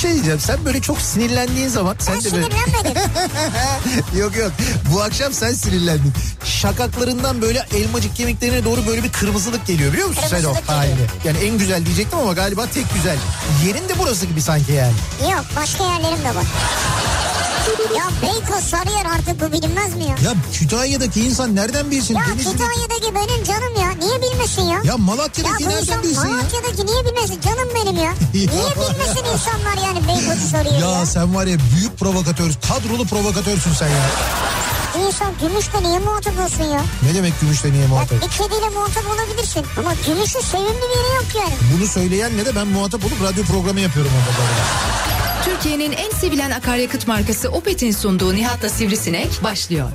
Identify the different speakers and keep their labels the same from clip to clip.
Speaker 1: şey diyeceğim. Sen böyle çok sinirlendiğin zaman... sen
Speaker 2: Ben
Speaker 1: de böyle...
Speaker 2: sinirlenmedim.
Speaker 1: yok yok. Bu akşam sen sinirlendin. Şakaklarından böyle elmacık kemiklerine doğru böyle bir kırmızılık geliyor biliyor musun sen o
Speaker 2: Kırmızılık geliyor.
Speaker 1: halini? Yani en güzel diyecektim ama galiba tek güzel. Yerin de burası gibi sanki yani.
Speaker 2: Yok başka yerlerim de var. Ya Beykoz Sarıyer artık bu bilinmez mi ya?
Speaker 1: Ya Kütahya'daki insan nereden bilsin?
Speaker 2: Ya
Speaker 1: Denizli-
Speaker 2: Kütahya'daki benim canım ya. Niye bilmesin ya?
Speaker 1: Ya Malatya'daki
Speaker 2: bu
Speaker 1: nereden
Speaker 2: insan
Speaker 1: bilsin ya?
Speaker 2: Malatya'daki niye bilmesin? Canım benim ya. niye bilmesin insanlar yani Beykoz'u Sarıyer'i ya?
Speaker 1: Ya sen var ya büyük provokatör, kadrolu provokatörsün sen ya.
Speaker 2: İnsan gümüşle niye muhatap olsun ya?
Speaker 1: Ne demek gümüşle niye
Speaker 2: Ya
Speaker 1: muhatap?
Speaker 2: bir kediyle muhatap olabilirsin. Ama gümüşün sevimli biri yok yani.
Speaker 1: Bunu söyleyen ne de ben muhatap olup radyo programı yapıyorum orada. böyle.
Speaker 3: Türkiye'nin en sevilen akaryakıt markası Opet'in sunduğu Nihat'la Sivrisinek başlıyor.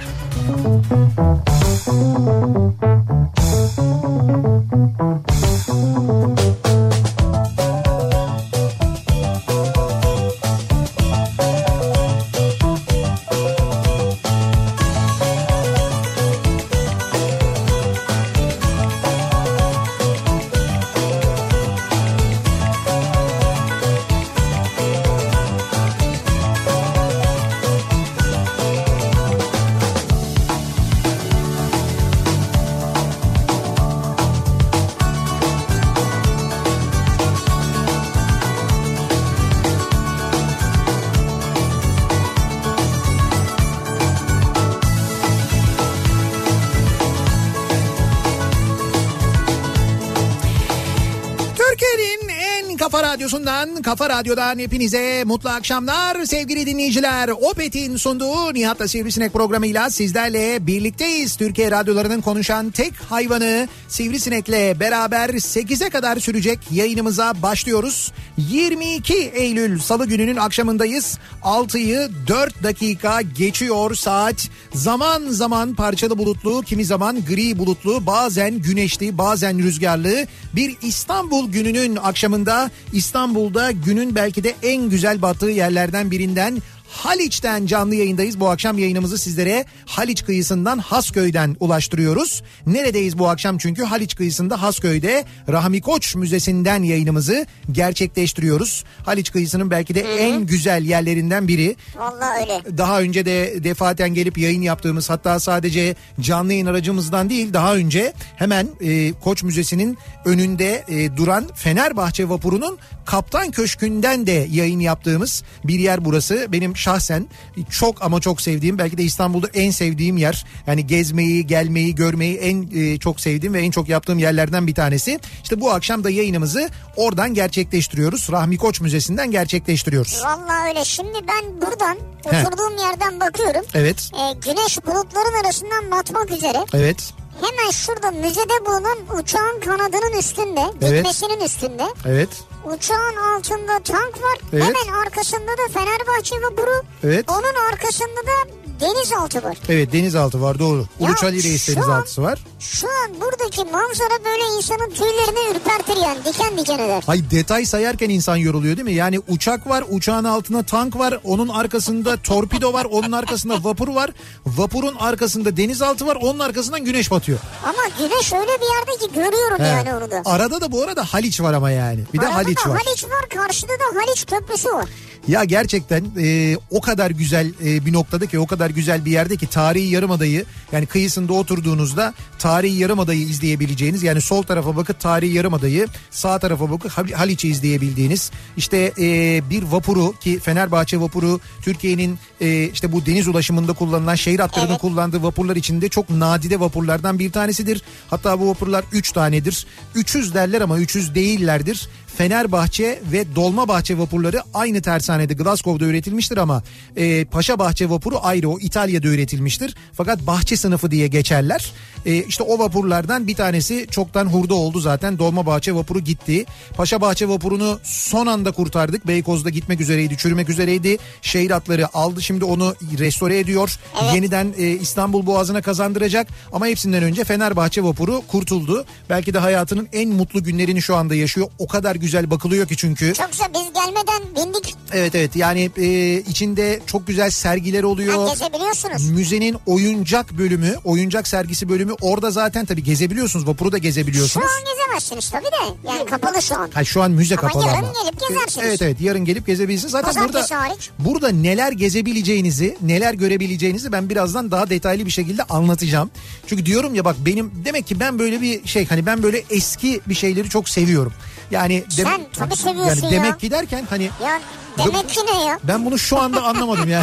Speaker 1: Türkiye'nin en kafa radyosundan, kafa radyodan hepinize mutlu akşamlar sevgili dinleyiciler. Opet'in sunduğu Nihat'la Sivrisinek programıyla sizlerle birlikteyiz. Türkiye radyolarının konuşan tek hayvanı Sivrisinek'le beraber 8'e kadar sürecek yayınımıza başlıyoruz. 22 Eylül Salı gününün akşamındayız. 6'yı 4 dakika geçiyor saat. Zaman zaman parçalı bulutlu, kimi zaman gri bulutlu, bazen güneşli, bazen rüzgarlı. Bir İstanbul gününün akşamında İstanbul'da günün belki de en güzel battığı yerlerden birinden Haliç'ten canlı yayındayız. Bu akşam yayınımızı sizlere Haliç kıyısından Hasköy'den ulaştırıyoruz. Neredeyiz bu akşam çünkü Haliç kıyısında Hasköy'de Rahmi Koç Müzesi'nden yayınımızı gerçekleştiriyoruz. Haliç kıyısının belki de en güzel yerlerinden biri
Speaker 2: Vallahi öyle.
Speaker 1: daha önce de defaten gelip yayın yaptığımız hatta sadece canlı yayın aracımızdan değil daha önce hemen e, Koç Müzesi'nin önünde e, duran Fenerbahçe vapurunun Kaptan Köşkü'nden de yayın yaptığımız bir yer burası. Benim şahsen çok ama çok sevdiğim belki de İstanbul'da en sevdiğim yer. Yani gezmeyi, gelmeyi, görmeyi en e, çok sevdiğim ve en çok yaptığım yerlerden bir tanesi. İşte bu akşam da yayınımızı oradan gerçekleştiriyoruz. Rahmi Koç Müzesi'nden gerçekleştiriyoruz.
Speaker 2: Vallahi öyle. Şimdi ben buradan
Speaker 1: He.
Speaker 2: oturduğum yerden bakıyorum.
Speaker 1: Evet.
Speaker 2: Ee, güneş bulutların arasından batmak üzere.
Speaker 1: Evet.
Speaker 2: Hemen şurada müzede bulunan uçağın kanadının üstünde,
Speaker 1: Evet.
Speaker 2: gitmesinin üstünde.
Speaker 1: Evet.
Speaker 2: Uçağın altında tank var.
Speaker 1: Evet.
Speaker 2: Hemen arkasında da Fenerbahçe vapuru.
Speaker 1: Evet.
Speaker 2: Onun arkasında da denizaltı var.
Speaker 1: Evet denizaltı var doğru.
Speaker 2: Ya
Speaker 1: Uluç Ali Reis
Speaker 2: şu an-
Speaker 1: denizaltısı var.
Speaker 2: Şu an buradaki manzara böyle insanın tüylerini ürpertir yani diken diken eder.
Speaker 1: Hay detay sayarken insan yoruluyor değil mi? Yani uçak var, uçağın altına tank var, onun arkasında torpido var, onun arkasında vapur var. Vapurun arkasında denizaltı var, onun arkasından güneş batıyor.
Speaker 2: Ama güneş öyle bir yerde ki görüyorum
Speaker 1: He.
Speaker 2: yani onu da.
Speaker 1: Arada da bu arada Haliç var ama yani. Bir de
Speaker 2: Arada
Speaker 1: Haliç
Speaker 2: da
Speaker 1: var.
Speaker 2: Haliç var karşıda da Haliç köprüsü var.
Speaker 1: Ya gerçekten e, o kadar güzel e, bir noktada ki o kadar güzel bir yerde ki tarihi yarımadayı yani kıyısında oturduğunuzda tarihi yarımadayı izleyebileceğiniz yani sol tarafa bakıp tarihi yarımadayı sağ tarafa bakıp Hal- Haliç'i izleyebildiğiniz işte e, bir vapuru ki Fenerbahçe vapuru Türkiye'nin e, işte bu deniz ulaşımında kullanılan şehir hatlarının kullandığı vapurlar içinde çok nadide vapurlardan bir tanesidir. Hatta bu vapurlar 3 tanedir. 300 derler ama 300 değillerdir. Fenerbahçe ve Dolmabahçe vapurları aynı tersanede Glasgow'da üretilmiştir ama e, Paşabahçe vapuru ayrı o İtalya'da üretilmiştir. Fakat bahçe sınıfı diye geçerler. E, işte o vapurlardan bir tanesi çoktan hurda oldu zaten Dolmabahçe vapuru gitti. Paşabahçe vapurunu son anda kurtardık. Beykoz'da gitmek üzereydi çürümek üzereydi. Şehir atları aldı şimdi onu restore ediyor. Yeniden e, İstanbul Boğazı'na kazandıracak ama hepsinden önce Fenerbahçe vapuru kurtuldu. Belki de hayatının en mutlu günlerini şu anda yaşıyor. O kadar güzel bakılıyor ki çünkü.
Speaker 2: Çok güzel biz gelmeden bindik
Speaker 1: Evet evet yani e, içinde çok güzel sergiler oluyor.
Speaker 2: Ha, gezebiliyorsunuz.
Speaker 1: Müzenin oyuncak bölümü, oyuncak sergisi bölümü orada zaten tabii gezebiliyorsunuz. Vapuru da
Speaker 2: Şu
Speaker 1: gezebiliyorsunuz.
Speaker 2: an gezemezsiniz tabii de. Yani kapalı şu an.
Speaker 1: Ha şu an müze
Speaker 2: Ama
Speaker 1: kapalı
Speaker 2: yarın
Speaker 1: ama.
Speaker 2: gelip gezersiniz.
Speaker 1: Evet evet yarın gelip gezebilirsiniz. Zaten
Speaker 2: Pazartesi
Speaker 1: burada
Speaker 2: hariç.
Speaker 1: burada neler gezebileceğinizi, neler görebileceğinizi ben birazdan daha detaylı bir şekilde anlatacağım. Çünkü diyorum ya bak benim demek ki ben böyle bir şey hani ben böyle eski bir şeyleri çok seviyorum. Yani
Speaker 2: Sen tabii seviyorsun
Speaker 1: yani
Speaker 2: ya.
Speaker 1: demek ki derken hani
Speaker 2: Ya demek ki ne ya?
Speaker 1: ben bunu şu anda anlamadım ya.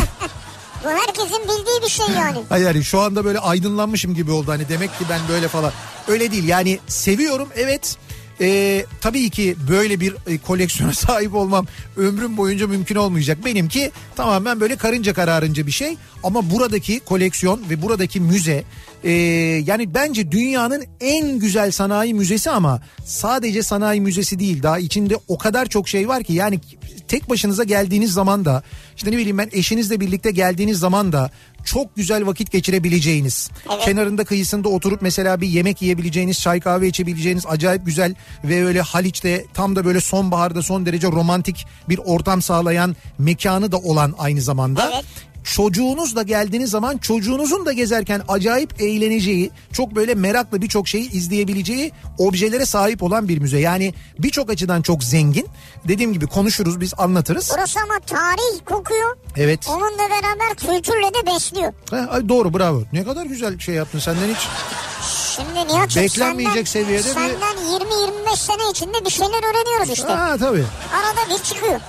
Speaker 2: Bu herkesin bildiği bir şey yani.
Speaker 1: Hayır yani şu anda böyle aydınlanmışım gibi oldu hani demek ki ben böyle falan. Öyle değil yani seviyorum evet. Ee, tabii ki böyle bir e, koleksiyona sahip olmam ömrüm boyunca mümkün olmayacak. Benimki tamamen böyle karınca kararınca bir şey. Ama buradaki koleksiyon ve buradaki müze e, yani bence dünyanın en güzel sanayi müzesi ama sadece sanayi müzesi değil. Daha içinde o kadar çok şey var ki yani tek başınıza geldiğiniz zaman da işte ne bileyim ben eşinizle birlikte geldiğiniz zaman da çok güzel vakit geçirebileceğiniz, kenarında kıyısında oturup mesela bir yemek yiyebileceğiniz, çay kahve içebileceğiniz acayip güzel ve öyle Haliç'te tam da böyle sonbaharda son derece romantik bir ortam sağlayan mekanı da olan aynı zamanda.
Speaker 2: Evet.
Speaker 1: Çocuğunuzla geldiğiniz zaman çocuğunuzun da gezerken acayip eğleneceği, çok böyle meraklı birçok şeyi izleyebileceği objelere sahip olan bir müze. Yani birçok açıdan çok zengin. Dediğim gibi konuşuruz, biz anlatırız.
Speaker 2: Burası ama tarih kokuyor.
Speaker 1: Evet.
Speaker 2: Onunla beraber kültürle de besliyor.
Speaker 1: Ha, ay doğru bravo. Ne kadar güzel şey yaptın senden hiç.
Speaker 2: Şimdi Nihat'cığım
Speaker 1: Beklenmeyecek
Speaker 2: senden,
Speaker 1: seviyede bir-
Speaker 2: senden 20-25 sene içinde bir şeyler öğreniyoruz işte.
Speaker 1: Ha tabii.
Speaker 2: Arada bir çıkıyor.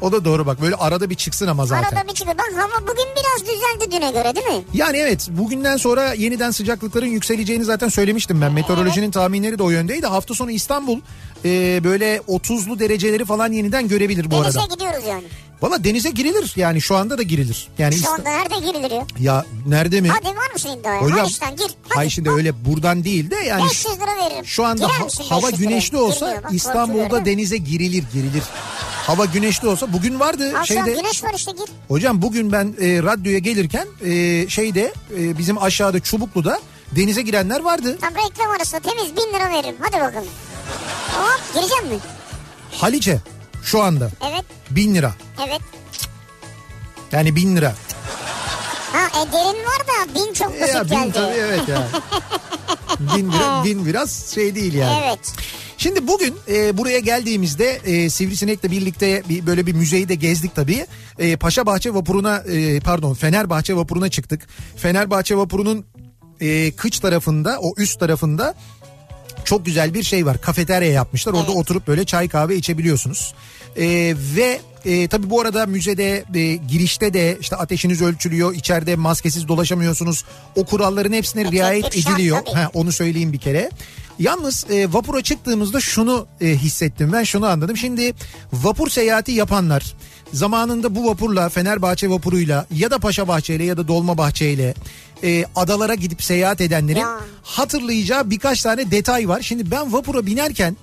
Speaker 1: O da doğru bak böyle arada bir çıksın ama zaten.
Speaker 2: Arada bir çıkıyor. Bak hava bugün biraz düzeldi düne göre değil mi?
Speaker 1: Yani evet bugünden sonra yeniden sıcaklıkların yükseleceğini zaten söylemiştim
Speaker 2: Ee?
Speaker 1: ben. Meteorolojinin tahminleri de o yöndeydi. Hafta sonu İstanbul e, böyle 30'lu dereceleri falan yeniden görebilir bu
Speaker 2: Denize
Speaker 1: arada.
Speaker 2: gidiyoruz yani.
Speaker 1: Valla denize girilir yani şu anda da girilir. Yani
Speaker 2: Şu
Speaker 1: İsta-
Speaker 2: anda nerede girilir ya?
Speaker 1: ya nerede mi?
Speaker 2: Hadi var mısın iddiaya?
Speaker 1: E, Hocam-
Speaker 2: Hadi işten gir. Hadi.
Speaker 1: Ay şimdi
Speaker 2: Bak,
Speaker 1: öyle buradan değil de yani
Speaker 2: 500 lira veririm.
Speaker 1: Şu anda
Speaker 2: Girer
Speaker 1: ha-
Speaker 2: misin
Speaker 1: hava
Speaker 2: 500 liraya?
Speaker 1: güneşli olsa
Speaker 2: Girmiyor bak,
Speaker 1: İstanbul'da
Speaker 2: korkuyorum.
Speaker 1: denize girilir girilir. Hava güneşli olsa bugün vardı
Speaker 2: Akşam
Speaker 1: şeyde.
Speaker 2: güneş var işte gir.
Speaker 1: Hocam bugün ben e, radyoya gelirken e, şeyde e, bizim aşağıda Çubuklu'da denize girenler vardı.
Speaker 2: Tam reklam arasında temiz 1000 lira veririm. Hadi bakalım. Hop gireceğim mi?
Speaker 1: Haliç'e şu anda
Speaker 2: Evet.
Speaker 1: bin lira.
Speaker 2: Evet.
Speaker 1: Yani bin lira.
Speaker 2: Ha e, derin var da bin çok
Speaker 1: E,
Speaker 2: basit
Speaker 1: ya bin
Speaker 2: geldi.
Speaker 1: tabii evet ya. bin lira bin biraz şey değil yani.
Speaker 2: Evet.
Speaker 1: Şimdi bugün e, buraya geldiğimizde e, Sivrisinek'le birlikte bir, böyle bir müzeyi de gezdik tabii. E, Paşabahçe vapuruna e, pardon Fenerbahçe vapuruna çıktık. Fenerbahçe vapurunun e, kıç tarafında o üst tarafında çok güzel bir şey var. Kafeterya yapmışlar. Orada oturup böyle çay kahve içebiliyorsunuz. Ee, ve e, tabii bu arada müzede e, girişte de işte ateşiniz ölçülüyor. içeride maskesiz dolaşamıyorsunuz. O kuralların hepsine
Speaker 2: tek
Speaker 1: riayet
Speaker 2: bir şart
Speaker 1: ediliyor.
Speaker 2: tabii.
Speaker 1: Ha, onu söyleyeyim bir kere. Yalnız e, vapura çıktığımızda şunu e, hissettim ben şunu anladım. Şimdi vapur seyahati yapanlar zamanında bu vapurla Fenerbahçe vapuruyla ya da Paşabahçe ile ya da Dolmabahçe ile e, adalara gidip seyahat edenlerin
Speaker 2: Ya.
Speaker 1: hatırlayacağı birkaç tane detay var. Şimdi ben vapura binerken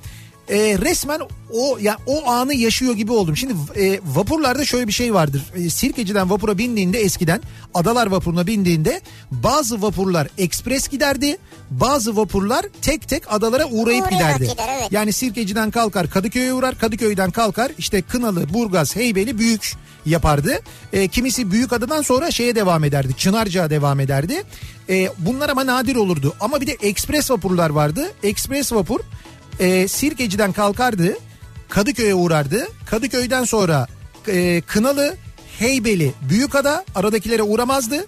Speaker 1: e, resmen o ya o anı yaşıyor gibi oldum. Şimdi e, vapurlarda şöyle bir şey vardır. E, Sirkeci'den vapura bindiğinde eskiden Adalar vapuruna bindiğinde bazı vapurlar ekspres giderdi. Bazı vapurlar tek tek adalara uğrayıp
Speaker 2: Uğrayarak
Speaker 1: giderdi.
Speaker 2: gider, evet.
Speaker 1: Yani Sirkeci'den kalkar Kadıköy'e uğrar. Kadıköy'den kalkar işte Kınalı, Burgaz, Heybeli, Büyük yapardı. E, kimisi Büyükada'dan sonra şeye devam ederdi. Çınarca'ya devam ederdi. E, bunlar ama nadir olurdu. Ama bir de ekspres vapurlar vardı. Ekspres vapur e, Sirkeci'den kalkardı. Kadıköy'e uğrardı. Kadıköy'den sonra e, Kınalı, Heybeli, Büyükada aradakilere uğramazdı.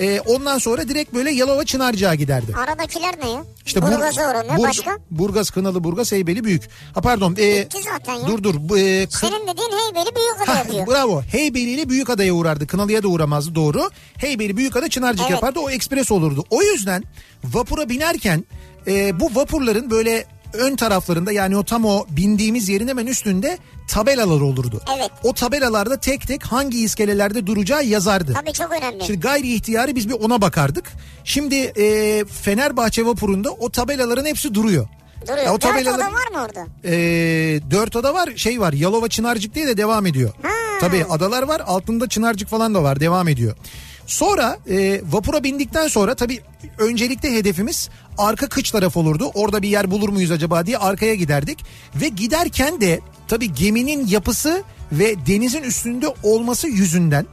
Speaker 1: E, ondan sonra direkt böyle Yalova Çınarca'ya giderdi.
Speaker 2: Aradakiler ne ya?
Speaker 1: İşte
Speaker 2: İşte
Speaker 1: Bur-
Speaker 2: Burgaz'a uğranıyor
Speaker 1: Bur-
Speaker 2: başka.
Speaker 1: Burgaz, Kınalı, Burgaz, Heybeli büyük. Ha pardon. e,
Speaker 2: Bitti zaten ya.
Speaker 1: Dur dur. bu, E, Kı-
Speaker 2: Senin dediğin heybeli büyük
Speaker 1: Ha,
Speaker 2: ada yapıyor.
Speaker 1: bravo. Heybeli ile Büyükada'ya uğrardı. Kınalı'ya da uğramazdı doğru. Heybeli Büyükada Çınarcık
Speaker 2: Evet.
Speaker 1: yapardı. O ekspres olurdu. O yüzden vapura binerken e, bu vapurların böyle ön taraflarında yani o tam o bindiğimiz yerin hemen üstünde tabelalar olurdu.
Speaker 2: Evet.
Speaker 1: O tabelalarda tek tek hangi iskelelerde duracağı yazardı.
Speaker 2: Tabii çok önemli.
Speaker 1: Şimdi gayri ihtiyari biz bir ona bakardık. Şimdi e, Fenerbahçe vapurunda o tabelaların hepsi duruyor.
Speaker 2: Duruyor.
Speaker 1: Ya o
Speaker 2: Dört
Speaker 1: tabelalar-
Speaker 2: oda var mı orada?
Speaker 1: e, dört ada var şey var Yalova Çınarcık diye de devam ediyor. Tabii adalar var altında Çınarcık falan da var devam ediyor. Sonra e, vapura bindikten sonra tabii öncelikle hedefimiz arka kıç taraf olurdu. Orada bir yer bulur muyuz acaba diye arkaya giderdik. Ve giderken de tabii geminin yapısı ve denizin üstünde olması yüzünden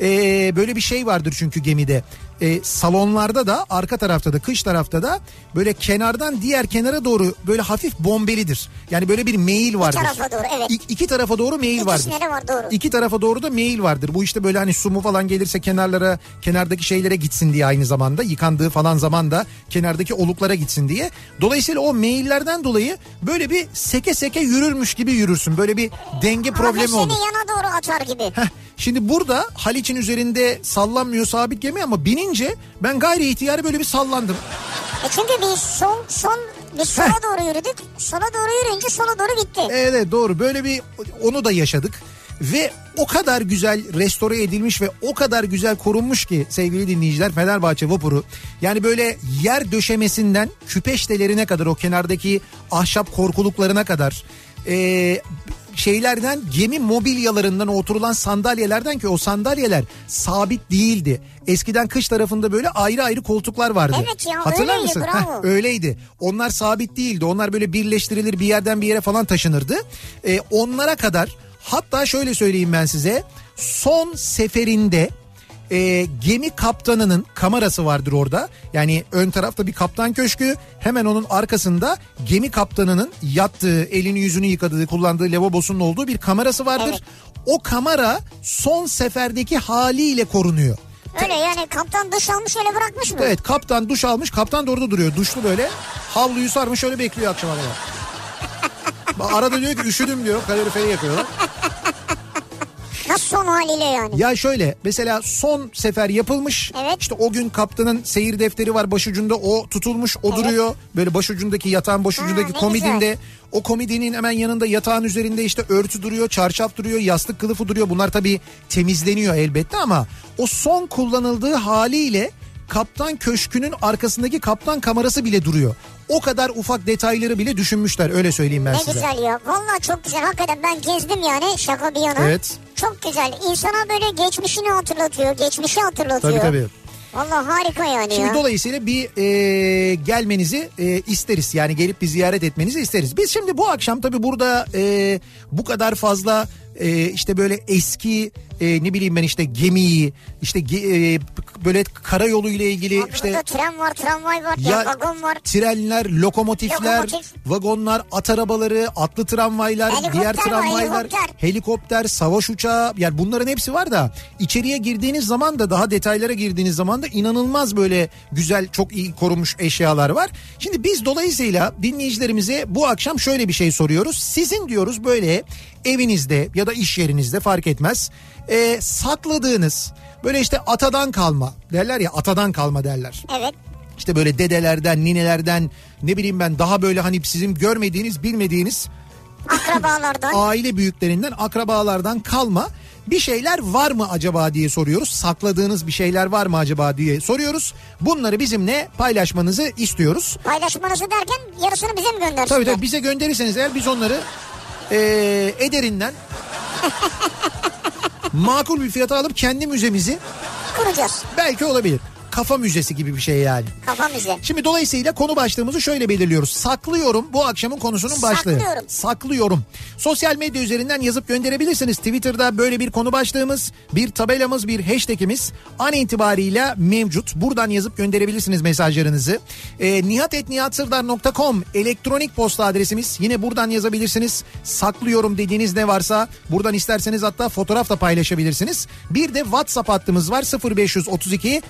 Speaker 1: e, böyle bir şey vardır çünkü gemide. E, salonlarda da arka tarafta da kış tarafta da böyle kenardan diğer kenara doğru böyle hafif bombelidir. Yani böyle bir meyil vardır.
Speaker 2: tarafa doğru, evet.
Speaker 1: İ- iki tarafa doğru meyil vardır.
Speaker 2: İkisine de var doğru.
Speaker 1: İki tarafa doğru da meyil vardır. Bu işte böyle hani su mu falan gelirse kenarlara, kenardaki şeylere gitsin diye aynı zamanda yıkandığı falan zaman da kenardaki oluklara gitsin diye. Dolayısıyla o meyillerden dolayı böyle bir seke seke yürürmüş gibi yürürsün. Böyle bir denge problemi
Speaker 2: Ama
Speaker 1: olur.
Speaker 2: seni yana doğru atar gibi.
Speaker 1: Heh, şimdi burada Haliç'in üzerinde sallanmıyor sabit gemi ama binince ben gayri ihtiyari böyle bir sallandım.
Speaker 2: E çünkü bir sol son bir sola
Speaker 1: Heh.
Speaker 2: doğru yürüdük. Sola doğru yürüyünce sola doğru gitti.
Speaker 1: Evet evet, doğru böyle bir onu da yaşadık. Ve o kadar güzel restore edilmiş ve o kadar güzel korunmuş ki sevgili dinleyiciler Fenerbahçe vapuru. Yani böyle yer döşemesinden küpeştelerine kadar o kenardaki ahşap korkuluklarına kadar ee, şeylerden gemi mobilyalarından o oturulan sandalyelerden ki o sandalyeler sabit değildi. Eskiden kış tarafında böyle ayrı ayrı koltuklar vardı.
Speaker 2: Evet ya,
Speaker 1: Hatırlar
Speaker 2: öyleydi,
Speaker 1: mısın?
Speaker 2: bravo.
Speaker 1: Heh, öyleydi. Onlar sabit değildi. Onlar böyle birleştirilir bir yerden bir yere falan taşınırdı. Ee, onlara kadar hatta şöyle söyleyeyim ben size. Son seferinde e, gemi kaptanının kamerası vardır orada. Yani ön tarafta bir kaptan köşkü hemen onun arkasında gemi kaptanının yattığı, elini yüzünü yıkadığı, kullandığı lavabosunun olduğu bir kamerası vardır.
Speaker 2: Evet.
Speaker 1: O kamera son seferdeki haliyle korunuyor.
Speaker 2: Öyle yani kaptan dış almış öyle bırakmış mı?
Speaker 1: Evet kaptan duş almış. Kaptan da orada duruyor. Duşlu böyle. Havluyu sarmış öyle bekliyor akşama kadar. Ba- Arada diyor ki üşüdüm diyor. Kaloriferi yakıyorlar.
Speaker 2: Nasıl son haliyle yani?
Speaker 1: Ya şöyle mesela son sefer yapılmış.
Speaker 2: Evet.
Speaker 1: İşte o gün kaptanın seyir defteri var başucunda o tutulmuş o duruyor. Böyle başucundaki yatağın başucundaki
Speaker 2: Ha, ne
Speaker 1: komodinde.
Speaker 2: güzel.
Speaker 1: O komodinin hemen yanında yatağın üzerinde işte örtü duruyor, çarşaf duruyor, yastık kılıfı duruyor. Bunlar tabii temizleniyor elbette ama o son kullanıldığı haliyle kaptan köşkünün arkasındaki kaptan kamerası bile duruyor. O kadar ufak detayları bile düşünmüşler öyle söyleyeyim ben
Speaker 2: Ne
Speaker 1: size.
Speaker 2: güzel ya. Vallahi çok güzel. Hakikaten ben gezdim yani şaka bir yana.
Speaker 1: Evet.
Speaker 2: Çok güzel. İnsana böyle geçmişini hatırlatıyor. Geçmişi hatırlatıyor.
Speaker 1: Tabii tabii.
Speaker 2: Vallahi harika yani
Speaker 1: Şimdi
Speaker 2: ya.
Speaker 1: dolayısıyla bir e, gelmenizi e, isteriz. Yani gelip bir ziyaret etmenizi isteriz. Biz şimdi bu akşam tabii burada e, bu kadar fazla e, işte böyle eski e, ne bileyim ben işte gemiyi işte ge- e, böyle karayolu ile ilgili
Speaker 2: Abi
Speaker 1: e, işte
Speaker 2: Burada tren var, tramvay var, ya, vagon var.
Speaker 1: trenler, lokomotifler,
Speaker 2: Lokomotif.
Speaker 1: vagonlar, at arabaları, atlı tramvaylar,
Speaker 2: Helikopter
Speaker 1: diğer
Speaker 2: var,
Speaker 1: tramvaylar,
Speaker 2: helikopter.
Speaker 1: helikopter, savaş uçağı yani bunların hepsi var da içeriye girdiğiniz zaman da daha detaylara girdiğiniz zaman da inanılmaz böyle güzel çok iyi korunmuş eşyalar var. Şimdi biz dolayısıyla dinleyicilerimize bu akşam şöyle bir şey soruyoruz. Sizin diyoruz böyle evinizde ya da iş yerinizde fark etmez ee, sakladığınız böyle işte atadan kalma derler ya atadan kalma derler.
Speaker 2: Evet.
Speaker 1: İşte böyle dedelerden, ninelerden ne bileyim ben daha böyle hani sizin görmediğiniz, bilmediğiniz
Speaker 2: Akrabalardan.
Speaker 1: aile büyüklerinden, akrabalardan kalma bir şeyler var mı acaba diye soruyoruz. Sakladığınız bir şeyler var mı acaba diye soruyoruz. Bunları bizimle paylaşmanızı istiyoruz.
Speaker 2: Paylaşmanızı derken yarısını bize mi göndersinler?
Speaker 1: Tabii tabii bize gönderirseniz eğer biz onları eee, ederinden makul bir fiyata alıp kendi müzemizi
Speaker 2: Kuracağız
Speaker 1: belki olabilir. Kafa müzesi gibi bir şey yani.
Speaker 2: kafamızı.
Speaker 1: Şimdi dolayısıyla konu başlığımızı şöyle belirliyoruz. Saklıyorum bu akşamın konusunun başlığı.
Speaker 2: Saklıyorum.
Speaker 1: Saklıyorum. Sosyal medya üzerinden yazıp gönderebilirsiniz. Twitter'da böyle bir konu başlığımız, bir tabelamız, bir hashtagimiz an itibariyle mevcut. Buradan yazıp gönderebilirsiniz mesajlarınızı. E, nihatetnihatsırdar.com elektronik posta adresimiz. Yine buradan yazabilirsiniz. Saklıyorum dediğiniz ne varsa buradan isterseniz hatta fotoğraf da paylaşabilirsiniz. Bir de WhatsApp hattımız var 0532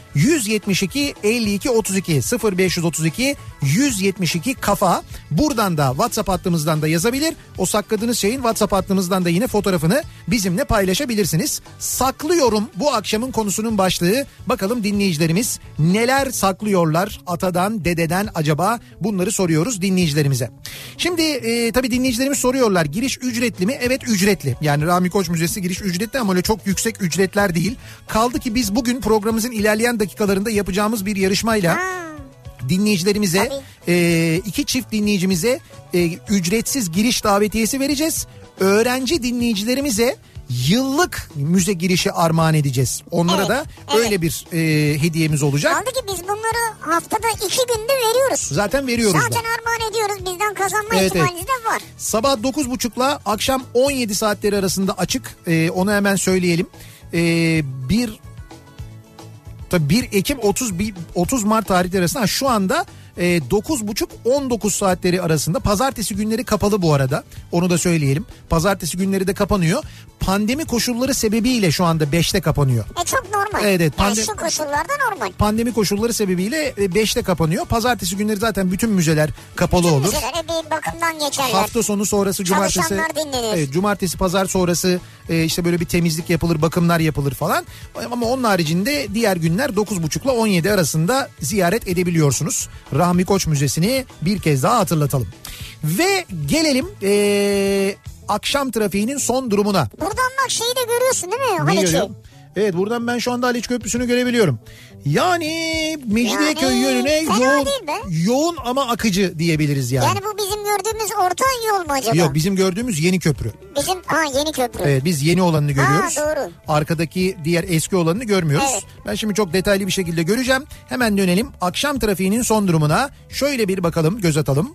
Speaker 1: 172 52 32 0532 172 kafa. Buradan da WhatsApp hattımızdan da yazabilir. O sakladığınız şeyin WhatsApp hattımızdan da yine fotoğrafını bizimle paylaşabilirsiniz. Saklıyorum bu akşamın konusunun başlığı. Bakalım dinleyicilerimiz neler saklıyorlar atadan dededen acaba bunları soruyoruz dinleyicilerimize. Şimdi e, tabii dinleyicilerimiz soruyorlar giriş ücretli mi? Evet ücretli. Yani Rami Koç Müzesi giriş ücretli ama öyle çok yüksek ücretler değil. Kaldı ki biz bugün programımızın ilerleyen dakikalarında yapacağımız bir yarışmayla dinleyicilerimize e, iki çift dinleyicimize e, ücretsiz giriş davetiyesi vereceğiz. Öğrenci dinleyicilerimize yıllık müze girişi armağan edeceğiz. Onlara
Speaker 2: Evet,
Speaker 1: da
Speaker 2: evet.
Speaker 1: öyle bir e, hediyemiz olacak.
Speaker 2: Kaldı ki biz bunları haftada iki günde veriyoruz.
Speaker 1: Zaten veriyoruz da.
Speaker 2: Zaten armağan ediyoruz. Bizden kazanma
Speaker 1: Evet,
Speaker 2: ihtimaliniz de var.
Speaker 1: Sabah 9.30'la akşam 17 saatleri arasında açık. Ee, onu hemen söyleyelim. Ee, bir tabii 1 Ekim 30 bi- 30 Mart tarihleri arasında Ha, şu anda e, 9.30-19 saatleri arasında pazartesi günleri kapalı bu arada onu da söyleyelim pazartesi günleri de kapanıyor pandemi koşulları sebebiyle şu anda 5'te kapanıyor
Speaker 2: E çok normal.
Speaker 1: Evet, evet.
Speaker 2: Yani
Speaker 1: Pandemi-
Speaker 2: şu koşullarda normal.
Speaker 1: pandemi koşulları sebebiyle e, 5'te kapanıyor pazartesi günleri zaten bütün müzeler kapalı olur
Speaker 2: Güzel e, bir bakımdan geçerler.
Speaker 1: Hafta sonu sonrası cumartesi.
Speaker 2: Çalışanlar dinlenir.
Speaker 1: Evet, cumartesi pazar sonrası e, işte böyle bir temizlik yapılır, bakımlar yapılır falan. Ama onun haricinde diğer günler 9.30 ile 17 arasında ziyaret edebiliyorsunuz. Rahmi Koç Müzesi'ni bir kez daha hatırlatalım. Ve gelelim e, akşam trafiğinin son durumuna.
Speaker 2: Buradan bak şeyi de görüyorsun değil mi? Hani
Speaker 1: Ne
Speaker 2: Haliç'i.
Speaker 1: görüyorum? Evet buradan ben şu anda Haliç Köprüsü'nü görebiliyorum. Yani Mecidiyeköy
Speaker 2: Yani
Speaker 1: yönüne
Speaker 2: fena
Speaker 1: yoğun,
Speaker 2: değil be.
Speaker 1: yoğun ama akıcı diyebiliriz yani.
Speaker 2: Yani bu bizim gördüğümüz orta yol mu acaba?
Speaker 1: Yok bizim gördüğümüz yeni köprü.
Speaker 2: Bizim ha yeni köprü.
Speaker 1: Evet biz yeni olanını görüyoruz.
Speaker 2: doğru.
Speaker 1: Arkadaki diğer eski olanını görmüyoruz.
Speaker 2: Evet.
Speaker 1: Ben şimdi çok detaylı bir şekilde göreceğim. Hemen dönelim akşam trafiğinin son durumuna. Şöyle bir bakalım göz atalım.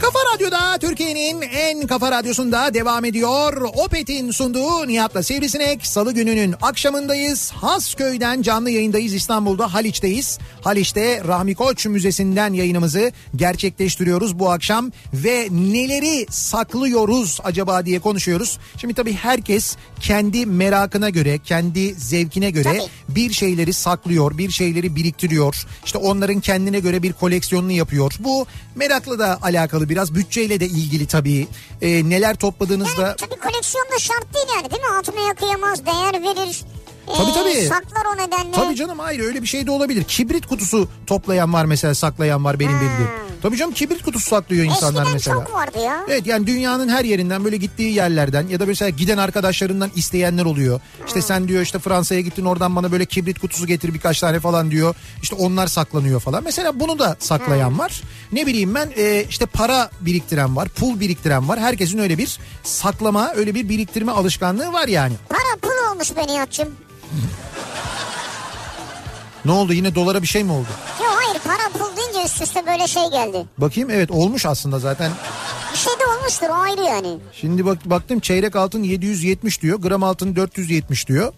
Speaker 1: Kafa Radyo'da Türkiye'nin en kafa radyosunda devam ediyor. Opet'in sunduğu Nihat'la Sivrisinek. Salı gününün akşamındayız. Hasköy'den canlı yayındayız. İstanbul'da Haliç'teyiz. Haliç'te Rahmi Koç Müzesi'nden yayınımızı gerçekleştiriyoruz bu akşam. Ve neleri saklıyoruz acaba diye konuşuyoruz. Şimdi tabii herkes kendi merakına göre, kendi zevkine göre
Speaker 2: Tabii.
Speaker 1: bir şeyleri saklıyor, bir şeyleri biriktiriyor. İşte onların kendine göre bir koleksiyonunu yapıyor. Bu merakla da alakalı biraz bütçeyle de ilgili tabii. Ee, neler topladığınızda
Speaker 2: Yani tabii koleksiyon da şart değil yani değil mi? Altına kıyamaz, değer verir. Ee,
Speaker 1: Tabii, tabii.
Speaker 2: Saklar o nedenle.
Speaker 1: Tabii canım hayır öyle bir şey de olabilir. Kibrit kutusu toplayan var mesela saklayan var benim bildiğim. Tabii canım kibrit kutusu saklıyor insanlar
Speaker 2: Hmm.
Speaker 1: mesela.
Speaker 2: Eskiden çok vardı ya.
Speaker 1: Evet yani dünyanın her yerinden böyle gittiği yerlerden ya da mesela giden arkadaşlarından isteyenler oluyor. İşte sen diyor işte Fransa'ya gittin oradan bana böyle kibrit kutusu getir birkaç tane falan diyor. İşte onlar saklanıyor falan. Mesela bunu da saklayan var. Ne bileyim ben e, işte para biriktiren var, pul biriktiren var. Herkesin öyle bir saklama, öyle bir biriktirme alışkanlığı var yani.
Speaker 2: Para pul olmuş be Nihat'cığım.
Speaker 1: Ne oldu yine dolara bir şey mi oldu?
Speaker 2: Yok hayır para pul deyince üst üste böyle şey geldi.
Speaker 1: Bakayım evet olmuş aslında zaten.
Speaker 2: Bir şey de olmuştur o ayrı yani.
Speaker 1: Şimdi bak baktım çeyrek altın 770 diyor. Gram altın 470 diyor.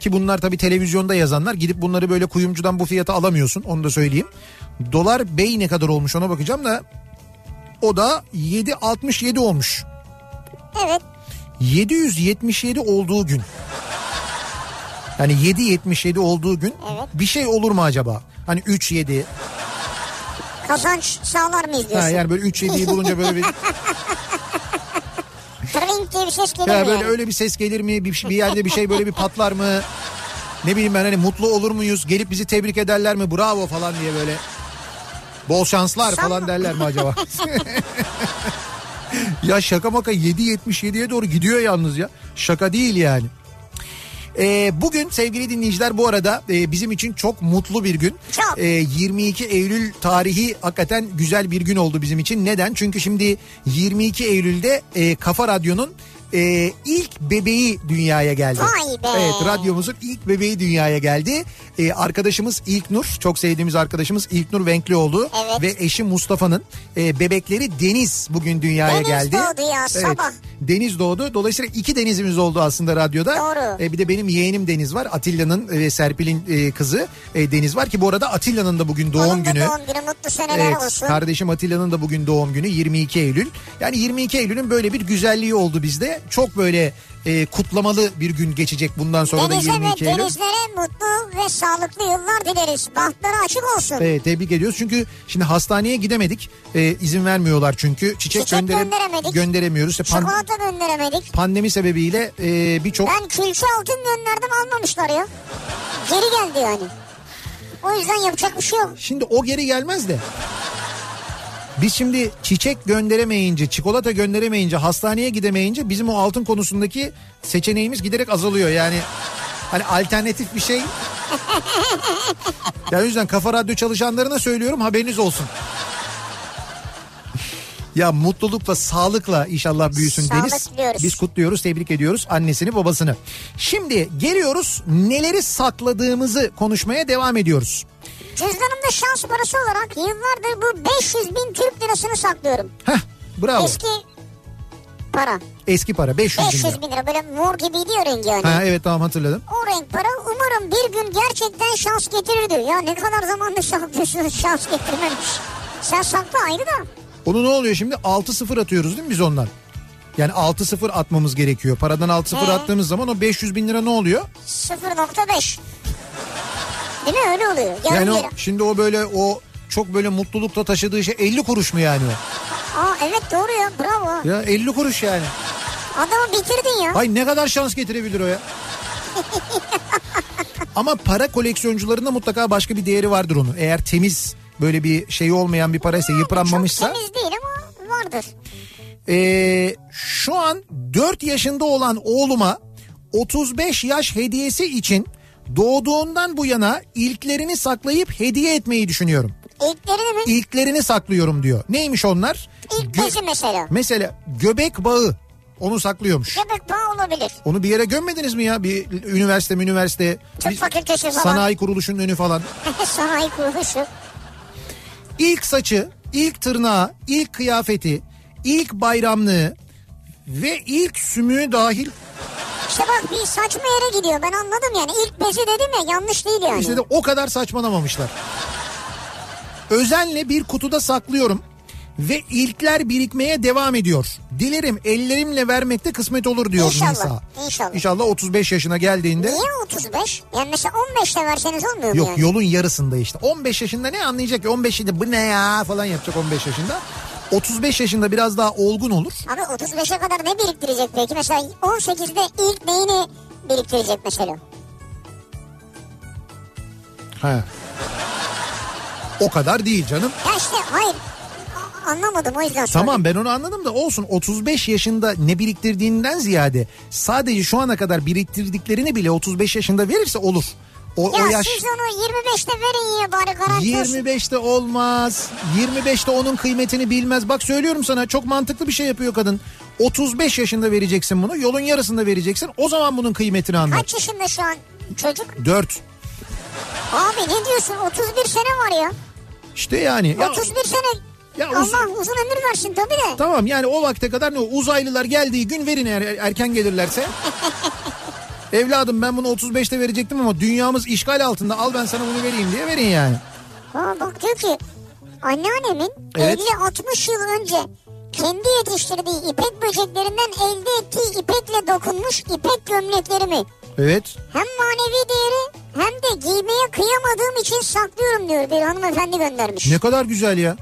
Speaker 1: Ki bunlar tabii televizyonda yazanlar. Gidip bunları böyle kuyumcudan bu fiyata alamıyorsun. Onu da söyleyeyim. Dolar bey ne kadar olmuş ona bakacağım da o da 7.67 olmuş.
Speaker 2: Evet
Speaker 1: 777 olduğu gün. Yani 7.77 olduğu gün
Speaker 2: Evet.
Speaker 1: bir şey olur mu acaba? Hani 3.7
Speaker 2: kazanç sağlar mıyız
Speaker 1: ha,
Speaker 2: diyorsun?
Speaker 1: yani böyle 3.7'yi bulunca böyle bir
Speaker 2: Tring diye bir ses geliyor
Speaker 1: Ya
Speaker 2: mu
Speaker 1: böyle
Speaker 2: yani?
Speaker 1: öyle bir ses gelir mi? Bir, bir yerde bir şey böyle bir patlar mı? Ne bileyim ben hani mutlu olur muyuz? Gelip bizi tebrik ederler mi? Bravo falan diye böyle. Bol şanslar falan derler mi acaba? ya şaka maka 7.77'ye doğru gidiyor yalnız ya. Şaka değil yani. Ee, bugün sevgili dinleyiciler bu arada e, bizim için çok mutlu bir gün.
Speaker 2: Çok.
Speaker 1: Ee, 22 Eylül tarihi hakikaten güzel bir gün oldu bizim için. Neden? Çünkü şimdi 22 Eylül'de e, Kafa Radyo'nun e, ilk bebeği dünyaya geldi.
Speaker 2: Vay be.
Speaker 1: Evet radyomuzun ilk bebeği dünyaya geldi. E, arkadaşımız İlknur çok sevdiğimiz arkadaşımız İlknur Venklioğlu
Speaker 2: Evet.
Speaker 1: ve eşi Mustafa'nın e, bebekleri Deniz bugün dünyaya
Speaker 2: Deniz
Speaker 1: geldi.
Speaker 2: doğdu ya, sabah.
Speaker 1: Deniz doğdu. Dolayısıyla iki denizimiz oldu aslında radyoda.
Speaker 2: Doğru.
Speaker 1: E, bir de benim yeğenim Deniz var. Atilla'nın ve Serpil'in e, kızı e, Deniz var ki bu arada Atilla'nın da bugün doğum
Speaker 2: Onun da
Speaker 1: günü.
Speaker 2: doğum günü mutlu seneler
Speaker 1: Evet,
Speaker 2: olsun.
Speaker 1: kardeşim Atilla'nın da bugün doğum günü 22 Eylül. Yani 22 Eylül'ün böyle bir güzelliği oldu bizde. Çok böyle e, kutlamalı bir gün geçecek bundan sonra da
Speaker 2: Denize
Speaker 1: 22
Speaker 2: ve
Speaker 1: Eylül.
Speaker 2: denizlere mutlu ve sağlıklı yıllar dileriz. Bahtları açık olsun.
Speaker 1: Evet, tebrik ediyoruz çünkü şimdi hastaneye gidemedik Ee, izin vermiyorlar çünkü çiçek,
Speaker 2: Çiçek
Speaker 1: göndere-
Speaker 2: gönderemedik.
Speaker 1: gönderemiyoruz İşte pan-
Speaker 2: Çikolata gönderemedik.
Speaker 1: pandemi sebebiyle e, birçok
Speaker 2: Ben külçe altın gönderdim almamışlar ya. Geri geldi yani. O yüzden yapacak bir şey yok.
Speaker 1: Şimdi o geri gelmez de. Biz şimdi çiçek gönderemeyince, çikolata gönderemeyince, hastaneye gidemeyince bizim o altın konusundaki seçeneğimiz giderek azalıyor. Yani hani alternatif bir şey. Ya o yüzden Kafa Radyo çalışanlarına söylüyorum haberiniz olsun. Ya mutlulukla, sağlıkla inşallah büyüsün
Speaker 2: Sağlık
Speaker 1: Deniz.
Speaker 2: diliyoruz.
Speaker 1: Biz kutluyoruz, tebrik ediyoruz annesini, babasını. Şimdi geliyoruz neleri sakladığımızı konuşmaya devam ediyoruz.
Speaker 2: Cüzdanımda şans parası olarak yıllardır bu 500 bin Türk lirasını saklıyorum.
Speaker 1: Heh, bravo. Eski,
Speaker 2: Eski para.
Speaker 1: para 500 bin lira.
Speaker 2: 500 bin lira böyle mor gibiydi ya rengi yani.
Speaker 1: Ha evet tamam hatırladım.
Speaker 2: O renk para umarım bir gün gerçekten şans getirir diyor. Ya ne kadar zamandır saklıyorsunuz şans getirmemiş. Sen sakla ayrı da.
Speaker 1: Onu ne oluyor şimdi? 6-0 atıyoruz değil mi biz ondan? Yani 6-0 atmamız gerekiyor. Paradan 6-0
Speaker 2: He.
Speaker 1: attığımız zaman o 500 bin lira ne oluyor?
Speaker 2: 0.5. Değil mi öyle oluyor. Yarım
Speaker 1: yani o,
Speaker 2: lira.
Speaker 1: şimdi o böyle o çok böyle mutlulukla taşıdığı şey 50 kuruş mu yani o?
Speaker 2: Aa evet doğru ya bravo.
Speaker 1: Ya 50 kuruş yani.
Speaker 2: Adamı bitirdin ya.
Speaker 1: Ay ne kadar şans getirebilir o ya. Ama para koleksiyoncularında mutlaka başka bir değeri vardır onu. Eğer temiz böyle bir şey olmayan bir paraysa yıpranmamışsa.
Speaker 2: Çok temiz değil ama vardır.
Speaker 1: Ee, şu an 4 yaşında olan oğluma 35 yaş hediyesi için doğduğundan bu yana ilklerini saklayıp hediye etmeyi düşünüyorum.
Speaker 2: İlklerini mi?
Speaker 1: İlklerini saklıyorum diyor. Neymiş onlar?
Speaker 2: İlk
Speaker 1: Gö-
Speaker 2: bezi mesela.
Speaker 1: mesela göbek bağı onu saklıyormuş.
Speaker 2: Göbek bağı olabilir.
Speaker 1: Onu bir yere gömmediniz mi ya? Bir üniversite üniversite
Speaker 2: Tıp
Speaker 1: bir
Speaker 2: fakültesi falan.
Speaker 1: sanayi kuruluşunun önü falan.
Speaker 2: Sanayi kuruluşu.
Speaker 1: İlk saçı, ilk tırnağı, ilk kıyafeti, ilk bayramlığı ve ilk sümüğü dahil
Speaker 2: İşte bak bir saçma yere gidiyor ben anladım yani. İlk bezi dedim ya yanlış değil yani.
Speaker 1: İşte de o kadar saçmalamamışlar. Özenle bir kutuda saklıyorum ve ilkler birikmeye devam ediyor. Dilerim ellerimle vermekte kısmet olur diyor
Speaker 2: İnşallah,
Speaker 1: Nisa.
Speaker 2: inşallah.
Speaker 1: 35 yaşına geldiğinde.
Speaker 2: Niye 35? Yani mesela 15'te verseniz olmuyor mu
Speaker 1: Yok
Speaker 2: yani?
Speaker 1: yolun yarısında işte. 15 yaşında ne anlayacak ki? 15 yaşında bu ne ya falan yapacak 15 yaşında. 35 yaşında biraz daha olgun olur.
Speaker 2: Abi 35'e kadar ne biriktirecek peki? Mesela 18'de ilk neyini biriktirecek mesela?
Speaker 1: He. O kadar değil canım.
Speaker 2: Ya işte hayır A- anlamadım o yüzden sordum.
Speaker 1: Tamam ben onu anladım da olsun 35 yaşında ne biriktirdiğinden ziyade sadece şu ana kadar biriktirdiklerini bile 35 yaşında verirse olur. O,
Speaker 2: Ya
Speaker 1: o yaş
Speaker 2: siz onu 25'te verin yine bari garanti olsun.
Speaker 1: 25'te olmaz. 25'te onun kıymetini bilmez. Bak söylüyorum sana çok mantıklı bir şey yapıyor kadın. 35 yaşında vereceksin bunu. Yolun yarısında vereceksin. O zaman bunun kıymetini anlar.
Speaker 2: Kaç yaşında şu an çocuk?
Speaker 1: 4.
Speaker 2: Abi ne diyorsun 31 sene var ya.
Speaker 1: İşte yani. Ya,
Speaker 2: 31 sene
Speaker 1: Ya
Speaker 2: Allah
Speaker 1: uzun-
Speaker 2: uzun ömür versin tabii de.
Speaker 1: Tamam yani o vakte kadar ne o, uzaylılar geldiği gün verin eğer er, erken gelirlerse. Evladım ben bunu 35'te verecektim ama dünyamız işgal altında al ben sana bunu vereyim diye verin yani.
Speaker 2: Aa, bak diyor ki anneannemin
Speaker 1: Evet.
Speaker 2: 50-60 yıl önce kendi yetiştirdiği ipek böceklerinden elde ettiği ipekle dokunmuş ipek gömleklerimi
Speaker 1: Evet.
Speaker 2: hem manevi değeri hem de giymeye kıyamadığım için saklıyorum diyor bir hanımefendi göndermiş.
Speaker 1: Ne kadar güzel ya.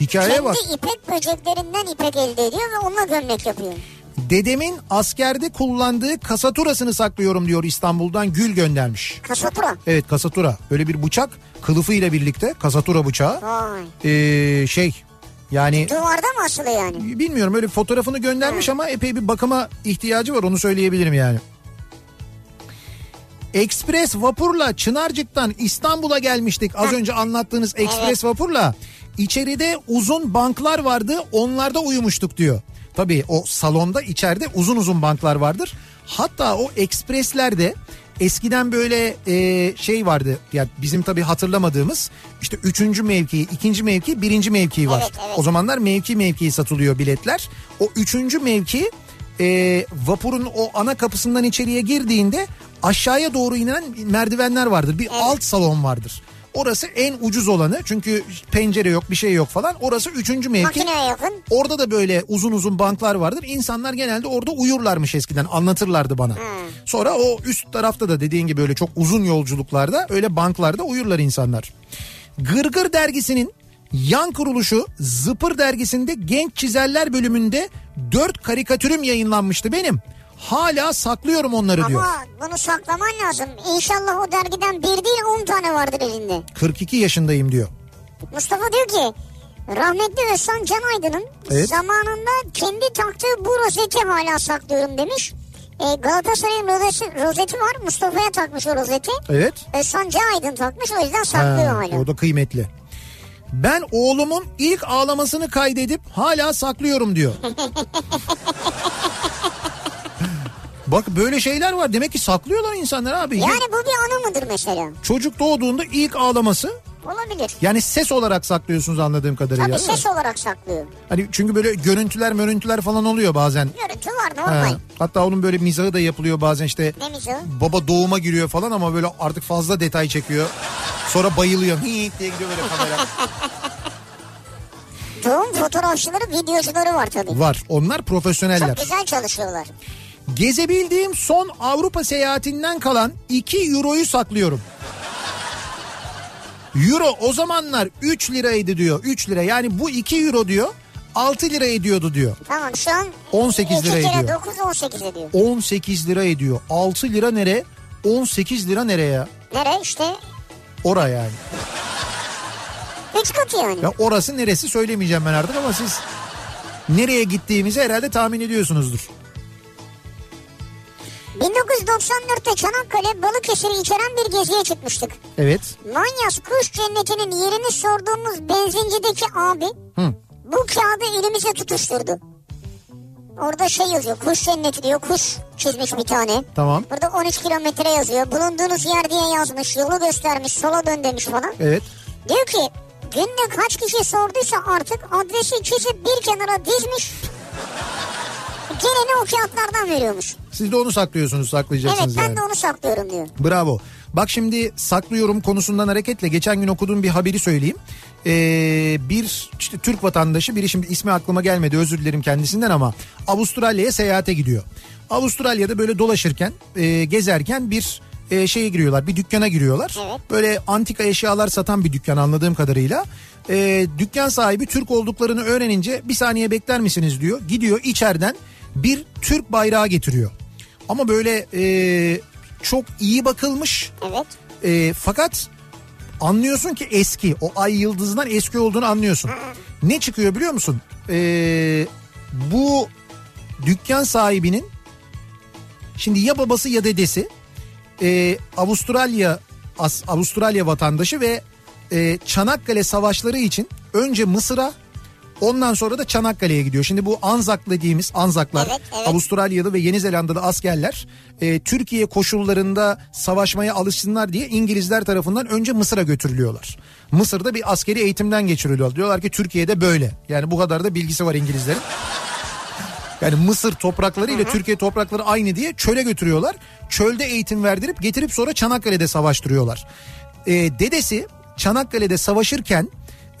Speaker 1: Hikayeye
Speaker 2: Kendi
Speaker 1: bak.
Speaker 2: ipek böceklerinden ipek elde ediyor ve onunla gömlek yapıyor.
Speaker 1: Dedemin askerde kullandığı kasaturasını saklıyorum diyor İstanbul'dan Gül göndermiş.
Speaker 2: Kasatura.
Speaker 1: Evet kasatura. Böyle bir bıçak kılıfıyla birlikte kasatura bıçağı.
Speaker 2: Vay.
Speaker 1: Ee, şey yani
Speaker 2: Duvarda mı asılı yani?
Speaker 1: bilmiyorum öyle fotoğrafını göndermiş ama epey bir bakıma ihtiyacı var onu söyleyebilirim yani. Ekspres vapurla Çınarcık'tan İstanbul'a gelmiştik. Az önce anlattığınız ekspres vapurla içeride uzun banklar vardı. Onlarda uyumuştuk diyor. Tabii o salonda içeride uzun uzun banklar vardır. Hatta o ekspreslerde eskiden böyle e, şey vardı. Ya bizim tabii hatırlamadığımız işte üçüncü mevki, ikinci mevki, birinci mevki var.
Speaker 2: Evet, evet.
Speaker 1: O zamanlar mevki mevki satılıyor biletler. O üçüncü mevki e, vapurun o ana kapısından içeriye girdiğinde aşağıya doğru inen merdivenler vardır. Bir alt salon vardır. Orası en ucuz olanı çünkü pencere yok bir şey yok falan. Orası üçüncü mevki.
Speaker 2: Makineye yakın.
Speaker 1: Orada da böyle uzun uzun banklar vardır. İnsanlar genelde orada uyurlarmış eskiden anlatırlardı bana. Sonra o üst tarafta da dediğin gibi öyle çok uzun yolculuklarda öyle banklarda uyurlar insanlar. Gırgır dergisinin yan kuruluşu Zıpır dergisinde genç çizerler bölümünde dört karikatürüm yayınlanmıştı benim. Hala saklıyorum onları diyor.
Speaker 2: Ama bunu saklaman lazım. İnşallah o dergiden bir değil 10 tane vardır elinde.
Speaker 1: 42 yaşındayım diyor.
Speaker 2: Mustafa diyor ki rahmetli Özcan Can Aydın'ın
Speaker 1: Evet.
Speaker 2: zamanında kendi taktığı bu rozeti hala saklıyorum demiş. E, Galatasaray'ın rozeti, rozeti var Mustafa'ya takmış o rozeti.
Speaker 1: Evet.
Speaker 2: Özcan Can Aydın takmış o yüzden
Speaker 1: Ha,
Speaker 2: saklıyor hala.
Speaker 1: o da kıymetli. Ben oğlumun ilk ağlamasını kaydedip hala saklıyorum diyor. Bak böyle şeyler var. Demek ki saklıyorlar insanlar abi.
Speaker 2: Yani bu bir anı mıdır mesela?
Speaker 1: Çocuk doğduğunda ilk ağlaması
Speaker 2: Olabilir.
Speaker 1: yani ses olarak saklıyorsunuz anladığım kadarıyla.
Speaker 2: Tabii
Speaker 1: değil mi?
Speaker 2: ses olarak saklıyor.
Speaker 1: Hani çünkü böyle görüntüler görüntüler falan oluyor bazen.
Speaker 2: Görüntü var
Speaker 1: Ha,
Speaker 2: normal.
Speaker 1: Hatta onun böyle mizahı da yapılıyor bazen işte
Speaker 2: Ne mizahı?
Speaker 1: baba doğuma giriyor falan ama böyle artık fazla detay çekiyor. Sonra bayılıyor. Hii diye gidiyor böyle kamera.
Speaker 2: Doğum fotoğrafçıları, videocuları var tabii.
Speaker 1: Var. Onlar profesyoneller.
Speaker 2: Çok güzel çalışıyorlar.
Speaker 1: Gezebildiğim son Avrupa seyahatinden kalan 2 euroyu saklıyorum. Euro o zamanlar 3 liraydı diyor. 3 lira. Yani bu 2 euro diyor. 6 lira ediyordu diyor.
Speaker 2: Tamam şu an
Speaker 1: 18
Speaker 2: iki
Speaker 1: lira
Speaker 2: kere
Speaker 1: ediyor.
Speaker 2: 9 18 ediyor.
Speaker 1: 18 lira ediyor. 6 lira nere? 18 lira nereye ya?
Speaker 2: Nereye işte?
Speaker 1: Ora yani.
Speaker 2: 3 katı yani.
Speaker 1: Ya orası neresi söylemeyeceğim ben artık ama siz nereye gittiğimizi herhalde tahmin ediyorsunuzdur.
Speaker 2: 1994'te Çanakkale Balıkesir'i içeren bir geziye çıkmıştık.
Speaker 1: Evet.
Speaker 2: Manyas kuş cennetinin yerini sorduğumuz benzincideki abi
Speaker 1: Hı.
Speaker 2: bu kağıdı elimize tutuşturdu. Orada şey yazıyor kuş cenneti diyor kuş çizmiş bir tane.
Speaker 1: Tamam.
Speaker 2: Burada 13 kilometre yazıyor. Bulunduğunuz yer diye yazmış. Yolu göstermiş. Sola dön demiş falan.
Speaker 1: Evet.
Speaker 2: Diyor ki günde kaç kişi sorduysa artık adresi çizip bir kenara dizmiş. Geleni o kağıtlardan veriyormuş.
Speaker 1: Siz de onu saklıyorsunuz,
Speaker 2: Evet
Speaker 1: saklayacaksınız
Speaker 2: ben
Speaker 1: yani.
Speaker 2: de onu saklıyorum diyor.
Speaker 1: Bravo. Bak şimdi saklıyorum konusundan hareketle geçen gün okuduğum bir haberi söyleyeyim. Ee, bir işte Türk vatandaşı biri şimdi ismi aklıma gelmedi özür dilerim kendisinden ama Avustralya'ya seyahate gidiyor. Avustralya'da böyle dolaşırken e, gezerken bir e, şeye giriyorlar bir dükkana giriyorlar. Böyle antika eşyalar satan bir dükkan anladığım kadarıyla. Ee, dükkan sahibi Türk olduklarını öğrenince bir saniye bekler misiniz diyor. Gidiyor içeriden bir Türk bayrağı getiriyor. Ama böyle e, çok iyi bakılmış.
Speaker 2: Evet.
Speaker 1: E, fakat anlıyorsun ki eski. O ay yıldızından eski olduğunu anlıyorsun. Ne çıkıyor biliyor musun? E, bu dükkan sahibinin şimdi ya babası ya dedesi e, Avustralya As- Avustralya vatandaşı ve e, Çanakkale savaşları için önce Mısır'a ondan sonra da Çanakkale'ye gidiyor. Şimdi bu Anzak dediğimiz Anzaklar
Speaker 2: Evet, evet.
Speaker 1: Avustralyalı ve Yeni Zelanda'da askerler e, Türkiye koşullarında savaşmaya alışsınlar diye İngilizler tarafından önce Mısır'a götürülüyorlar. Mısır'da bir askeri eğitimden geçiriliyorlar. Diyorlar ki Türkiye'de böyle. Yani bu kadar da bilgisi var İngilizlerin. Yani Mısır toprakları ile Türkiye toprakları aynı diye çöle götürüyorlar. Çölde eğitim verdirip getirip sonra Çanakkale'de savaştırıyorlar. Ee, dedesi Çanakkale'de savaşırken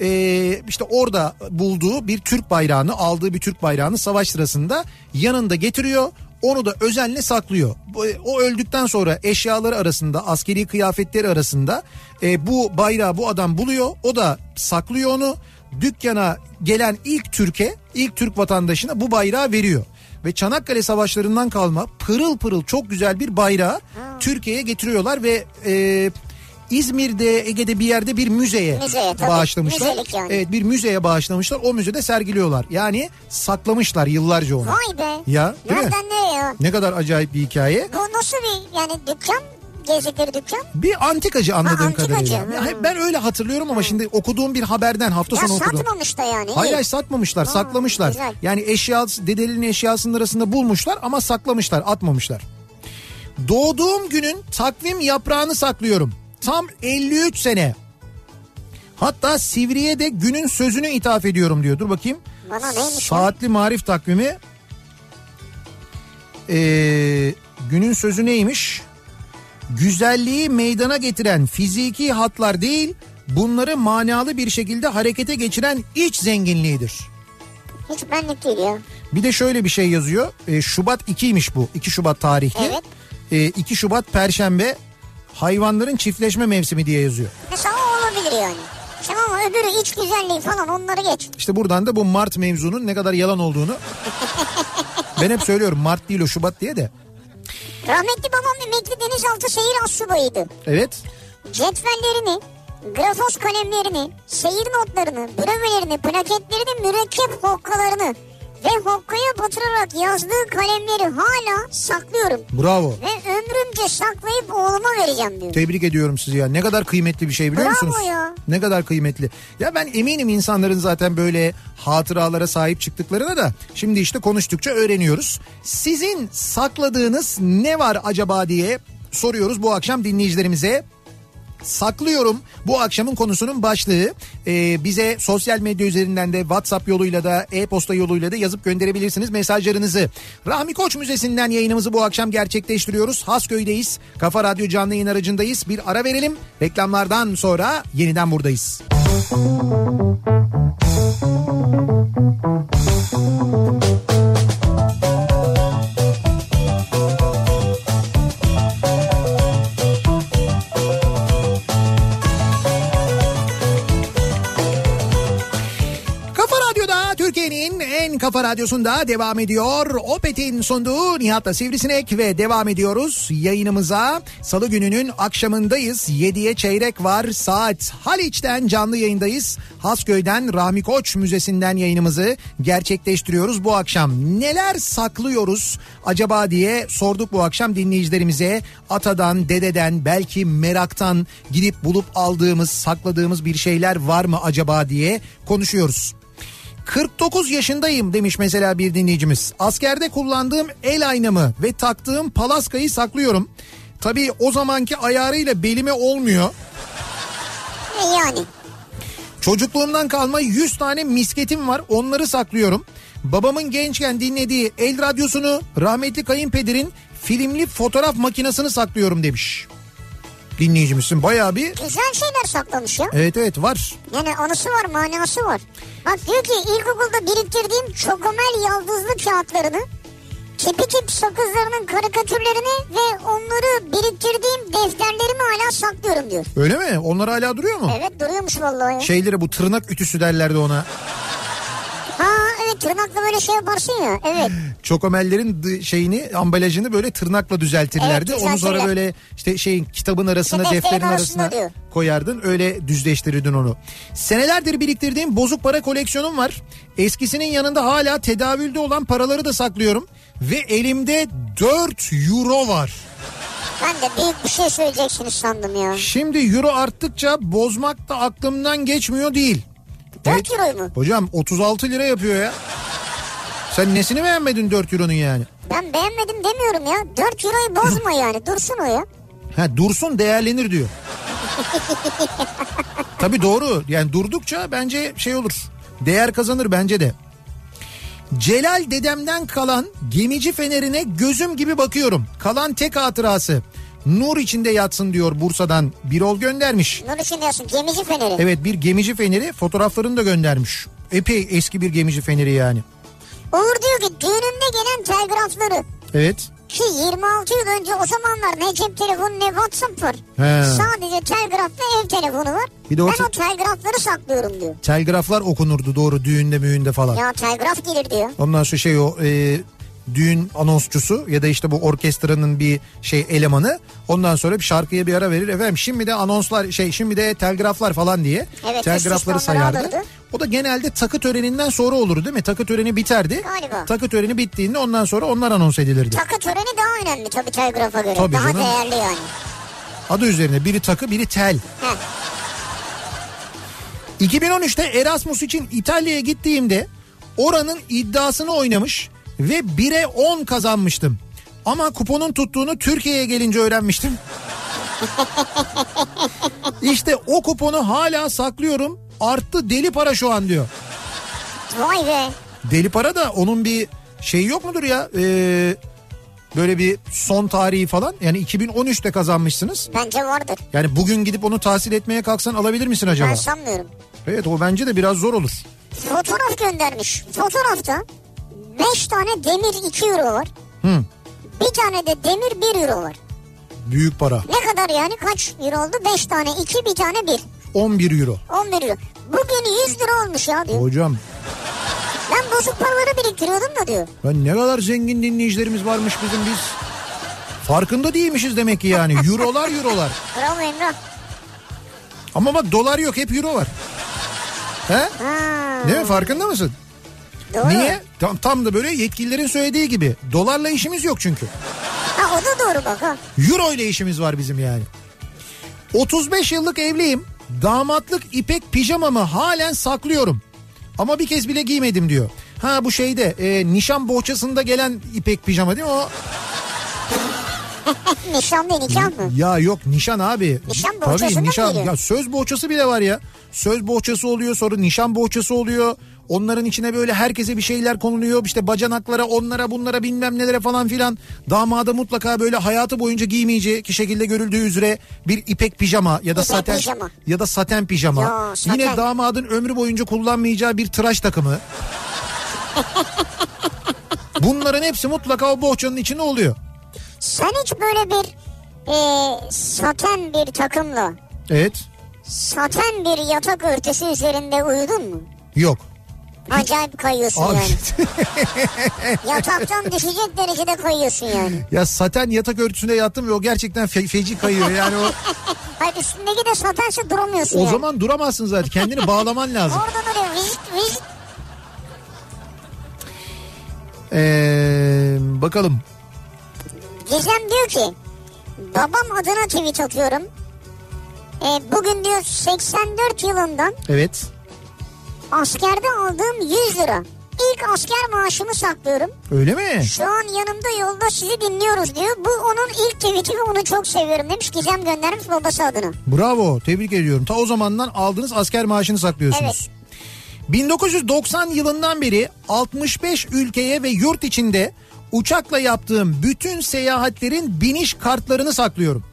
Speaker 1: ee, işte orada bulduğu bir Türk bayrağını aldığı bir Türk bayrağını savaş sırasında yanında getiriyor. Onu da özenle saklıyor. Bu- e, O öldükten sonra eşyaları arasında, askeri kıyafetleri arasında e, bu bayrağı bu adam buluyor. O da saklıyor onu. Dükkana gelen ilk Türk'e, ilk Türk vatandaşına bu bayrağı veriyor. Ve Çanakkale savaşlarından kalma pırıl pırıl çok güzel bir bayrağı Türkiye'ye getiriyorlar ve e, İzmir'de, Ege'de bir yerde bir müzeye,
Speaker 2: Müzeye, tabii.
Speaker 1: bağışlamışlar.
Speaker 2: Müzelik yani.
Speaker 1: Evet, bir müzeye bağışlamışlar. O müzede sergiliyorlar. Yani saklamışlar yıllarca onu.
Speaker 2: Vay be.
Speaker 1: Ya, değil mi?
Speaker 2: Nereden nereye ya?
Speaker 1: Ne kadar acayip bir hikaye.
Speaker 2: Bu nasıl bir yani dükkan? Gezdikleri dükkan?
Speaker 1: Bir antikacı anladığım
Speaker 2: Ha, antikacı.
Speaker 1: kadarıyla.
Speaker 2: Hmm.
Speaker 1: Ya, Ben öyle hatırlıyorum ama şimdi okuduğum bir haberden hafta
Speaker 2: Ya
Speaker 1: sonu okudum.
Speaker 2: satmamış da yani.
Speaker 1: Hayır
Speaker 2: İyi.
Speaker 1: hayır satmamışlar saklamışlar.
Speaker 2: güzel.
Speaker 1: Yani eşya dedelinin eşyasının arasında bulmuşlar ama saklamışlar atmamışlar. Doğduğum günün takvim yaprağını saklıyorum. Tam 53 sene. Hatta Sivri'ye de günün sözünü ithaf ediyorum diyor. Dur bakayım.
Speaker 2: Bana neymiş ya?
Speaker 1: Saatli marif takvimi. Ee, günün sözü neymiş? Güzelliği meydana getiren fiziki hatlar değil, bunları manalı bir şekilde harekete geçiren iç zenginliğidir.
Speaker 2: Hiç benlik değil ya.
Speaker 1: Bir de şöyle bir şey yazıyor. Ee, Şubat 2'ymiş bu. 2 Şubat tarihli.
Speaker 2: Evet.
Speaker 1: Ee, 2 Şubat Perşembe hayvanların çiftleşme mevsimi diye yazıyor.
Speaker 2: Mesela o olabilir yani. Tamam ama öbürü iç güzelliği falan onları geç.
Speaker 1: İşte buradan da bu Mart mevzunun ne kadar yalan olduğunu Ben hep söylüyorum Mart değil o Şubat diye de.
Speaker 2: Rahmetli babam emekli denizaltı seyir astsubayıydı.
Speaker 1: Evet.
Speaker 2: Cetvellerini, grafos kalemlerini, seyir notlarını, brevelerini, plaketlerini, mürekkep hokkalarını ve hokkaya batırarak yazdığı kalemleri hala saklıyorum.
Speaker 1: Bravo.
Speaker 2: Ve ömrümce saklayıp oğluma vereceğim diyor.
Speaker 1: Tebrik ediyorum sizi ya. Ne kadar kıymetli bir şey biliyor
Speaker 2: Bravo
Speaker 1: musunuz?
Speaker 2: ya.
Speaker 1: Ne kadar kıymetli. Ya ben eminim insanların zaten böyle hatıralara sahip çıktıklarına da şimdi işte konuştukça öğreniyoruz. Sizin sakladığınız ne var acaba diye soruyoruz bu akşam dinleyicilerimize. Saklıyorum bu akşamın konusunun başlığı Ee, bize sosyal medya üzerinden de WhatsApp yoluyla da e-posta yoluyla da yazıp gönderebilirsiniz mesajlarınızı. Rahmi Koç Müzesi'nden yayınımızı bu akşam gerçekleştiriyoruz. Hasköy'deyiz. Kafa Radyo canlı yayın aracındayız. Bir ara verelim. Reklamlardan sonra yeniden buradayız. Kafa Radyo'da Türkiye'nin en kafa radyosunda devam ediyor. Opet'in sunduğu Nihat'la Sivrisinek ve devam ediyoruz yayınımıza. Salı gününün akşamındayız. 7'ye çeyrek var. Saat Haliç'ten canlı yayındayız. Hasköy'den Rahmi Koç Müzesi'nden yayınımızı gerçekleştiriyoruz bu akşam. Neler saklıyoruz acaba diye sorduk bu akşam dinleyicilerimize. Atadan, dededen, belki meraktan gidip bulup aldığımız, sakladığımız bir şeyler var mı acaba diye konuşuyoruz. 49 yaşındayım demiş mesela bir dinleyicimiz. Askerde kullandığım el aynamı ve taktığım palaskayı saklıyorum. Tabii o zamanki ayarıyla belime olmuyor.
Speaker 2: E yani.
Speaker 1: Çocukluğumdan kalma 100 tane misketim var onları saklıyorum. Babamın gençken dinlediği el radyosunu rahmetli kayınpederin filmli fotoğraf makinesini saklıyorum demiş. Dinleyicimizsin bayağı bir...
Speaker 2: Güzel şeyler saklamış ya.
Speaker 1: Evet evet var.
Speaker 2: Yani anısı var manası var. Bak diyor ki ilkokulda biriktirdiğim çokomel yaldızlı kağıtlarını tipi tip sakızlarının karikatürlerini ve onları biriktirdiğim defterlerimi hala saklıyorum diyor.
Speaker 1: Öyle mi? Onlar hala duruyor mu?
Speaker 2: Evet duruyormuş vallahi. ya.
Speaker 1: Şeyleri bu tırnak ütüsü derlerdi ona.
Speaker 2: Ha evet tırnakla böyle şey yaparsın ya. Evet.
Speaker 1: Çokomellerin dı- şeyini ambalajını böyle tırnakla düzeltirlerdi.
Speaker 2: Evet,
Speaker 1: Onu sonra
Speaker 2: düzeltirler.
Speaker 1: böyle işte şeyin kitabın arasına
Speaker 2: İşte defterin
Speaker 1: defterin arasına
Speaker 2: arasına diyor.
Speaker 1: koyardın öyle düzleştirirdin onu. Senelerdir biriktirdiğim bozuk para koleksiyonum var. Eskisinin yanında hala tedavülde olan paraları da saklıyorum. Ve elimde 4 euro var.
Speaker 2: Ben de büyük bir şey söyleyeceksiniz sandım ya.
Speaker 1: Şimdi euro arttıkça bozmak da aklımdan geçmiyor değil.
Speaker 2: 4 euro mu?
Speaker 1: Hocam 36 lira yapıyor ya. Sen nesini beğenmedin 4 euronun yani?
Speaker 2: Ben beğenmedim demiyorum ya. 4 euroyu bozma yani dursun o ya.
Speaker 1: Ha dursun değerlenir diyor. Tabii doğru. Yani durdukça bence şey olur. Değer kazanır bence de. Celal dedemden kalan gemici fenerine gözüm gibi bakıyorum. Kalan tek hatırası. Nur içinde yatsın diyor Bursa'dan. Birol göndermiş.
Speaker 2: Nur için diyorsun gemici feneri.
Speaker 1: Evet bir gemici feneri fotoğraflarını da göndermiş. Epey eski bir gemici feneri yani.
Speaker 2: Uğur diyor ki düğünümde gelen telgrafları
Speaker 1: Evet.
Speaker 2: Ki 26 yıl önce o zamanlar ne cep telefonu ne WhatsApp var.
Speaker 1: He.
Speaker 2: Sadece telgrafla ev telefonu var.
Speaker 1: Bir de o
Speaker 2: ben
Speaker 1: te-
Speaker 2: o telgrafları saklıyorum diyor.
Speaker 1: Telgraflar okunurdu doğru düğünde müğünde falan.
Speaker 2: Ya telgraf gelir diyor.
Speaker 1: Ondan sonra şey o e, düğün anonsçusu ya da işte bu orkestranın bir şey elemanı. Ondan sonra bir şarkıya bir ara verir. Efendim şimdi de anonslar şey şimdi de telgraflar falan diye
Speaker 2: Evet, üst üste
Speaker 1: telgrafları
Speaker 2: onları
Speaker 1: sayardı.
Speaker 2: alırdı.
Speaker 1: O da genelde takı töreninden sonra olur değil mi? Takı töreni biterdi.
Speaker 2: Galiba.
Speaker 1: Takı töreni bittiğinde ondan sonra onlar anons edilirdi.
Speaker 2: Takı töreni daha önemli tabii telgrafa göre.
Speaker 1: Tabii
Speaker 2: daha
Speaker 1: canım.
Speaker 2: değerli yani.
Speaker 1: Adı üzerine biri takı biri tel.
Speaker 2: Heh.
Speaker 1: 2013'te Erasmus için İtalya'ya gittiğimde oranın iddiasını oynamış ve 1'e 10 kazanmıştım. Ama kuponun tuttuğunu Türkiye'ye gelince öğrenmiştim. işte o kuponu hala saklıyorum. Arttı deli para şu an diyor.
Speaker 2: Vay be.
Speaker 1: Deli para da onun bir şey yok mudur ya? Ee, böyle bir son tarihi falan. Yani 2013'te kazanmışsınız.
Speaker 2: Bence vardır.
Speaker 1: Yani bugün gidip onu tahsil etmeye kalksan alabilir misin acaba?
Speaker 2: Ben sanmıyorum.
Speaker 1: Evet o bence de biraz zor olur.
Speaker 2: Fotoğraf göndermiş. Fotoğrafta 5 tane demir 2 euro var.
Speaker 1: Hı.
Speaker 2: Bir tane de demir 1 euro var.
Speaker 1: Büyük para.
Speaker 2: Ne kadar yani kaç euro oldu? 5 tane 2 bir tane 1.
Speaker 1: 11 euro.
Speaker 2: 11 euro. Bugün 100 lira olmuş ya diyor.
Speaker 1: Hocam
Speaker 2: Ben bu bozuk paraları biriktiriyordum da diyor.
Speaker 1: Ben ne kadar zengin dinleyicilerimiz varmış bizim biz. Farkında değilmişiz demek ki yani. Eurolar eurolar.
Speaker 2: Bravo Emrah.
Speaker 1: Ama bak dolar yok hep euro var. He?
Speaker 2: Ha,
Speaker 1: Değil mi farkında mısın?
Speaker 2: doğru.
Speaker 1: Niye? Tam, tam da böyle yetkililerin söylediği gibi. Dolarla işimiz yok çünkü.
Speaker 2: Ha o da doğru bak ha.
Speaker 1: Euro ile işimiz var bizim yani. 35 yıllık evliyim. Damatlık ipek pijamamı halen saklıyorum. Ama bir kez bile giymedim diyor. Ha bu şeyde e, nişan bohçasında gelen ipek pijama değil mi o?
Speaker 2: Nişan değil nikah mı?
Speaker 1: Ya yok nişan abi.
Speaker 2: Nişan bohçasında mı geliyor?
Speaker 1: ya söz bohçası bile var ya. Söz bohçası oluyor sonra nişan bohçası oluyor. Onların içine böyle herkese bir şeyler konuluyor. İşte bacanaklara onlara bunlara bilmem nelere falan filan. Damada mutlaka böyle hayatı boyunca giymeyeceği ki şekilde görüldüğü üzere bir ipek pijama ya da
Speaker 2: İpek
Speaker 1: saten
Speaker 2: pijama.
Speaker 1: ya da saten pijama.
Speaker 2: Ya, saten.
Speaker 1: Yine damadın ömrü boyunca kullanmayacağı bir tıraş takımı. Bunların hepsi mutlaka o bohçanın içinde oluyor.
Speaker 2: Sen hiç böyle bir e, saten bir takımla
Speaker 1: Evet.
Speaker 2: saten bir yatak örtüsü üzerinde uyudun mu?
Speaker 1: Yok.
Speaker 2: Acayip kayıyorsun
Speaker 1: Abi
Speaker 2: yani. Yataktan düşecek derecede kayıyorsun yani.
Speaker 1: Ya saten yatak örtüsünde yattım ve o gerçekten fe- feci kayıyor. Yani o,
Speaker 2: Hayır üstündeki de satense duramıyorsun
Speaker 1: o
Speaker 2: yani.
Speaker 1: zaman duramazsın zaten. Kendini bağlaman lazım.
Speaker 2: Oradan oraya vizit vizit.
Speaker 1: Ee, bakalım.
Speaker 2: Gizem diyor ki babam adına tweet atıyorum. E, bugün diyor 84 yılından
Speaker 1: Evet.
Speaker 2: askerde aldığım 100 lira. İlk asker maaşımı saklıyorum.
Speaker 1: Öyle mi?
Speaker 2: Şu an yanımda yolda sizi dinliyoruz diyor. Bu onun ilk tweet'i ve onu çok seviyorum demiş. Gizem göndermiş babası adına.
Speaker 1: Bravo. Tebrik ediyorum. Ta o zamandan aldığınız asker maaşını saklıyorsunuz. 1990 yılından beri 65 ülkeye ve yurt içinde uçakla yaptığım bütün seyahatlerin biniş kartlarını saklıyorum.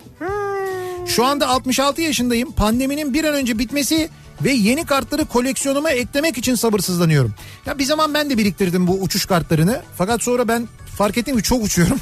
Speaker 1: Şu anda 66 yaşındayım. Pandeminin bir an önce bitmesi ve yeni kartları koleksiyonuma eklemek için sabırsızlanıyorum. Ya bir zaman ben de biriktirdim bu uçuş kartlarını. Fakat sonra ben fark ettim ki çok uçuyorum.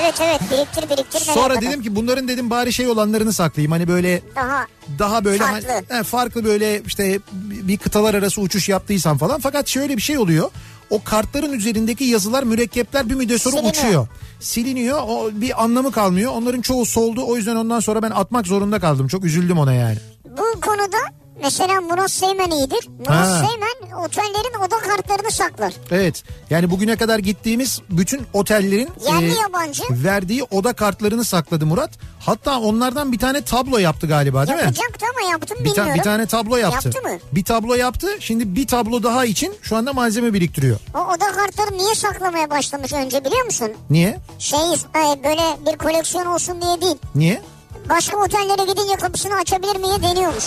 Speaker 2: Evet evet biriktir biriktir. nereye
Speaker 1: sonra
Speaker 2: kadar?
Speaker 1: dedim ki bunların dedim bari şey olanlarını saklayayım. Hani böyle
Speaker 2: Daha
Speaker 1: daha böyle hani- he,
Speaker 2: Farklı.
Speaker 1: farklı. böyle işte bir kıtalar arası uçuş yaptıysam falan. Fakat şöyle bir şey oluyor. O kartların üzerindeki yazılar, mürekkepler bir müddet sonra
Speaker 2: Siliniyor.
Speaker 1: uçuyor. Siliniyor. O bir anlamı kalmıyor. Onların çoğu soldu. O yüzden ondan sonra ben atmak zorunda kaldım. Çok üzüldüm ona yani.
Speaker 2: bu konuda mesela Murat Seymen iyidir. Murat
Speaker 1: Ha.
Speaker 2: Seymen otellerin oda kartlarını saklar.
Speaker 1: Evet. Yani bugüne kadar gittiğimiz bütün otellerin e,
Speaker 2: Yerli yabancı.
Speaker 1: verdiği oda kartlarını sakladı Murat. Hatta onlardan bir tane tablo yaptı galiba değil mi?
Speaker 2: Yapacaktı ama yaptım
Speaker 1: Bir, ta-
Speaker 2: bilmiyorum.
Speaker 1: bir tane tablo yaptı.
Speaker 2: Yaptı mı?
Speaker 1: Bir tablo yaptı. Şimdi bir tablo daha için şu anda malzeme biriktiriyor.
Speaker 2: O oda kartları niye saklamaya başlamış önce biliyor musun?
Speaker 1: Niye?
Speaker 2: Şey e, böyle bir koleksiyon olsun diye değil.
Speaker 1: Niye?
Speaker 2: Başka otellere gidince kapısını açabilir mi diye deniyormuş.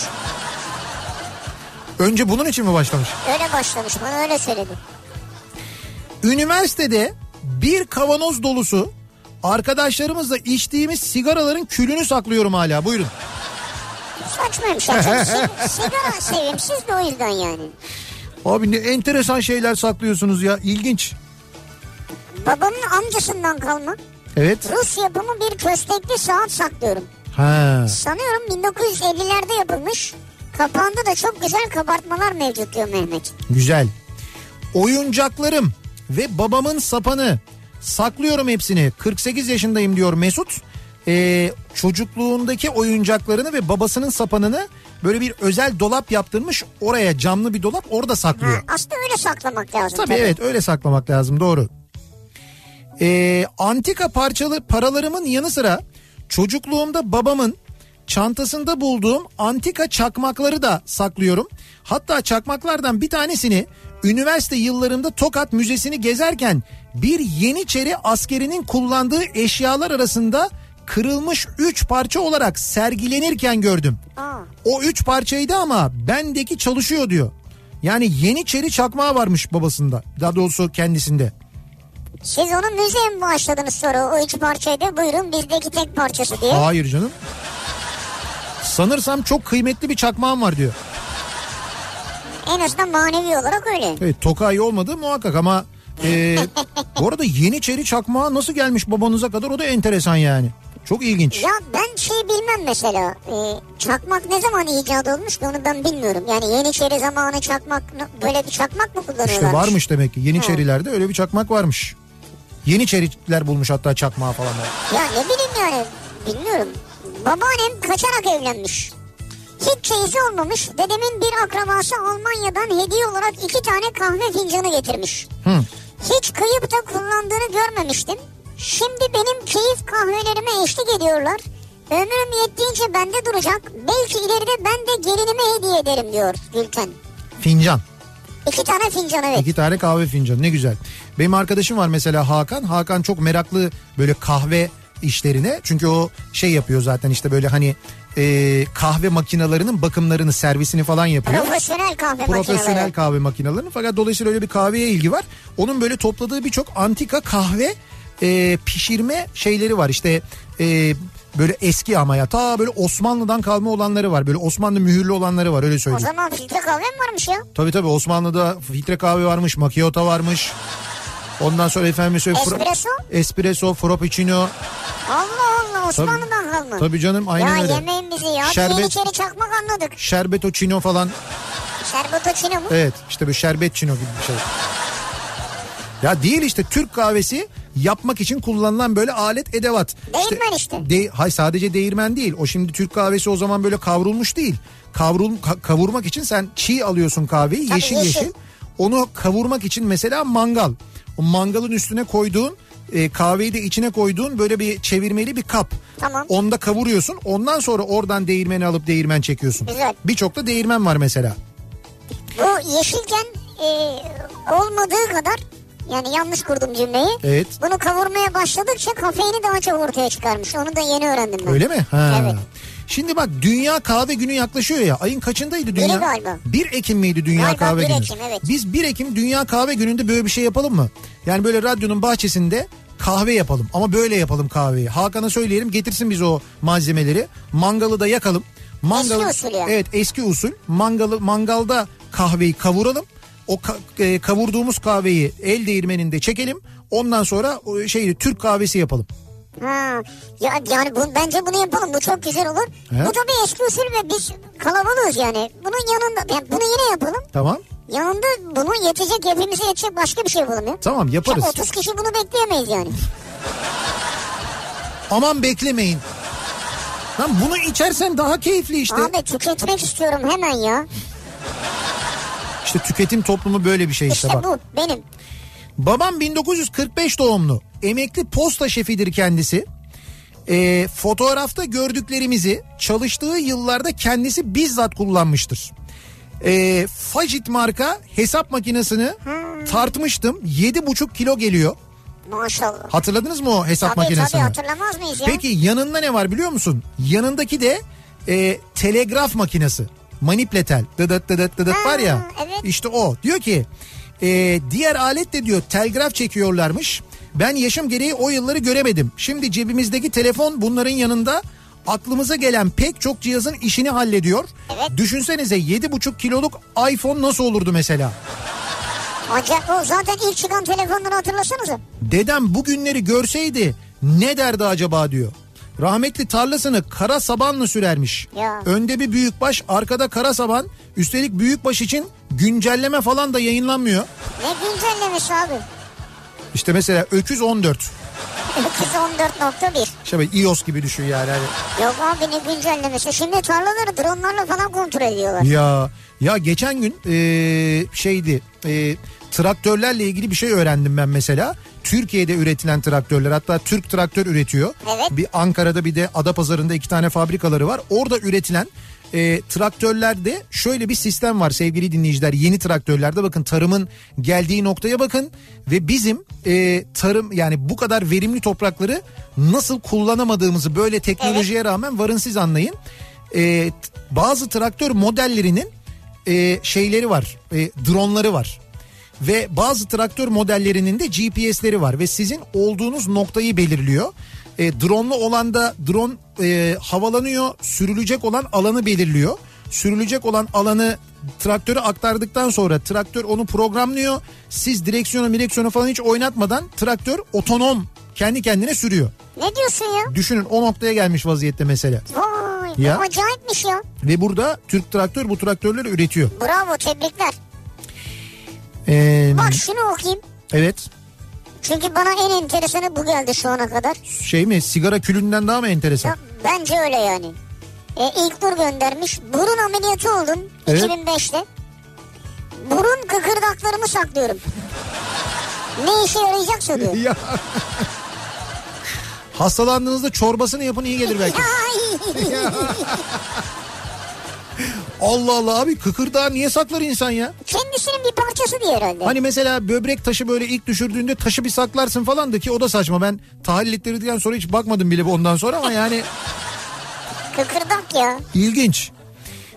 Speaker 1: Önce bunun için mi başlamış?
Speaker 2: Öyle başlamış bana öyle söyledi.
Speaker 1: Üniversitede bir kavanoz dolusu arkadaşlarımızla içtiğimiz sigaraların külünü saklıyorum hala. Buyurun.
Speaker 2: Saçmaymış aslında. Sig- sigara sevimsiz de o yüzden yani.
Speaker 1: Abi ne enteresan şeyler saklıyorsunuz ya. İlginç.
Speaker 2: Babamın amcasından kalma
Speaker 1: Evet.
Speaker 2: Rus yapımı bir köstekli saat saklıyorum.
Speaker 1: Ha.
Speaker 2: Sanıyorum 1950'lerde yapılmış. Kapağında da çok güzel kabartmalar mevcut diyor Mehmet.
Speaker 1: Güzel. Oyuncaklarım ve babamın sapanı. Saklıyorum hepsini. 48 yaşındayım diyor Mesut. Ee, çocukluğundaki oyuncaklarını ve babasının sapanını böyle bir özel dolap yaptırmış. Oraya camlı bir dolap orada
Speaker 2: Ha,
Speaker 1: saklıyor.
Speaker 2: aslında öyle saklamak lazım.
Speaker 1: Tabii evet öyle saklamak lazım doğru. Ee, antika parçalı paralarımın yanı sıra çocukluğumda babamın çantasında bulduğum antika çakmakları da saklıyorum. Hatta çakmaklardan bir tanesini üniversite yıllarımda Tokat Müzesi'ni gezerken bir Yeniçeri askerinin kullandığı eşyalar arasında kırılmış 3 parça olarak sergilenirken gördüm.
Speaker 2: Aa.
Speaker 1: O üç parçaydı ama bendeki çalışıyor diyor. Yani Yeniçeri çakmağı varmış babasında. Daha doğrusu kendisinde.
Speaker 2: Siz onu müzeye mi bağışladınız sonra o üç parçayı da buyurun bizdeki tek parçası diye.
Speaker 1: Hayır canım. Sanırsam çok kıymetli bir çakmağım var diyor.
Speaker 2: En azından manevi olarak öyle.
Speaker 1: Evet Tokay olmadı muhakkak ama... E, bu arada Yeniçeri çakmağı nasıl gelmiş babanıza kadar o da enteresan yani. Çok ilginç.
Speaker 2: Ya ben şey bilmem mesela e, çakmak ne zaman icat olmuş ki onu ben bilmiyorum. Yani Yeniçeri zamanı çakmak böyle bir çakmak mı kullanıyorlar?
Speaker 1: İşte varmış demek ki Yeniçerilerde öyle bir çakmak varmış. Yeniçeriler bulmuş hatta çakmağı falan.
Speaker 2: Ya ne bileyim yani bilmiyorum. Babaannem kaçarak evlenmiş. Hiç çeyizi olmamış. Dedemin bir akrabası Almanya'dan hediye olarak iki tane kahve fincanı getirmiş.
Speaker 1: Hı.
Speaker 2: Hiç kıyıp da kullandığını görmemiştim. Şimdi benim keyif kahvelerime eşlik ediyorlar. Ömrüm yettiğince bende duracak. Belki ileride ben de gelinime hediye ederim diyor Gülten.
Speaker 1: Fincan.
Speaker 2: İki tane fincan evet.
Speaker 1: İki tane kahve fincanı ne güzel. Benim arkadaşım var mesela Hakan. Hakan çok meraklı böyle kahve işlerine. Çünkü o şey yapıyor zaten işte böyle hani e, kahve makinalarının bakımlarını servisini falan yapıyor.
Speaker 2: Profesyonel kahve
Speaker 1: Profesyonel
Speaker 2: makineleri.
Speaker 1: kahve makinalarını fakat dolayısıyla öyle bir kahveye ilgi var. Onun böyle topladığı birçok antika kahve e, pişirme şeyleri var. İşte e, böyle eski ama ya ta böyle Osmanlı'dan kalma olanları var. Böyle Osmanlı mühürlü olanları var öyle
Speaker 2: O
Speaker 1: söyleyeyim.
Speaker 2: zaman filtre kahve mi varmış ya?
Speaker 1: Tabii tabii Osmanlı'da filtre kahve varmış, macchiato varmış. Ondan sonra efendim söyle
Speaker 2: Espresso?
Speaker 1: espresso, frappuccino.
Speaker 2: Allah Allah Osmanlı'dan kalma.
Speaker 1: Tabii canım aynen
Speaker 2: ya
Speaker 1: öyle.
Speaker 2: yemeyin bizi ya.
Speaker 1: Şerbet-
Speaker 2: Şerbet... Yeniçeri çakmak anladık.
Speaker 1: Şerbetocino falan.
Speaker 2: Şerbetocino mu?
Speaker 1: Evet işte böyle şerbetçino gibi bir şey. Ya değil işte Türk kahvesi yapmak için kullanılan böyle alet edevat.
Speaker 2: Değirmen işte.
Speaker 1: De, hay sadece değirmen değil. O şimdi Türk kahvesi o zaman böyle kavrulmuş değil. Kavrul ka- kavurmak için sen çiğ alıyorsun kahveyi
Speaker 2: Tabii,
Speaker 1: yeşil, yeşil
Speaker 2: yeşil.
Speaker 1: Onu kavurmak için mesela mangal. O mangalın üstüne koyduğun e, kahveyi de içine koyduğun böyle bir çevirmeli bir kap.
Speaker 2: Tamam.
Speaker 1: Onda kavuruyorsun. Ondan sonra oradan değirmeni alıp değirmen çekiyorsun.
Speaker 2: Güzel.
Speaker 1: Birçok da değirmen var mesela.
Speaker 2: Bu yeşilken e, olmadığı kadar yani yanlış kurdum cümleyi.
Speaker 1: Evet.
Speaker 2: Bunu kavurmaya başladıkça kafeini daha çok ortaya çıkarmış. Onu da yeni öğrendim ben.
Speaker 1: Öyle mi? Ha.
Speaker 2: Evet.
Speaker 1: Şimdi bak Dünya Kahve Günü yaklaşıyor ya. Ayın kaçındaydı Dünya?
Speaker 2: galiba.
Speaker 1: 1 Ekim miydi Dünya
Speaker 2: Galiba
Speaker 1: Kahve
Speaker 2: 1
Speaker 1: Günü?
Speaker 2: Ekim, evet.
Speaker 1: Biz 1 Ekim Dünya Kahve Günü'nde böyle bir şey yapalım mı? Yani böyle radyonun bahçesinde kahve yapalım ama böyle yapalım kahveyi. Hakan'a söyleyelim getirsin bize o malzemeleri. Mangalı da yakalım. Mangalı,
Speaker 2: Eski usul yani.
Speaker 1: Evet eski usul. Mangalı, mangalda kahveyi kavuralım. O ka- e, kavurduğumuz kahveyi el değirmeninde çekelim. Ondan sonra o şeyi Türk kahvesi yapalım.
Speaker 2: Ha. Ya, yani bu, bence bunu yapalım. Bu çok güzel olur.
Speaker 1: He.
Speaker 2: Bu tabii eski usul ve biz kalabalığız yani. Bunun yanında yani bunu yine yapalım.
Speaker 1: Tamam.
Speaker 2: Yanında bunun yetecek hepimize yetecek başka bir şey yapalım ya.
Speaker 1: Tamam
Speaker 2: Şu
Speaker 1: yaparız.
Speaker 2: 30 kişi bunu bekleyemeyiz yani.
Speaker 1: Aman beklemeyin. Lan bunu içersen daha keyifli işte.
Speaker 2: Abi tüketmek istiyorum hemen ya.
Speaker 1: İşte tüketim toplumu böyle bir şey işte
Speaker 2: İşte
Speaker 1: bak.
Speaker 2: bu benim.
Speaker 1: Babam 1945 doğumlu. Emekli posta şefidir kendisi. Ee, fotoğrafta gördüklerimizi çalıştığı yıllarda kendisi bizzat kullanmıştır. Ee, Fajit marka hesap makinesini
Speaker 2: Hmm.
Speaker 1: tartmıştım. 7,5 kilo geliyor.
Speaker 2: Maşallah.
Speaker 1: Hatırladınız mı o hesap
Speaker 2: Tabii tabii
Speaker 1: makinesini?
Speaker 2: hatırlamaz mıyız ya?
Speaker 1: Peki yanında ne var biliyor musun? Yanındaki de e, telegraf makinesi. Manipletel. Dıdıt dıdıt dıdıt
Speaker 2: Ha,
Speaker 1: var ya.
Speaker 2: evet.
Speaker 1: İşte o. Diyor ki e, diğer alet de diyor telgraf çekiyorlarmış. Ben yaşım gereği o yılları göremedim. Şimdi cebimizdeki telefon bunların yanında aklımıza gelen pek çok cihazın işini hallediyor.
Speaker 2: Evet.
Speaker 1: Düşünsenize 7,5 kiloluk iPhone nasıl olurdu mesela?
Speaker 2: Acayip o zaten ilk çıkan telefonları hatırlasanıza.
Speaker 1: Dedem bugünleri görseydi ne derdi acaba diyor. Rahmetli tarlasını kara sabanla sürermiş.
Speaker 2: Ya.
Speaker 1: Önde bir büyükbaş, arkada kara saban. Üstelik büyükbaş için güncelleme falan da yayınlanmıyor.
Speaker 2: Ne güncellemiş abi.
Speaker 1: İşte mesela öküz 14.
Speaker 2: 214.1.
Speaker 1: İşte böyle iOS gibi düşün yani. Hani
Speaker 2: Yok abi ne güncellemesi. Şimdi tarlaları dronlarla falan kontrol ediyorlar.
Speaker 1: Ya ya geçen gün eee, şeydi eee, traktörlerle ilgili bir şey öğrendim ben mesela. Türkiye'de üretilen traktörler hatta Türk traktör üretiyor.
Speaker 2: Evet.
Speaker 1: Bir Ankara'da bir de Adapazarı'nda iki tane fabrikaları var. Orada üretilen eee, traktörlerde şöyle bir sistem var sevgili dinleyiciler. Yeni traktörlerde bakın tarımın geldiği noktaya bakın ve bizim eee, tarım yani bu kadar verimli toprakları nasıl kullanamadığımızı böyle teknolojiye rağmen varın siz anlayın e, t- bazı traktör modellerinin e, şeyleri var, e, dronları var. Ve bazı traktör modellerinin de GPS'leri var ve sizin olduğunuz noktayı belirliyor. E, drone'lu olan da drone e, havalanıyor, sürülecek olan alanı belirliyor. Sürülecek olan alanı traktöre aktardıktan sonra traktör onu programlıyor. Siz direksiyonu, direksiyonu falan hiç oynatmadan traktör otonom kendi kendine sürüyor.
Speaker 2: Ne diyorsun ya?
Speaker 1: Düşünün o noktaya gelmiş vaziyette mesele.
Speaker 2: Vay
Speaker 1: Ya.
Speaker 2: bu acayipmiş ya.
Speaker 1: Ve burada Türk Traktör bu traktörleri üretiyor.
Speaker 2: Bravo tebrikler.
Speaker 1: Ee,
Speaker 2: Bak şunu okuyayım.
Speaker 1: evet
Speaker 2: Çünkü bana en enteresanı bu geldi şu ana kadar.
Speaker 1: şey mi sigara külünden daha mı enteresan?
Speaker 2: Ya, bence öyle yani. E, ilk Nur göndermiş. Burun ameliyatı oldum
Speaker 1: Evet.
Speaker 2: 2005'te. Burun kıkırdaklarımı saklıyorum. ne işe yarayacaksa diyor.
Speaker 1: Ya. Hastalandığınızda çorbasını yapın iyi gelir belki. Allah Allah abi kıkırdağı niye saklar insan ya?
Speaker 2: Kendisinin bir parçası diye herhalde.
Speaker 1: Hani mesela böbrek taşı böyle ilk düşürdüğünde taşı bir saklarsın falan da ki o da saçma. Ben tahlil ettirdikten sonra hiç bakmadım bile bu ondan sonra ama yani
Speaker 2: Kıkırdak ya.
Speaker 1: ilginç.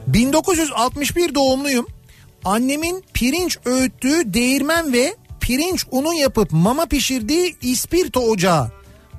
Speaker 1: 1961 doğumluyum. Annemin pirinç öğüttüğü değirmen ve pirinç unu yapıp mama pişirdiği ispirto ocağı.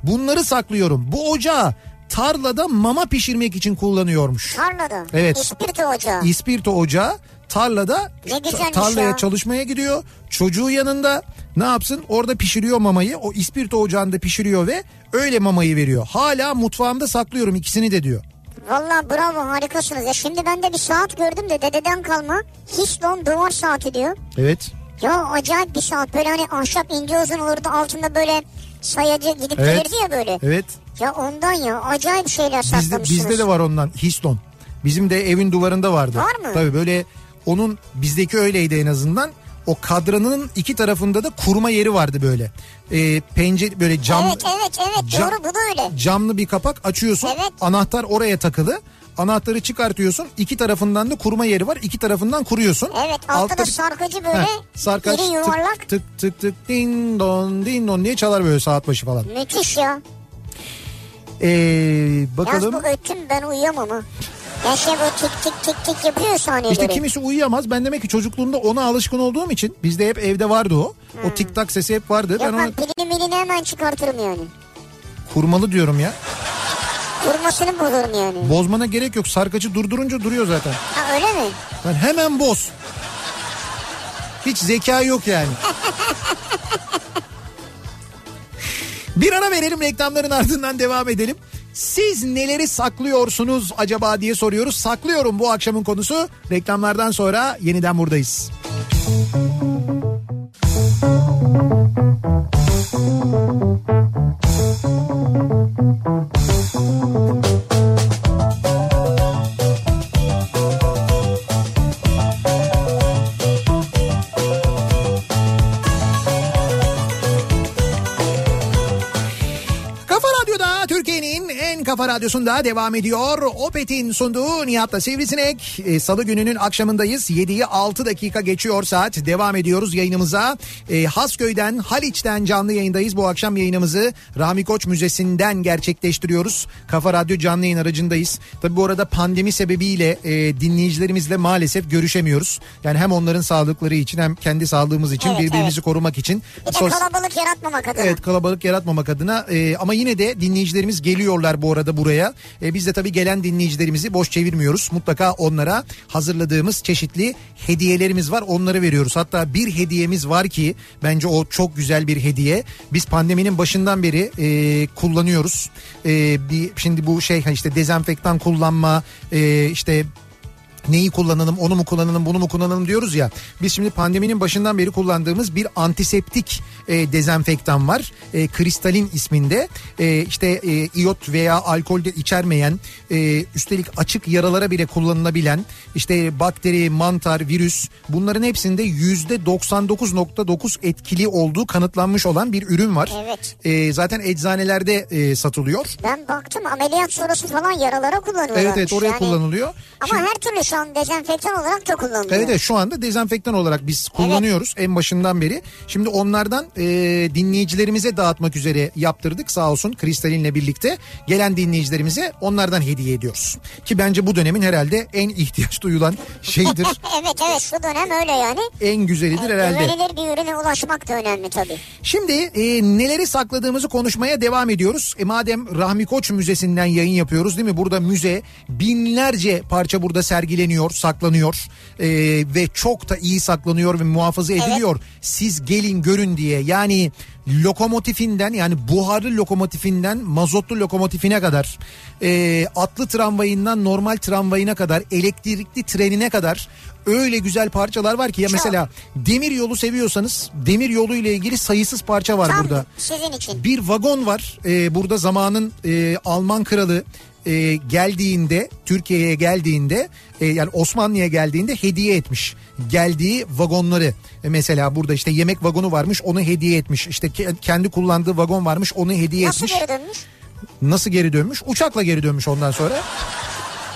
Speaker 1: Bunları saklıyorum. Bu ocağı tarlada mama pişirmek için kullanıyormuş.
Speaker 2: Tarlada.
Speaker 1: Evet.
Speaker 2: İspirto ocağı.
Speaker 1: İspirto ocağı tarlada
Speaker 2: Ne güzelmiş
Speaker 1: tarlaya
Speaker 2: ya.
Speaker 1: çalışmaya gidiyor. Çocuğu yanında ne yapsın orada pişiriyor mamayı. O ispirto ocağında pişiriyor ve öyle mamayı veriyor. Hala mutfağımda saklıyorum ikisini de diyor.
Speaker 2: Valla bravo harikasınız. Ya şimdi ben de bir saat gördüm de dededen kalma. Hislon duvar saati diyor.
Speaker 1: Evet.
Speaker 2: Ya acayip bir saat. Böyle hani ahşap ince uzun olurdu. Altında böyle sayacı gidip
Speaker 1: Evet.
Speaker 2: gelirdi ya böyle.
Speaker 1: Evet.
Speaker 2: Ya ondan ya acayip şeyler
Speaker 1: Bizde,
Speaker 2: saklamışsınız.
Speaker 1: bizde de var ondan Histon. Bizim de evin duvarında vardı.
Speaker 2: Var mı?
Speaker 1: Tabii böyle onun bizdeki öyleydi en azından. O kadranın iki tarafında da kurma yeri vardı böyle. Ee, pencere böyle cam
Speaker 2: Evet evet evet
Speaker 1: Cam-
Speaker 2: doğru bu da öyle.
Speaker 1: camlı bir kapak açıyorsun.
Speaker 2: Evet.
Speaker 1: Anahtar oraya takılı. Anahtarı çıkartıyorsun. İki tarafından da kurma yeri var. İki tarafından kuruyorsun.
Speaker 2: Evet altta, da
Speaker 1: bir-
Speaker 2: sarkacı böyle
Speaker 1: Heh, sarkaç,
Speaker 2: iri yuvarlak.
Speaker 1: Tık tık tık tık din don din don diye çalar böyle saat başı falan.
Speaker 2: Müthiş ya.
Speaker 1: Ee,
Speaker 2: Yalnız
Speaker 1: bakalım.
Speaker 2: bu ötüm ben uyuyamam ha. Ya şey bu tik tik tik tik yapıyor saniyeleri.
Speaker 1: İşte kimisi uyuyamaz. Ben demek ki çocukluğumda ona alışkın olduğum için bizde hep evde vardı o.
Speaker 2: Hmm.
Speaker 1: O tik tak sesi hep vardı.
Speaker 2: Yok
Speaker 1: ben ona
Speaker 2: ben pilini milini hemen çıkartırım yani.
Speaker 1: kurmalı diyorum ya.
Speaker 2: Kurmasını bulurum yani.
Speaker 1: Bozmana gerek yok. Sarkacı durdurunca duruyor zaten.
Speaker 2: Ha öyle mi?
Speaker 1: Ben hemen boz. Hiç zeka yok yani. Bir ara verelim reklamların ardından devam edelim. Siz neleri saklıyorsunuz acaba diye soruyoruz. Saklıyorum bu akşamın konusu. Reklamlardan sonra yeniden buradayız. Kafa Radyo'da Türkiye'nin en kafa radyosunda devam ediyor. Opet'in sunduğu Nihat'la Sivrisinek. E, Salı gününün akşamındayız. 7'yi 6 dakika geçiyor saat. Devam ediyoruz yayınımıza. E, Hasköy'den, Haliç'ten canlı yayındayız. Bu akşam yayınımızı Rahmi Koç Müzesi'nden gerçekleştiriyoruz. Kafa Radyo canlı yayın aracındayız. Tabi bu arada pandemi sebebiyle e, dinleyicilerimizle maalesef görüşemiyoruz. Yani hem onların sağlıkları için hem kendi sağlığımız için
Speaker 2: Evet,
Speaker 1: birbirimizi korumak için.
Speaker 2: Bir de
Speaker 1: sos-
Speaker 2: kalabalık yaratmamak adına.
Speaker 1: Evet kalabalık yaratmamak adına Ee, ama yine de dinleyicilerimiz geliyorlar bu arada buraya. Ee, biz de tabii gelen dinleyicilerimizi boş çevirmiyoruz. Mutlaka onlara hazırladığımız çeşitli hediyelerimiz var onları veriyoruz. Hatta bir hediyemiz var ki bence o çok güzel bir hediye. Biz pandeminin başından beri e, kullanıyoruz. E, bir, şimdi bu şey hani işte dezenfektan kullanma e, işte neyi kullanalım onu mu kullanalım bunu mu kullanalım diyoruz ya. Biz şimdi pandeminin başından beri kullandığımız bir antiseptik e, dezenfektan var. E, kristalin isminde E, işte e, iot veya alkolde içermeyen e, üstelik açık yaralara bile kullanılabilen işte bakteri, mantar, virüs bunların hepsinde yüzde %99.9 etkili olduğu kanıtlanmış olan bir ürün var.
Speaker 2: Evet.
Speaker 1: E, zaten eczanelerde e, satılıyor.
Speaker 2: Ben baktım ameliyat sonrası falan yaralara kullanıyorlar.
Speaker 1: Evet evet oraya kullanılıyor.
Speaker 2: Ama
Speaker 1: Şimdi-
Speaker 2: her türlü şu an dezenfektan olarak da kullanılıyor.
Speaker 1: Evet evet şu anda dezenfektan olarak biz kullanıyoruz en başından beri. Şimdi onlardan e, dinleyicilerimize dağıtmak üzere yaptırdık sağ olsun Kristalin'le birlikte. Gelen dinleyicilerimize onlardan hediye ediyoruz. Ki bence bu dönemin herhalde en ihtiyaç duyulan şeydir.
Speaker 2: evet evet şu dönem öyle yani.
Speaker 1: en güzelidir herhalde.
Speaker 2: Güvenilir bir ürüne ulaşmak da önemli tabii.
Speaker 1: Şimdi e, neleri sakladığımızı konuşmaya devam ediyoruz. E, madem Rahmi Koç Müzesi'nden yayın yapıyoruz değil mi? Burada müze binlerce parça burada sergileniyor. bekleniyor, saklanıyor e, ve çok da iyi saklanıyor ve muhafaza ediliyor. Siz gelin görün diye yani lokomotifinden yani buharlı lokomotifinden mazotlu lokomotifine kadar e, atlı tramvayından normal tramvayına kadar elektrikli trenine kadar öyle güzel parçalar var ki ya
Speaker 2: Çok.
Speaker 1: mesela demir yolu seviyorsanız demir yolu ile ilgili sayısız parça var
Speaker 2: Tam
Speaker 1: burada.
Speaker 2: sizin için.
Speaker 1: Bir vagon var. Ee, burada zamanın e, Alman kralı e, geldiğinde Türkiye'ye geldiğinde e, yani Osmanlı'ya geldiğinde hediye etmiş. Geldiği vagonları E, mesela burada işte yemek vagonu varmış onu hediye etmiş. İşte ke- kendi kullandığı vagon varmış onu hediye
Speaker 2: Nasıl
Speaker 1: etmiş.
Speaker 2: geri dönmüş?
Speaker 1: Nasıl geri dönmüş? Uçakla geri dönmüş ondan sonra.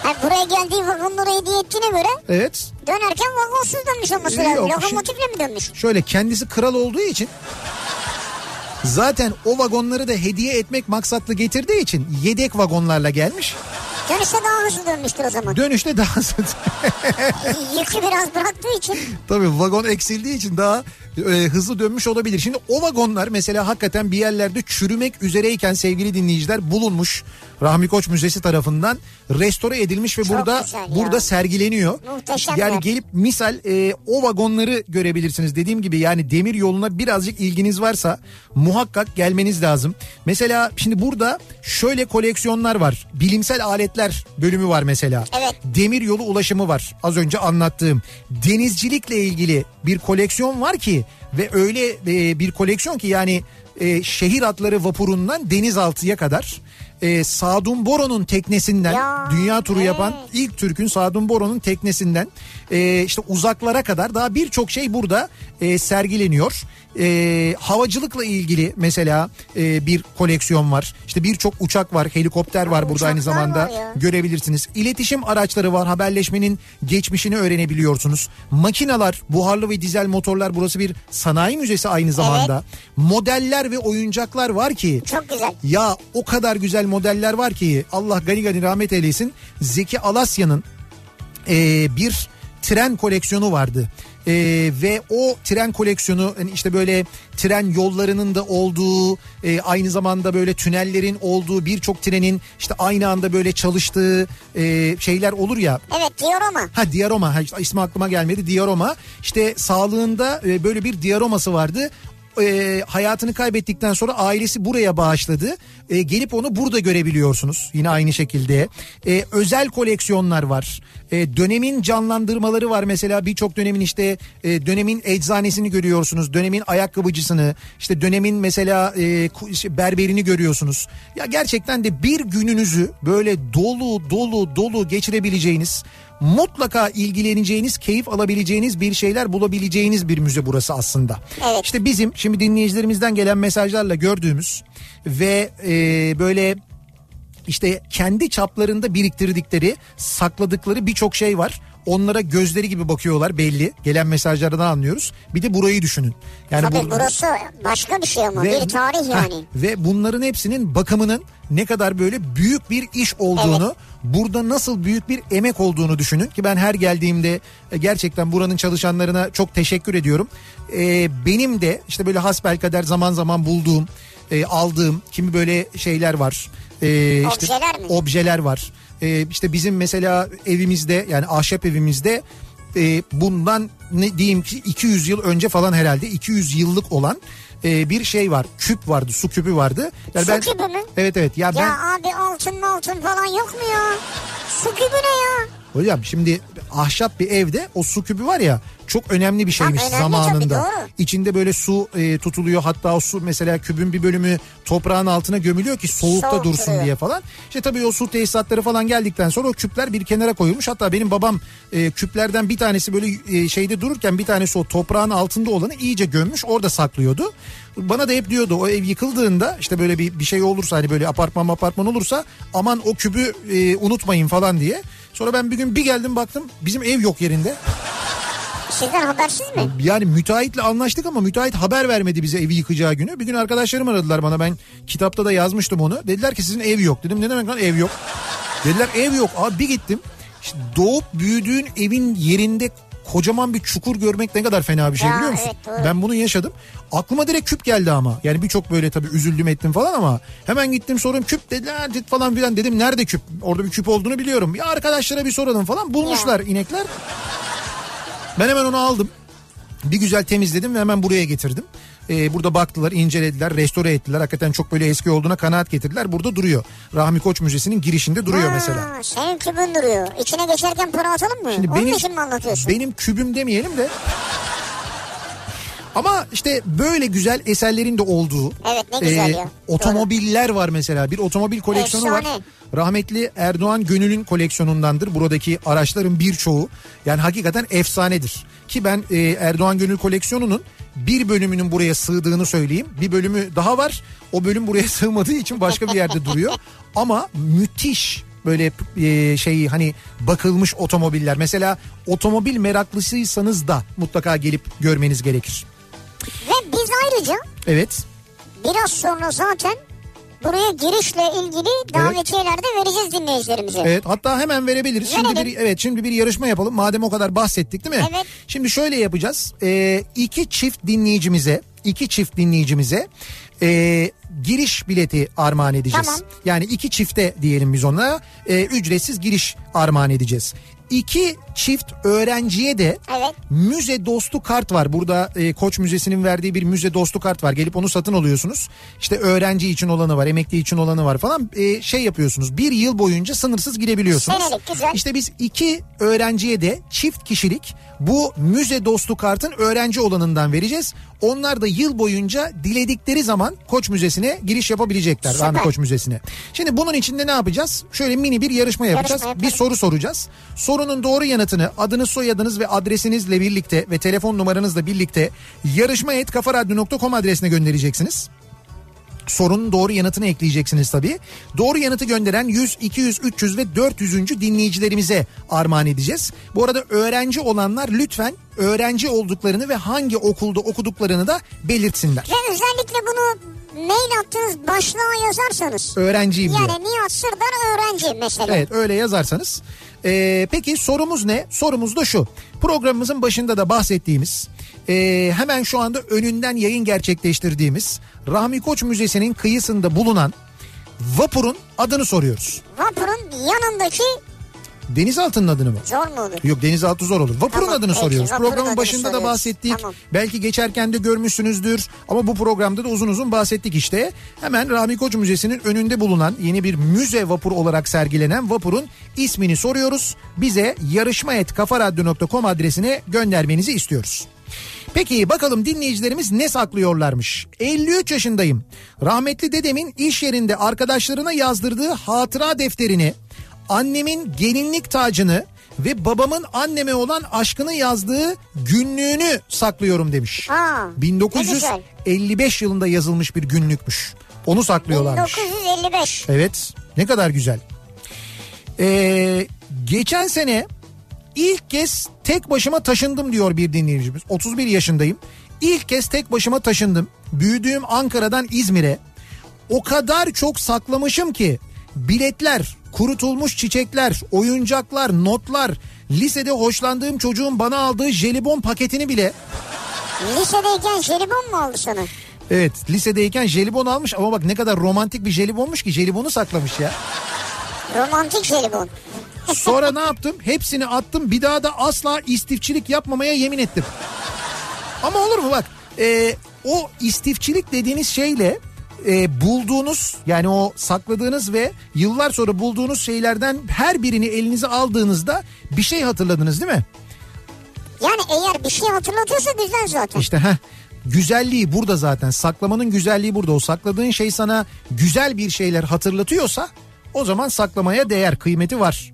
Speaker 2: Ha, buraya geldiği vagonları hediye ettiğine göre
Speaker 1: Evet.
Speaker 2: dönerken vagonsuz dönmüş olması
Speaker 1: Yok,
Speaker 2: lazım.
Speaker 1: şey-
Speaker 2: Lokomotifle mi dönmüş?
Speaker 1: Şöyle kendisi kral olduğu için zaten o vagonları da hediye etmek maksatlı getirdiği için yedek vagonlarla gelmiş.
Speaker 2: Dönüşte daha hızlı dönmüştür o zaman.
Speaker 1: Dönüşte daha
Speaker 2: Yükü biraz bıraktığı için.
Speaker 1: Tabii vagon eksildiği için daha e, hızlı dönmüş olabilir. Şimdi o vagonlar mesela hakikaten bir yerlerde çürümek üzereyken sevgili dinleyiciler bulunmuş. Rahmi Koç Müzesi tarafından restore edilmiş ve
Speaker 2: Çok
Speaker 1: burada
Speaker 2: güzel ya.
Speaker 1: burada sergileniyor.
Speaker 2: Muhteşem
Speaker 1: yani
Speaker 2: yer.
Speaker 1: gelip misal e, o vagonları görebilirsiniz. Dediğim gibi yani demir yoluna birazcık ilginiz varsa muhakkak gelmeniz lazım. Mesela şimdi burada şöyle koleksiyonlar var. Bilimsel aletler bölümü var mesela.
Speaker 2: Evet.
Speaker 1: Demir yolu ulaşımı var. Az önce anlattığım denizcilikle ilgili bir koleksiyon var ki ve öyle e, bir koleksiyon ki yani e, şehir atları vapurundan denizaltıya kadar e, Sadun Boron'un teknesinden
Speaker 2: Ya,
Speaker 1: dünya turu yapan
Speaker 2: evet.
Speaker 1: ilk Türk'ün Sadun Boron'un teknesinden e, işte uzaklara kadar daha birçok şey burada e, sergileniyor. E, havacılıkla ilgili mesela e, bir koleksiyon var. İşte birçok uçak var, helikopter var burada aynı
Speaker 2: uçaklar
Speaker 1: zamanda
Speaker 2: var ya.
Speaker 1: görebilirsiniz. İletişim araçları var. Haberleşmenin geçmişini öğrenebiliyorsunuz. Makinalar, buharlı ve dizel motorlar burası bir sanayi müzesi aynı zamanda. Modeller ve oyuncaklar var ki
Speaker 2: Çok güzel.
Speaker 1: ya o kadar güzel modeller var ki Allah gani gani rahmet eylesin. Zeki Alasya'nın e, bir tren koleksiyonu vardı. E, ve o tren koleksiyonu yani işte böyle tren yollarının da olduğu e, aynı zamanda böyle tünellerin olduğu birçok trenin işte aynı anda böyle çalıştığı e, şeyler olur ya
Speaker 2: Evet diorama.
Speaker 1: Ha Diaroma ha, işte ismi aklıma gelmedi Diaroma işte sağlığında e, böyle bir Diaroma'sı vardı. E, hayatını kaybettikten sonra ailesi buraya bağışladı. E, gelip onu burada görebiliyorsunuz yine aynı şekilde. E, özel koleksiyonlar var. E, dönemin canlandırmaları var mesela birçok dönemin işte e, dönemin eczanesini görüyorsunuz. Dönemin ayakkabıcısını işte dönemin mesela e, ku- işte berberini görüyorsunuz. Ya gerçekten de bir gününüzü böyle dolu dolu dolu geçirebileceğiniz mutlaka ilgileneceğiniz, keyif alabileceğiniz bir şeyler bulabileceğiniz bir müze burası aslında.
Speaker 2: Evet.
Speaker 1: İşte bizim şimdi dinleyicilerimizden gelen mesajlarla gördüğümüz ve e, böyle işte kendi çaplarında biriktirdikleri, sakladıkları birçok şey var. Onlara gözleri gibi bakıyorlar belli. Gelen mesajlardan anlıyoruz. Bir de burayı düşünün. Yani
Speaker 2: Tabii
Speaker 1: bu-
Speaker 2: burası başka bir şey ama
Speaker 1: ve-
Speaker 2: bir tarih yani.
Speaker 1: Heh, ve bunların hepsinin bakımının ne kadar böyle büyük bir iş olduğunu, burada nasıl büyük bir emek olduğunu düşünün ki ben her geldiğimde e, gerçekten buranın çalışanlarına çok teşekkür ediyorum. Ee, benim de işte böyle hasbelkader zaman zaman bulduğum, e, aldığım kimi böyle şeyler var. Ee, işte
Speaker 2: Objeler mi?
Speaker 1: objeler var. Ee, işte bizim mesela evimizde yani ahşap evimizde e, bundan ne diyeyim ki 200 yıl önce falan herhalde 200 yıllık olan e, bir şey var. Küp vardı, su küpü vardı. Yani
Speaker 2: Su küpü mü?
Speaker 1: Evet evet. Ya, ben
Speaker 2: Ya abi altın mı altın falan yok mu ya? Su kübü ne ya?
Speaker 1: hocam şimdi ahşap bir evde o su küpü var ya çok önemli bir şeymiş
Speaker 2: önemli
Speaker 1: zamanında.
Speaker 2: tabii, doğru.
Speaker 1: İçinde böyle su e, tutuluyor hatta o su mesela kübün bir bölümü toprağın altına gömülüyor ki soğukta
Speaker 2: Soğuk
Speaker 1: dursun
Speaker 2: duruyor.
Speaker 1: diye falan. İşte tabii o su tesisatları falan geldikten sonra o küpler bir kenara koyulmuş. Hatta benim babam e, küplerden bir tanesi böyle e, şeyde dururken bir tanesi o toprağın altında olanı iyice gömmüş orada saklıyordu. Bana da hep diyordu o ev yıkıldığında işte böyle bir, bir şey olursa hani böyle apartman apartman olursa aman o kübü e, unutmayın falan diye. Sonra ben bir gün bir geldim baktım bizim ev yok yerinde.
Speaker 2: Sizden habersiz mi?
Speaker 1: Ee, Yani müteahhitle anlaştık ama müteahhit haber vermedi bize evi yıkacağı günü. Bir gün arkadaşlarım aradılar bana ben kitapta da yazmıştım onu. Dediler ki sizin ev yok. Dedim ne demek lan ev yok. Dediler ev yok. Abi bir gittim. İşte doğup büyüdüğün evin yerinde kocaman bir çukur görmek ne kadar fena bir şey
Speaker 2: Ya,
Speaker 1: biliyor musun?
Speaker 2: evet, doğru.
Speaker 1: ben bunu yaşadım. Aklıma direkt küp geldi ama. Yani birçok böyle tabii üzüldüm ettim falan ama hemen gittim sorum küp dediler "Cık" falan filan dedim nerede küp? Orada bir küp olduğunu biliyorum. Ya arkadaşlara bir soralım falan bulmuşlar inekler. Ben hemen onu aldım. Bir güzel temizledim ve hemen buraya getirdim. Ee, burada baktılar, incelediler, restore ettiler. Hakikaten çok böyle eski olduğuna kanaat getirdiler. Burada duruyor. Rahmi Koç Müzesi'nin girişinde duruyor
Speaker 2: Ha,
Speaker 1: mesela.
Speaker 2: Senin kübün duruyor. İçine geçerken para atalım mı?
Speaker 1: Şimdi
Speaker 2: Onun
Speaker 1: benim-
Speaker 2: için mi anlatıyorsun?
Speaker 1: Benim kübüm demeyelim de. Ama işte böyle güzel eserlerin de olduğu e,
Speaker 2: Evet, ne güzel ya.
Speaker 1: otomobiller var mesela bir otomobil koleksiyonu var.
Speaker 2: Efsane.
Speaker 1: Rahmetli Erdoğan Gönül'ün koleksiyonundandır buradaki araçların birçoğu yani hakikaten efsanedir. Ki ben e, Erdoğan Gönül koleksiyonunun bir bölümünün buraya sığdığını söyleyeyim. Bir bölümü daha var o bölüm buraya sığmadığı için başka bir yerde duruyor ama müthiş böyle e, şey hani bakılmış otomobiller. Mesela otomobil meraklısıysanız da mutlaka gelip görmeniz gerekir.
Speaker 2: Ve biz ayrıca
Speaker 1: Evet.
Speaker 2: biraz sonra zaten buraya girişle ilgili davetiyelerde vereceğiz dinleyicilerimize.
Speaker 1: Evet hatta hemen verebiliriz. Şimdi
Speaker 2: Verelim.
Speaker 1: bir evet şimdi bir yarışma yapalım. Madem o kadar bahsettik değil mi?
Speaker 2: Evet.
Speaker 1: Şimdi şöyle yapacağız. Ee, iki çift dinleyicimize iki çift dinleyicimize ee, giriş bileti armağan edeceğiz.
Speaker 2: Tamam.
Speaker 1: Yani iki çifte diyelim biz onlara ee, ücretsiz giriş armağan edeceğiz. İki çift öğrenciye de
Speaker 2: Evet.
Speaker 1: müze dostu kart var. Burada e, Koç Müzesi'nin verdiği bir müze dostu kart var. Gelip onu satın alıyorsunuz. İşte öğrenci için olanı var, emekli için olanı var falan. E, şey yapıyorsunuz. Bir yıl boyunca sınırsız girebiliyorsunuz.
Speaker 2: Senelik, güzel.
Speaker 1: İşte biz iki öğrenciye de çift kişilik bu müze dostu kartın öğrenci olanından vereceğiz. Onlar da yıl boyunca diledikleri zaman Koç Müzesi'ne giriş yapabilecekler.
Speaker 2: Süper.
Speaker 1: Rahmi Koç Müzesi'ne. Şimdi bunun içinde ne yapacağız? Şöyle mini bir yarışma yapacağız.
Speaker 2: yapalım.
Speaker 1: bir soru soracağız. Sorunun doğru yanıtını adınız, soyadınız ve adresinizle birlikte ve telefon numaranızla birlikte yarışma et kafaradyo.com adresine göndereceksiniz. Sorunun doğru yanıtını ekleyeceksiniz tabii. Doğru yanıtı gönderen 100, 200, 300 ve 400. dinleyicilerimize armağan edeceğiz. Bu arada öğrenci olanlar lütfen öğrenci olduklarını ve hangi okulda okuduklarını da belirtsinler.
Speaker 2: Ve özellikle bunu mail attığınız başlığa yazarsanız.
Speaker 1: Öğrenciyim diyor.
Speaker 2: Yani Nihat Sırdar öğrenci mesela.
Speaker 1: Evet öyle yazarsanız. Ee, peki sorumuz ne? Sorumuz da şu. Programımızın başında da bahsettiğimiz ee, hemen şu anda önünden yayın gerçekleştirdiğimiz Rahmi Koç Müzesi'nin kıyısında bulunan vapurun adını soruyoruz.
Speaker 2: Vapurun yanındaki
Speaker 1: Denizaltı'nın adını mı?
Speaker 2: zor mu olur?
Speaker 1: Yok denizaltı zor olur. Vapurun
Speaker 2: Tamam,
Speaker 1: adını
Speaker 2: peki,
Speaker 1: soruyoruz.
Speaker 2: vapurun
Speaker 1: Programın
Speaker 2: adını
Speaker 1: başında da
Speaker 2: soruyoruz.
Speaker 1: bahsettik.
Speaker 2: Tamam.
Speaker 1: Belki geçerken de görmüşsünüzdür. Ama bu programda da uzun uzun bahsettik işte. Hemen Rami Koç Müzesi'nin önünde bulunan yeni bir müze vapuru olarak sergilenen vapurun ismini soruyoruz. Bize yarışma et kafaradyo.com adresine göndermenizi istiyoruz. Peki bakalım dinleyicilerimiz ne saklıyorlarmış? 53 yaşındayım. Rahmetli dedemin iş yerinde arkadaşlarına yazdırdığı hatıra defterini, annemin gelinlik tacını ve babamın anneme olan aşkını yazdığı günlüğünü saklıyorum demiş.
Speaker 2: Aa, ne
Speaker 1: 1955 yılında yazılmış bir günlükmüş. Onu saklıyorlarmış.
Speaker 2: 1955.
Speaker 1: Evet ne kadar güzel. Ee, geçen sene ilk kez tek başıma taşındım diyor bir dinleyicimiz. 31 yaşındayım. İlk kez tek başıma taşındım. Büyüdüğüm Ankara'dan İzmir'e. O kadar çok saklamışım ki biletler, kurutulmuş çiçekler, oyuncaklar, notlar, lisede hoşlandığım çocuğun bana aldığı jelibon paketini bile
Speaker 2: Lisedeyken jelibon mu oldu sana?
Speaker 1: Evet lisedeyken jelibon almış ama bak ne kadar romantik bir jelibonmuş ki jelibonu saklamış ya.
Speaker 2: Romantik jelibon.
Speaker 1: Sonra ne yaptım? Hepsini attım. Bir daha da asla istifçilik yapmamaya yemin ettim. Ama olur mu bak? e, o istifçilik dediğiniz şeyle e, bulduğunuz yani o sakladığınız ve yıllar sonra bulduğunuz şeylerden her birini elinize aldığınızda bir şey hatırladınız değil mi?
Speaker 2: Yani eğer bir şey hatırlatıyorsa güzel zaten.
Speaker 1: İşte ha güzelliği burada zaten saklamanın güzelliği burada o sakladığın şey sana güzel bir şeyler hatırlatıyorsa o zaman saklamaya değer kıymeti var.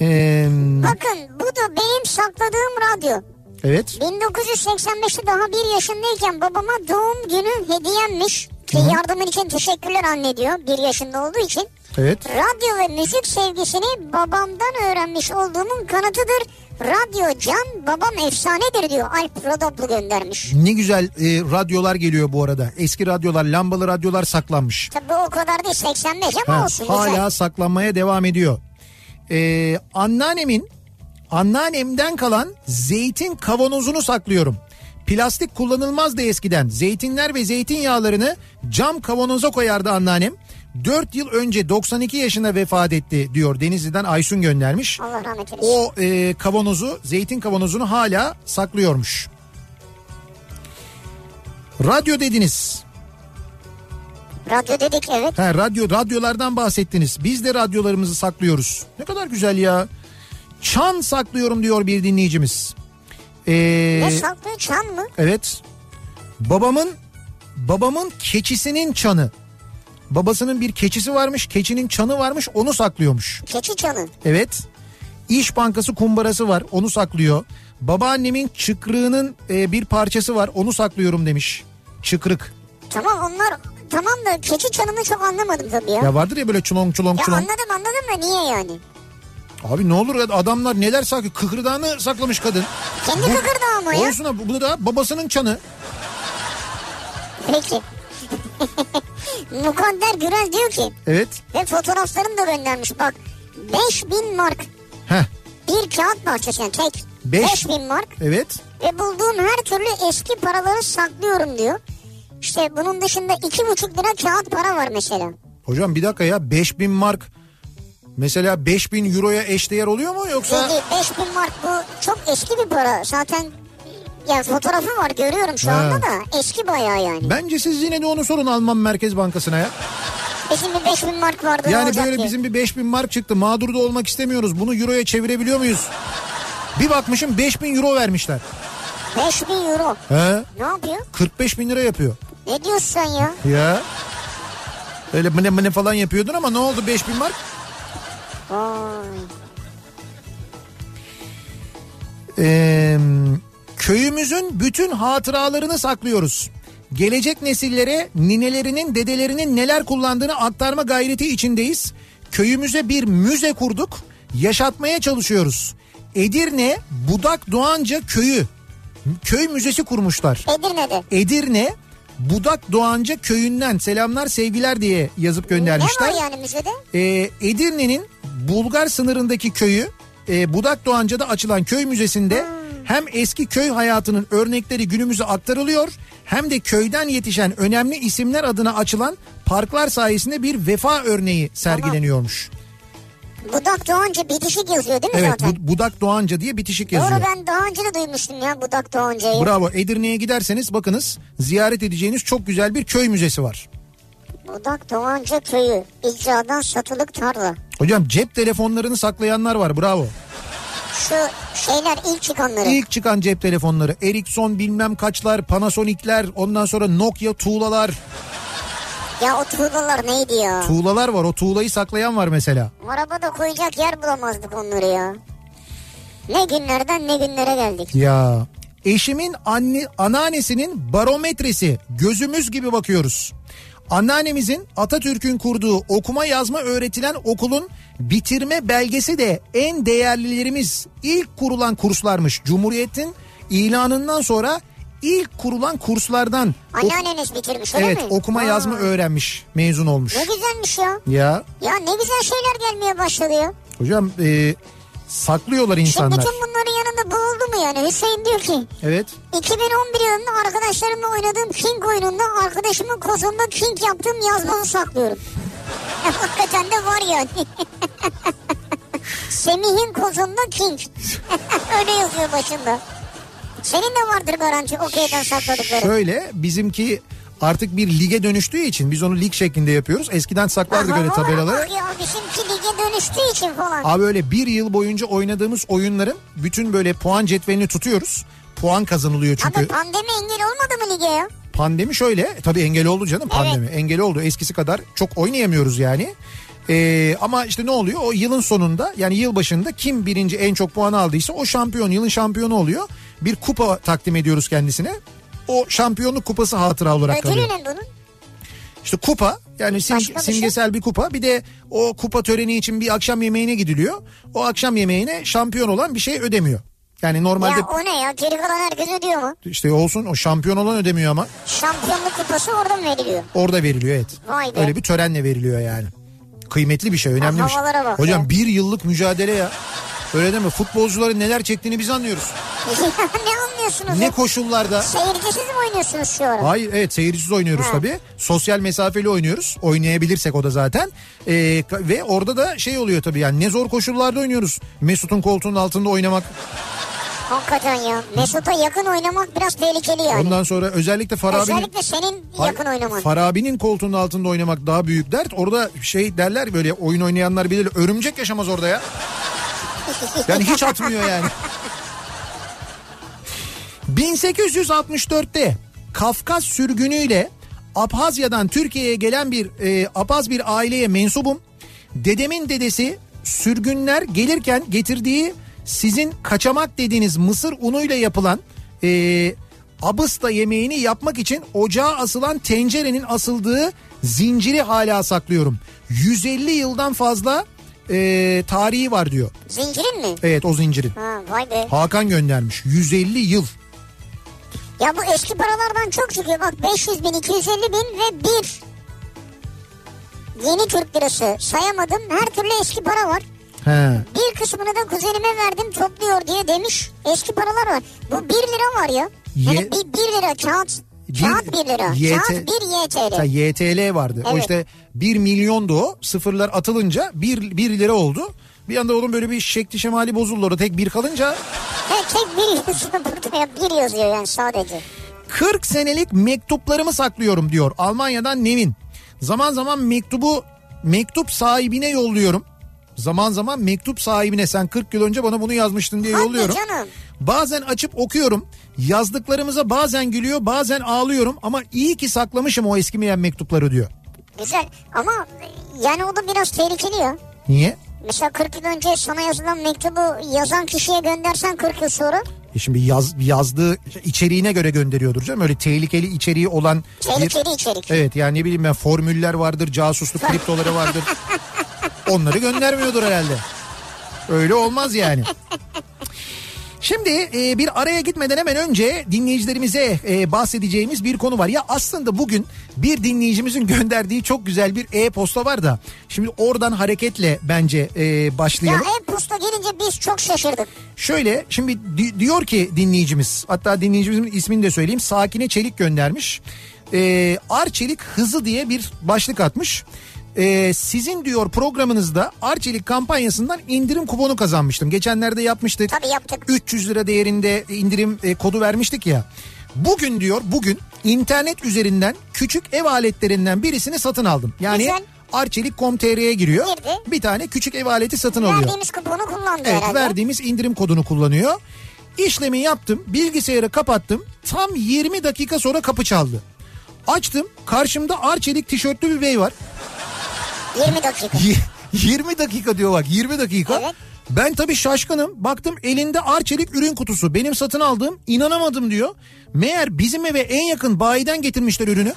Speaker 1: Ee,
Speaker 2: Bakın bu da benim sakladığım radyo.
Speaker 1: evet
Speaker 2: 1985'te daha bir yaşındayken babama doğum günü hediyemmiş. Ki yardımın için teşekkürler anne diyor bir yaşında olduğu için.
Speaker 1: evet
Speaker 2: Radyo ve müzik sevgisini babamdan öğrenmiş olduğumun kanıtıdır. Radyo can babam efsanedir diyor Alp Rodoplu göndermiş.
Speaker 1: ne güzel e, radyolar geliyor bu arada eski radyolar lambalı radyolar saklanmış.
Speaker 2: Tabii o kadar değil 85 ama
Speaker 1: Ha,
Speaker 2: olsun
Speaker 1: hala
Speaker 2: güzel.
Speaker 1: saklanmaya devam ediyor. Ee, E, anneannemin Anneannemden kalan zeytin kavanozunu saklıyorum. Plastik kullanılmazdı eskiden. Zeytinler ve zeytinyağlarını cam kavanoza koyardı anneannem. 4 yıl önce 92 yaşına vefat etti diyor Denizli'den Aysun göndermiş.
Speaker 2: Allah rahmet eylesin.
Speaker 1: O e, kavanozu, zeytin kavanozunu hala saklıyormuş. Radyo dediniz.
Speaker 2: Radyo dedik evet.
Speaker 1: Ha, radyo radyolardan bahsettiniz. Biz de radyolarımızı saklıyoruz. Ne kadar güzel ya. Çan saklıyorum diyor bir dinleyicimiz. Ee,
Speaker 2: Ne saklıyor çan mı?
Speaker 1: evet. Babamın babamın keçisinin çanı. Babasının bir keçisi varmış, keçinin çanı varmış, onu saklıyormuş.
Speaker 2: Keçi çanı.
Speaker 1: Evet. İş Bankası kumbarası var, onu saklıyor. Babaannemin çıkrığının e, bir parçası var, onu saklıyorum demiş. Çıkrık.
Speaker 2: Tamam onlar tamam da keçi çanını çok anlamadım tabii ya. Ya,
Speaker 1: Ya vardır ya böyle çulong çulong çulong.
Speaker 2: anladım anladım da niye yani?
Speaker 1: Abi ne olur ya, adamlar neler saklıyor. Kıkırdağını saklamış kadın.
Speaker 2: Kendi kıkırdağı mı ya?
Speaker 1: Olsun abi, bu da babasının çanı.
Speaker 2: Peki. Mukadder Gürel diyor ki
Speaker 1: Evet.
Speaker 2: ve fotoğraflarını da göndermiş bak 5000 mark
Speaker 1: Heh.
Speaker 2: bir kağıt parçası yani tek
Speaker 1: Beş-
Speaker 2: 5000 mark
Speaker 1: Evet.
Speaker 2: ve bulduğum her türlü eski paraları saklıyorum diyor. İşte bunun dışında 2,5 lira kağıt para var mesela.
Speaker 1: Hocam bir dakika ya 5000 mark mesela 5000 euroya eşdeğer oluyor mu
Speaker 2: Değil
Speaker 1: yoksa?
Speaker 2: değil 5000 mark bu çok eski bir para zaten yani fotoğrafı var görüyorum şu
Speaker 1: Ha.
Speaker 2: anda da eski bayağı yani.
Speaker 1: Bence siz yine de onu sorun Alman Merkez Bankası'na ya.
Speaker 2: Bizim bir 5000 mark vardı ne
Speaker 1: Yani
Speaker 2: olacak
Speaker 1: böyle
Speaker 2: ki?
Speaker 1: bizim bir 5000 mark çıktı. Mağdur da olmak istemiyoruz. Bunu euroya çevirebiliyor muyuz? Bir bakmışım 5000 euro vermişler.
Speaker 2: 5000 euro.
Speaker 1: He?
Speaker 2: Ne yapıyor?
Speaker 1: 45 bin lira yapıyor.
Speaker 2: Ne diyorsun sen ya?
Speaker 1: Ya. Öyle mıne mıne falan yapıyordun ama ne oldu 5000 mark?
Speaker 2: Vay.
Speaker 1: Ee, köyümüzün bütün hatıralarını saklıyoruz. Gelecek nesillere ninelerinin, dedelerinin neler kullandığını aktarma gayreti içindeyiz. Köyümüze bir müze kurduk, yaşatmaya çalışıyoruz. Edirne Budak Doğanca Köyü köy müzesi kurmuşlar.
Speaker 2: Edirne'de.
Speaker 1: Edirne Budak Doğanca Köyü'nden selamlar sevgiler diye yazıp göndermişler.
Speaker 2: Ne var yani müzede?
Speaker 1: Ee, Edirne'nin Bulgar sınırındaki köyü e, Budak Doğanca'da açılan köy müzesinde hem eski köy hayatının örnekleri günümüze aktarılıyor hem de köyden yetişen önemli isimler adına açılan parklar sayesinde bir vefa örneği sergileniyormuş.
Speaker 2: Budak Doğanca bitişik yazıyor değil mi
Speaker 1: Evet
Speaker 2: zaten?
Speaker 1: Bu- Budak Doğanca diye bitişik yazıyor.
Speaker 2: Doğru ben daha önce de duymuştum ya Budak Doğanca'yı.
Speaker 1: Bravo Edirne'ye giderseniz bakınız ziyaret edeceğiniz çok güzel bir köy müzesi var.
Speaker 2: Budak Doğanca köyü. İcradan satılık tarla.
Speaker 1: Hocam cep telefonlarını saklayanlar var bravo.
Speaker 2: Şu şeyler ilk çıkanları.
Speaker 1: İlk çıkan cep telefonları Ericsson bilmem kaçlar, Panasonic'ler, ondan sonra Nokia tuğlalar.
Speaker 2: Ya o tuğlalar neydi ya?
Speaker 1: Tuğlalar var. O tuğlayı saklayan var mesela.
Speaker 2: Arabada koyacak yer bulamazdık onları ya. Ne günlerden ne günlere geldik.
Speaker 1: Ya. Eşimin anne, anneannesinin barometresi. Gözümüz gibi bakıyoruz. Anneannemizin Atatürk'ün kurduğu okuma yazma öğretilen okulun bitirme belgesi de en değerlilerimiz ilk kurulan kurslarmış. Cumhuriyet'in ilanından sonra ilk kurulan kurslardan ok-
Speaker 2: Anneanneniz bitirmiş öyle
Speaker 1: evet
Speaker 2: mi?
Speaker 1: okuma
Speaker 2: Aa,
Speaker 1: yazma öğrenmiş, mezun olmuş.
Speaker 2: Ne güzelmiş ya.
Speaker 1: Ya
Speaker 2: Ya ne güzel şeyler gelmeye başladı ya.
Speaker 1: hocam e, saklıyorlar
Speaker 2: Şimdi
Speaker 1: insanlar.
Speaker 2: bütün bunların yanında bu oldu mu yani? Hüseyin diyor ki
Speaker 1: Evet.
Speaker 2: 2011 yılında arkadaşlarımla oynadığım King oyununda arkadaşımın kozunda King yaptığım yazmanı saklıyorum. Hakikaten de var yani. Semih'in kozunda King. Öyle yazıyor başında. Senin de vardır garanti okeyden sakladıkları.
Speaker 1: Şöyle bizimki artık bir lige dönüştüğü için biz onu lig şeklinde yapıyoruz. Eskiden saklardık öyle
Speaker 2: Ama var
Speaker 1: tabelaları.
Speaker 2: bak Ya bizimki lige dönüştüğü için falan.
Speaker 1: Abi öyle bir yıl boyunca oynadığımız oyunların bütün böyle puan cetvelini tutuyoruz. Puan kazanılıyor
Speaker 2: Abi
Speaker 1: çünkü.
Speaker 2: pandemi engel olmadı mı lige ya?
Speaker 1: Pandemi şöyle tabii engel oldu canım pandemi. Engel oldu eskisi kadar çok oynayamıyoruz yani. Ee, ama işte ne oluyor o yılın sonunda yani yıl başında kim birinci en çok puan aldıysa o şampiyon yılın şampiyonu oluyor. Bir kupa takdim ediyoruz kendisine. O şampiyonluk kupası hatıra olarak kalıyor.
Speaker 2: Ödülü ne bunun?
Speaker 1: İşte kupa yani sim-
Speaker 2: Başka bir şey.
Speaker 1: simgesel bir kupa bir de o kupa töreni için bir akşam yemeğine gidiliyor. O akşam yemeğine şampiyon olan bir şey ödemiyor. Yani normalde
Speaker 2: Ya o ne ya? Geri kalan herkes ödüyor mu?
Speaker 1: işte olsun o şampiyon olan ödemiyor ama
Speaker 2: Şampiyonluk kupası orada mı veriliyor?
Speaker 1: orada veriliyor evet.
Speaker 2: Vay be.
Speaker 1: Öyle bir törenle veriliyor yani. Kıymetli bir şey önemli bir şey.
Speaker 2: Havalara bak
Speaker 1: Hocam
Speaker 2: ya.
Speaker 1: bir yıllık mücadele ya. Öyle deme futbolcuların neler çektiğini biz anlıyoruz.
Speaker 2: ne anlıyorsunuz?
Speaker 1: Ne
Speaker 2: ya?
Speaker 1: koşullarda.
Speaker 2: Seyircisiz mi oynuyorsunuz şu ara?
Speaker 1: Hayır evet seyircisiz oynuyoruz
Speaker 2: Ha.
Speaker 1: tabii. Sosyal mesafeli oynuyoruz. Oynayabilirsek o da zaten. Ee, ka- ve orada da şey oluyor tabii yani ne zor koşullarda oynuyoruz. Mesut'un koltuğunun altında oynamak.
Speaker 2: Hakikaten ya. Mesut'a yakın oynamak biraz tehlikeli yani.
Speaker 1: Ondan sonra özellikle Farabi'nin...
Speaker 2: Özellikle senin
Speaker 1: Hayır,
Speaker 2: yakın oynaman.
Speaker 1: Farabi'nin koltuğunun altında oynamak daha büyük dert. Orada şey derler böyle oyun oynayanlar bilir örümcek yaşamaz orada ya. Yani hiç atmıyor yani. 1864'te Kafkas sürgünüyle Abhazya'dan Türkiye'ye gelen bir e, Abhaz bir aileye mensubum. Dedemin dedesi sürgünler gelirken getirdiği sizin kaçamak dediğiniz mısır unuyla yapılan e, abısta yemeğini yapmak için ocağa asılan tencerenin asıldığı zinciri hala saklıyorum. 150 yıldan fazla e, tarihi var diyor.
Speaker 2: Zincirin mi?
Speaker 1: Evet o zincirin.
Speaker 2: Ha, vay be.
Speaker 1: Hakan göndermiş. 150 yıl.
Speaker 2: Ya bu eski paralardan çok çıkıyor. Bak 500 bin, 250 bin ve bir. Yeni Türk lirası sayamadım. Her türlü eski para var.
Speaker 1: He.
Speaker 2: Bir kısmını da kuzenime verdim topluyor diye demiş. Eski paralar var. Bu 1 lira var ya. Yani
Speaker 1: Ye-
Speaker 2: 1, lira kağıt. Kağıt 1 lira.
Speaker 1: YT
Speaker 2: Kağıt 1 YTL.
Speaker 1: Ta YTL vardı. O
Speaker 2: Evet.
Speaker 1: işte 1 milyondu o. Sıfırlar atılınca 1, 1 lira oldu. Bir anda onun böyle bir şekli şemali bozuldu. Orada tek bir kalınca
Speaker 2: Ha, tek 1 yazıyor burada ya. 1 yazıyor yani sadece.
Speaker 1: 40 senelik mektuplarımı saklıyorum diyor. Almanya'dan Nevin. Zaman zaman mektubu mektup sahibine yolluyorum. Zaman zaman mektup sahibine sen 40 yıl önce bana bunu yazmıştın diye
Speaker 2: Hadi
Speaker 1: yolluyorum.
Speaker 2: canım.
Speaker 1: Bazen açıp okuyorum. Yazdıklarımıza bazen gülüyor, bazen ağlıyorum ama iyi ki saklamışım o eskimeyen mektupları diyor.
Speaker 2: Güzel ama yani o da biraz tehlikeli ya.
Speaker 1: Niye?
Speaker 2: Mesela 40 yıl önce sana yazılan mektubu yazan kişiye göndersen 40 yıl sonra
Speaker 1: E şimdi yaz, yazdığı içeriğine göre gönderiyordur canım. Öyle tehlikeli içeriği olan bir... e,
Speaker 2: tehlikeli içerik.
Speaker 1: Evet yani ne bileyim ben formüller vardır, casusluk kriptoları vardır. Onları göndermiyordur herhalde. Öyle olmaz yani. Şimdi e, bir araya gitmeden hemen önce dinleyicilerimize e, bahsedeceğimiz bir konu var. Ya aslında bugün bir dinleyicimizin gönderdiği çok güzel bir e-posta var da. Şimdi oradan hareketle bence e,
Speaker 2: Ya
Speaker 1: başlayalım.
Speaker 2: e-posta gelince biz çok şaşırdık.
Speaker 1: Şöyle şimdi di- diyor ki dinleyicimiz hatta dinleyicimizin ismini de söyleyeyim Sakine Çelik göndermiş. Ee, Arçelik hızı diye bir başlık atmış. Ee, sizin diyor programınızda Arçelik kampanyasından indirim kuponu kazanmıştım. Geçenlerde yapmıştık.
Speaker 2: Tabii yaptık.
Speaker 1: 300 lira değerinde indirim e, kodu vermiştik ya. Bugün diyor bugün internet üzerinden küçük ev aletlerinden birisini satın aldım. Yani
Speaker 2: Güzel.
Speaker 1: Arçelik.com.tr'ye giriyor.
Speaker 2: Girdi.
Speaker 1: Bir tane küçük ev aleti satın alıyor.
Speaker 2: Verdiğimiz kuponu kullandı
Speaker 1: Evet
Speaker 2: herhalde.
Speaker 1: verdiğimiz indirim kodunu kullanıyor. İşlemi yaptım bilgisayarı kapattım tam 20 dakika sonra kapı çaldı. Açtım karşımda Arçelik tişörtlü bir bey var.
Speaker 2: 20 dakika.
Speaker 1: Y- 20 dakika diyor bak 20 dakika.
Speaker 2: Evet.
Speaker 1: Ben tabii şaşkınım baktım elinde Arçelik ürün kutusu benim satın aldığım inanamadım diyor. Meğer bizim eve en yakın bayiden getirmişler ürünü.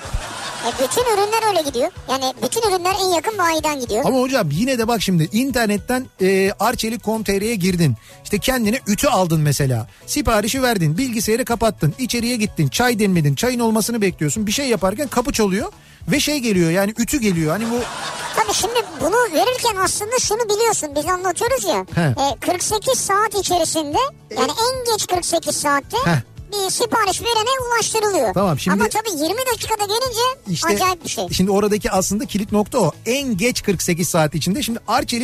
Speaker 2: E bütün ürünler öyle gidiyor. Yani bütün ürünler en yakın bayiden gidiyor.
Speaker 1: Ama hocam yine de bak şimdi internetten e, arçelik.com.tr'ye girdin. İşte kendine ütü aldın mesela. Siparişi verdin, bilgisayarı kapattın, içeriye gittin, çay demledin, çayın olmasını bekliyorsun. Bir şey yaparken kapı çalıyor ve şey geliyor yani ütü geliyor. Hani bu
Speaker 2: Tabii şimdi bunu verirken aslında şunu biliyorsun biz anlatıyoruz ya.
Speaker 1: He.
Speaker 2: E, 48 saat içerisinde yani en geç 48 saatte
Speaker 1: Heh.
Speaker 2: bir sipariş verene ulaştırılıyor.
Speaker 1: Tamam, şimdi-
Speaker 2: Ama tabii 20 dakikada gelince
Speaker 1: işte
Speaker 2: acayip bir şey.
Speaker 1: şimdi oradaki aslında kilit nokta o. En geç 48 saat içinde şimdi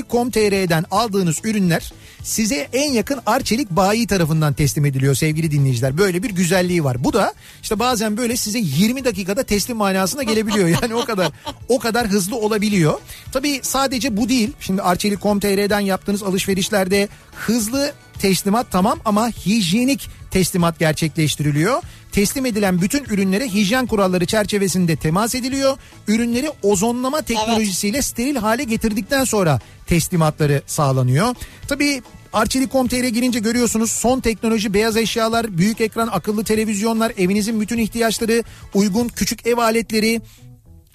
Speaker 1: arçelik.com.tr'den aldığınız ürünler size en yakın arçelik bayi tarafından teslim ediliyor sevgili dinleyiciler. Böyle bir güzelliği var. Bu da işte bazen böyle size 20 dakikada teslim manasına gelebiliyor. Yani o kadar o kadar hızlı olabiliyor. Tabii sadece bu değil. Şimdi arçelik.com.tr'den yaptığınız alışverişlerde hızlı teslimat tamam ama hijyenik teslimat gerçekleştiriliyor. Teslim edilen bütün ürünlere hijyen kuralları çerçevesinde temas ediliyor. Ürünleri ozonlama teknolojisiyle steril hale getirdikten sonra teslimatları sağlanıyor. Tabii Arçelik.com.tr girince görüyorsunuz son teknoloji beyaz eşyalar, büyük ekran, akıllı televizyonlar, evinizin bütün ihtiyaçları, uygun küçük ev aletleri,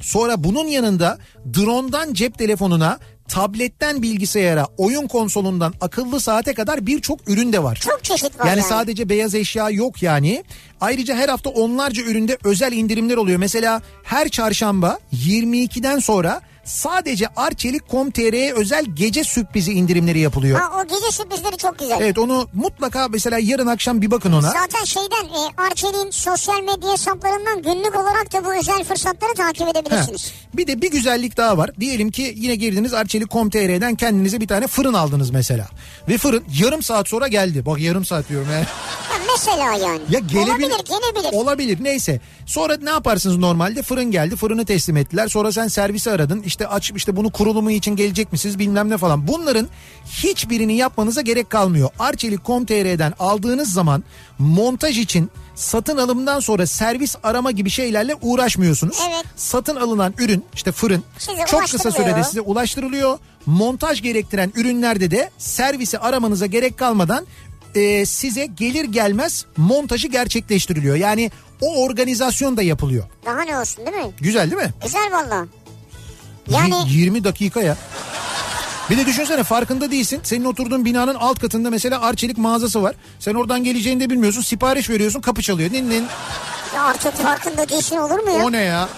Speaker 1: Sonra bunun yanında drondan cep telefonuna, tabletten bilgisayara, oyun konsolundan akıllı saate kadar birçok ürün de var.
Speaker 2: Çok çeşit var
Speaker 1: Yani
Speaker 2: yani.
Speaker 1: sadece beyaz eşya yok yani. Ayrıca her hafta onlarca üründe özel indirimler oluyor. Mesela her çarşamba 22'den sonra sadece arçelik.com.tr'ye özel gece sürprizi indirimleri yapılıyor.
Speaker 2: Ha, o gece sürprizleri çok güzel.
Speaker 1: Evet onu mutlaka mesela yarın akşam bir bakın ona.
Speaker 2: Zaten şeyden e, Arçelik'in sosyal medya hesaplarından günlük olarak da bu özel fırsatları takip
Speaker 1: Ha.
Speaker 2: edebilirsiniz.
Speaker 1: Bir de bir güzellik daha var. Diyelim ki yine girdiniz Arçelik.com.tr'den kendinize bir tane fırın aldınız mesela. Ve fırın yarım saat sonra geldi. Bak yarım saat diyorum yani.
Speaker 2: Ya mesela yani.
Speaker 1: Ya gelebilir.
Speaker 2: Olabilir gelebilir.
Speaker 1: Olabilir neyse. Sonra ne yaparsınız normalde? Fırın geldi fırını teslim ettiler. Sonra sen servisi aradın. İşte aç işte bunu kurulumu için gelecek misiniz bilmem ne falan. Bunların hiçbirini yapmanıza gerek kalmıyor. Arçelik.com.tr'den aldığınız zaman montaj için satın alımdan sonra servis arama gibi şeylerle uğraşmıyorsunuz.
Speaker 2: Evet.
Speaker 1: Satın alınan ürün işte fırın
Speaker 2: Size
Speaker 1: çok kısa
Speaker 2: ulaştırılıyor.
Speaker 1: sürede size ulaştırılıyor. Montaj gerektiren ürünlerde de servisi aramanıza gerek kalmadan e, size gelir gelmez montajı gerçekleştiriliyor. Yani o organizasyon da yapılıyor.
Speaker 2: Daha ne olsun değil mi?
Speaker 1: Güzel değil mi?
Speaker 2: Güzel valla.
Speaker 1: Y-
Speaker 2: Yani
Speaker 1: 20 dakika ya. Bir de düşünsene farkında değilsin. Senin oturduğun binanın alt katında mesela Arçelik mağazası var. Sen oradan geleceğini de bilmiyorsun. Sipariş veriyorsun kapı çalıyor. Nin nin.
Speaker 2: ya artık farkında değilsin olur mu ya?
Speaker 1: O ne ya?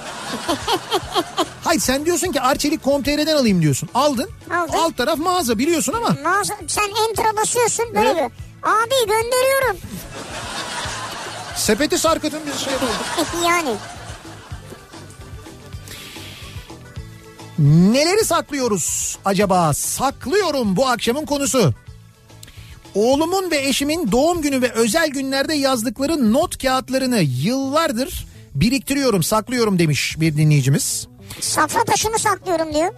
Speaker 1: Hayır sen diyorsun ki Arçelik.com.tr'den alayım diyorsun. Aldın.
Speaker 2: Aldım.
Speaker 1: Alt taraf mağaza biliyorsun ama.
Speaker 2: Mağaza- sen enter'a basıyorsun böyle
Speaker 1: Evet.
Speaker 2: bir. Abi gönderiyorum.
Speaker 1: Sepeti sarkıtın bir şey oldu.
Speaker 2: yani.
Speaker 1: Neleri saklıyoruz acaba? Saklıyorum bu akşamın konusu. Oğlumun ve eşimin doğum günü ve özel günlerde yazdıkları not kağıtlarını yıllardır biriktiriyorum, saklıyorum demiş bir dinleyicimiz.
Speaker 2: Safra taşını saklıyorum diyor.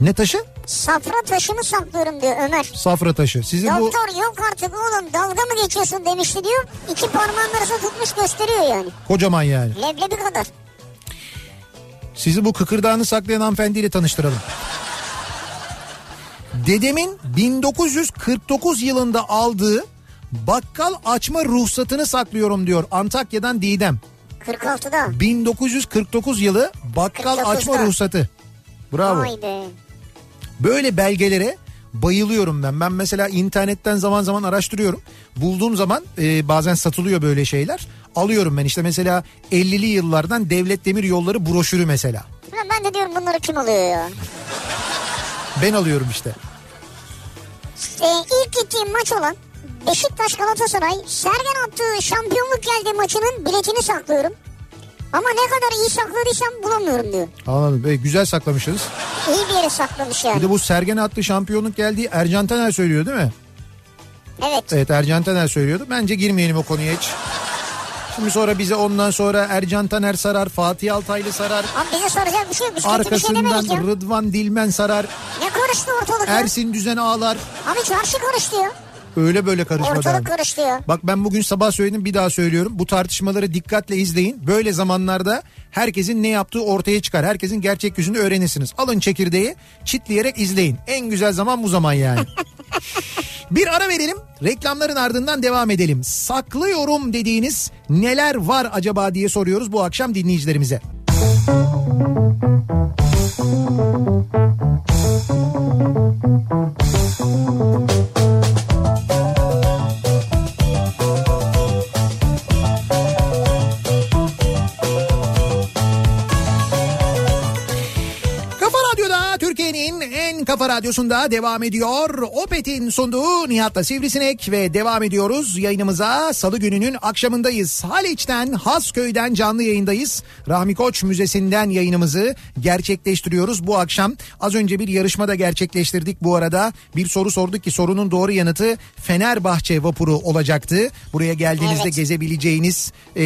Speaker 1: Ne taşı?
Speaker 2: Safra taşını saklıyorum diyor Ömer.
Speaker 1: Safra taşı. Sizin bu
Speaker 2: Doktor yok artık oğlum dalga mı geçiyorsun demişti diyor. İki parmağın arasına tutmuş gösteriyor yani.
Speaker 1: kocaman yani.
Speaker 2: Leblebi kadar.
Speaker 1: Sizi bu kıkırdağını saklayan hanımefendiyle tanıştıralım. Dedemin 1949 yılında aldığı bakkal açma ruhsatını saklıyorum diyor Antakya'dan Didem.
Speaker 2: 46'da.
Speaker 1: 1949 yılı bakkal
Speaker 2: 49'da.
Speaker 1: açma ruhsatı. Bravo.
Speaker 2: Vay be.
Speaker 1: Böyle belgelere bayılıyorum ben. Ben mesela internetten zaman zaman araştırıyorum. Bulduğum zaman e, bazen satılıyor böyle şeyler. Alıyorum ben işte mesela 50'li yıllardan Devlet Demir Yolları broşürü mesela.
Speaker 2: Ulan ben de diyorum bunları kim alıyor ya?
Speaker 1: Ben alıyorum işte.
Speaker 2: Ee, ilk gittiğim maç olan Beşiktaş Galatasaray Sergen attığı şampiyonluk geldi maçının biletini saklıyorum. Ama ne kadar iyi sakladıysam bulamıyorum diyor.
Speaker 1: Anladım. E, güzel saklamışsınız.
Speaker 2: İyi bir yere saklamış
Speaker 1: Bir
Speaker 2: yani.
Speaker 1: de bu Sergen attı şampiyonluk geldiği Ercan Taner söylüyor değil mi?
Speaker 2: Evet.
Speaker 1: Evet Ercan Taner söylüyordu. Bence girmeyelim o konuya hiç. Şimdi sonra bize ondan sonra Ercan Taner sarar, Fatih Altaylı sarar.
Speaker 2: Ama bize soracak bir şey yok. Biz kötü bir şey
Speaker 1: Arkasından
Speaker 2: demedik ya.
Speaker 1: Rıdvan Dilmen sarar,
Speaker 2: Ne karıştı ortalık ya?
Speaker 1: Ersin Düzen ağlar.
Speaker 2: Abi çarşı karıştı ya.
Speaker 1: Öyle böyle karışmadan.
Speaker 2: Ortalık karıştı ya.
Speaker 1: Bak ben bugün sabah söyledim bir daha söylüyorum. Bu tartışmaları dikkatle izleyin. Böyle zamanlarda herkesin ne yaptığı ortaya çıkar. Herkesin gerçek yüzünü öğrenirsiniz. Alın çekirdeği çitleyerek izleyin. En güzel zaman bu zaman yani. bir ara verelim. Reklamların ardından devam edelim. Saklıyorum dediğiniz neler var acaba diye soruyoruz bu akşam dinleyicilerimize. Kafa Radyo'da Türkiye'nin en kafa radyosunda devam ediyor. Opet'in sunduğu Nihat'la Sivrisinek ve devam ediyoruz yayınımıza. Salı gününün akşamındayız. Haliç'ten, Hasköy'den canlı yayındayız. Rahmi Koç Müzesi'nden yayınımızı gerçekleştiriyoruz bu akşam. Az önce bir yarışma da gerçekleştirdik bu arada. Bir soru sorduk ki sorunun doğru yanıtı Fenerbahçe vapuru olacaktı. Buraya geldiğinizde
Speaker 2: Evet.
Speaker 1: gezebileceğiniz e,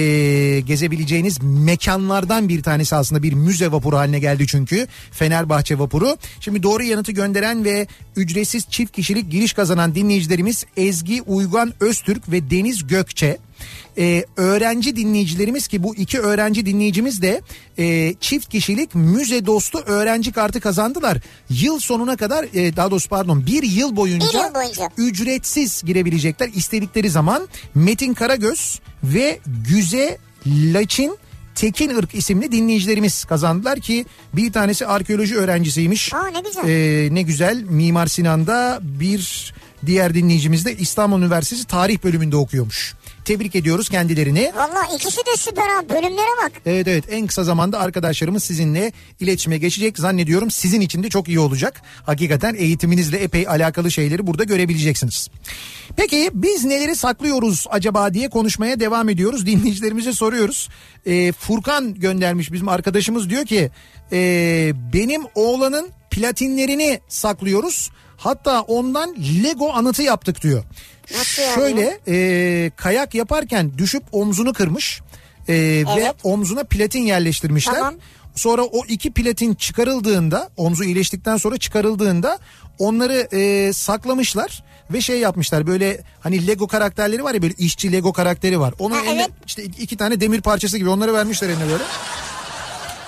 Speaker 1: gezebileceğiniz mekanlardan bir tanesi aslında bir müze vapuru haline geldi çünkü Fenerbahçe vapuru. Şimdi doğru yanıtı gönderen ve ücretsiz çift kişilik giriş kazanan dinleyicilerimiz Ezgi Uygan Öztürk ve Deniz Gökçe. E, öğrenci dinleyicilerimiz ki bu iki öğrenci dinleyicimiz de e, çift kişilik müze dostu öğrenci kartı kazandılar. Yıl sonuna kadar e, daha doğrusu pardon bir yıl boyunca
Speaker 2: Bir yıl boyunca.
Speaker 1: ücretsiz girebilecekler istedikleri zaman Metin Karagöz ve Güze Laçin Tekin Irk isimli dinleyicilerimiz kazandılar ki bir tanesi arkeoloji öğrencisiymiş.
Speaker 2: Aa ne güzel.
Speaker 1: Ee, ne güzel Mimar Sinan'da bir diğer dinleyicimiz de İstanbul Üniversitesi tarih bölümünde okuyormuş. Tebrik ediyoruz kendilerini.
Speaker 2: Valla ikisi de süper abi bölümlere bak.
Speaker 1: Evet evet en kısa zamanda arkadaşlarımız sizinle iletişime geçecek zannediyorum sizin için de çok iyi olacak. Hakikaten eğitiminizle epey alakalı şeyleri burada görebileceksiniz. Peki biz neleri saklıyoruz acaba diye konuşmaya devam ediyoruz. Dinleyicilerimize soruyoruz. Ee, Furkan göndermiş bizim arkadaşımız diyor ki "Ee, benim oğlanın platinlerini saklıyoruz. Hatta ondan Lego anıtı yaptık diyor.
Speaker 2: Nasıl yani?
Speaker 1: Şöyle ee, kayak yaparken düşüp omzunu kırmış. Ee, ve
Speaker 2: Evet.
Speaker 1: omzuna platin yerleştirmişler.
Speaker 2: Tamam.
Speaker 1: Sonra o iki platin çıkarıldığında omzu iyileştikten sonra çıkarıldığında onları e, saklamışlar ve şey yapmışlar böyle hani Lego karakterleri var ya böyle işçi Lego karakteri var. Onun
Speaker 2: Ha,
Speaker 1: eline
Speaker 2: evet.
Speaker 1: işte iki iki tane demir parçası gibi onları vermişler eline böyle.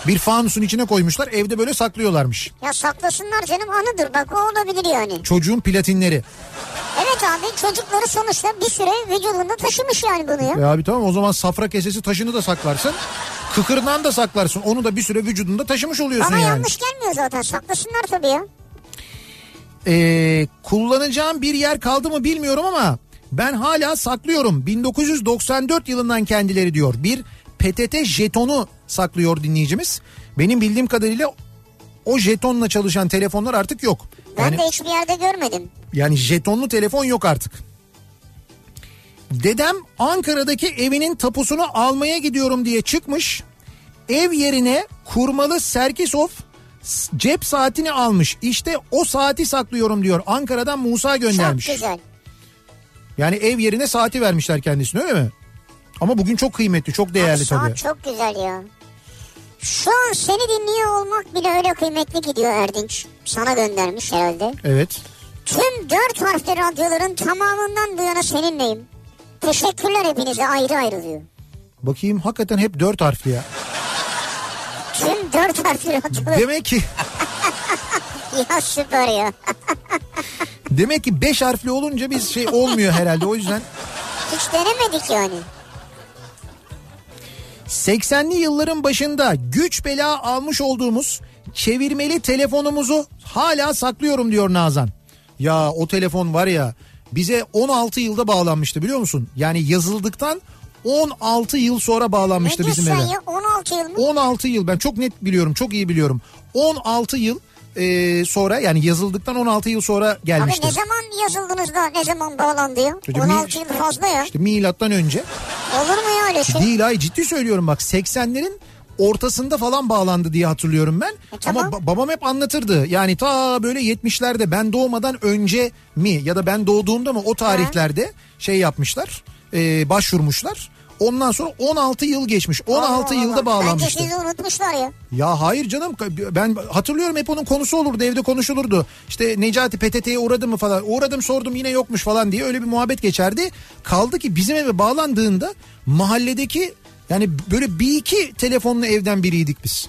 Speaker 1: Bir fanusun içine koymuşlar evde böyle saklıyorlarmış.
Speaker 2: Ya saklasınlar canım anıdır bak o olabilir yani.
Speaker 1: Çocuğun platinleri.
Speaker 2: Evet abi çocukları sonuçta bir süre vücudunda taşımış yani bunu ya.
Speaker 1: E abi tamam o zaman safra kesesi taşını da saklarsın. Kıkırdan da saklarsın. Onu da bir süre vücudunda taşımış oluyorsun
Speaker 2: Bana
Speaker 1: yani.
Speaker 2: yanlış gelmiyor zaten saklasınlar tabii ya.
Speaker 1: Ee, kullanacağım bir yer kaldı mı bilmiyorum ama ben hala saklıyorum. 1994 yılından kendileri diyor. Bir PTT jetonu saklıyor dinleyicimiz. Benim bildiğim kadarıyla o jetonla çalışan telefonlar artık yok.
Speaker 2: Ben
Speaker 1: Yani,
Speaker 2: de hiçbir yerde görmedim.
Speaker 1: yani jetonlu telefon yok artık. Dedem Ankara'daki evinin tapusunu almaya gidiyorum diye çıkmış. Ev yerine kurmalı Serkisov s- cep saatini almış. İşte o saati saklıyorum diyor. Ankara'dan Musa göndermiş.
Speaker 2: Çok güzel.
Speaker 1: Yani ev yerine saati vermişler kendisine öyle mi? Ama bugün çok kıymetli, çok değerli
Speaker 2: Abi saat
Speaker 1: tabii.
Speaker 2: çok güzel ya. Şu an seni dinliyor olmak bile öyle kıymetli gidiyor Erdinç. Sana göndermiş herhalde.
Speaker 1: Evet.
Speaker 2: Tüm dört harfli radyoların tamamından bu yana seninleyim. Teşekkürler hepinize ayrı ayrı diyor.
Speaker 1: Bakayım hakikaten hep dört harfli ya.
Speaker 2: Tüm dört harfli radyolar.
Speaker 1: Demek ki
Speaker 2: ya süper ya.
Speaker 1: demek ki beş harfli olunca biz şey olmuyor herhalde o yüzden.
Speaker 2: Hiç denemedik yani.
Speaker 1: 80'li yılların başında güç bela almış olduğumuz çevirmeli telefonumuzu hala saklıyorum diyor Nazan. Ya o telefon var ya bize 16 yılda bağlanmıştı biliyor musun? Yani yazıldıktan 16 yıl sonra
Speaker 2: Ne
Speaker 1: bağlanmıştı
Speaker 2: diyorsun
Speaker 1: bizim eve.
Speaker 2: sen ya 16 yıl mı?
Speaker 1: 16 yıl ben çok net biliyorum çok iyi biliyorum. 16 yıl e, sonra yani yazıldıktan 16 yıl sonra
Speaker 2: Abi
Speaker 1: gelmiştir.
Speaker 2: ne zaman yazıldınız da ne zaman bağlandı ya?
Speaker 1: Çocuğum,
Speaker 2: 16 yıl fazla ya.
Speaker 1: İşte milattan önce.
Speaker 2: Olur mu ya öyle şey?
Speaker 1: Değil ay ciddi söylüyorum bak 80'lerin ortasında falan bağlandı diye hatırlıyorum ben.
Speaker 2: E, tamam.
Speaker 1: Ama ba- babam hep anlatırdı. Yani ta böyle 70'lerde ben doğmadan önce mi ya da ben doğduğumda mı o tarihlerde şey yapmışlar. e, başvurmuşlar. Ondan sonra 16 yıl geçmiş. 16
Speaker 2: Allah
Speaker 1: yılda
Speaker 2: Allah.
Speaker 1: bağlanmıştı.
Speaker 2: Bence sizi unutmuşlar ya.
Speaker 1: Ya hayır canım ben hatırlıyorum hep onun konusu olurdu evde konuşulurdu. İşte Necati PTT'ye uğradı mı falan uğradım sordum yine yokmuş falan diye öyle bir muhabbet geçerdi. Kaldı ki bizim eve bağlandığında mahalledeki yani böyle bir iki telefonlu evden biriydik biz.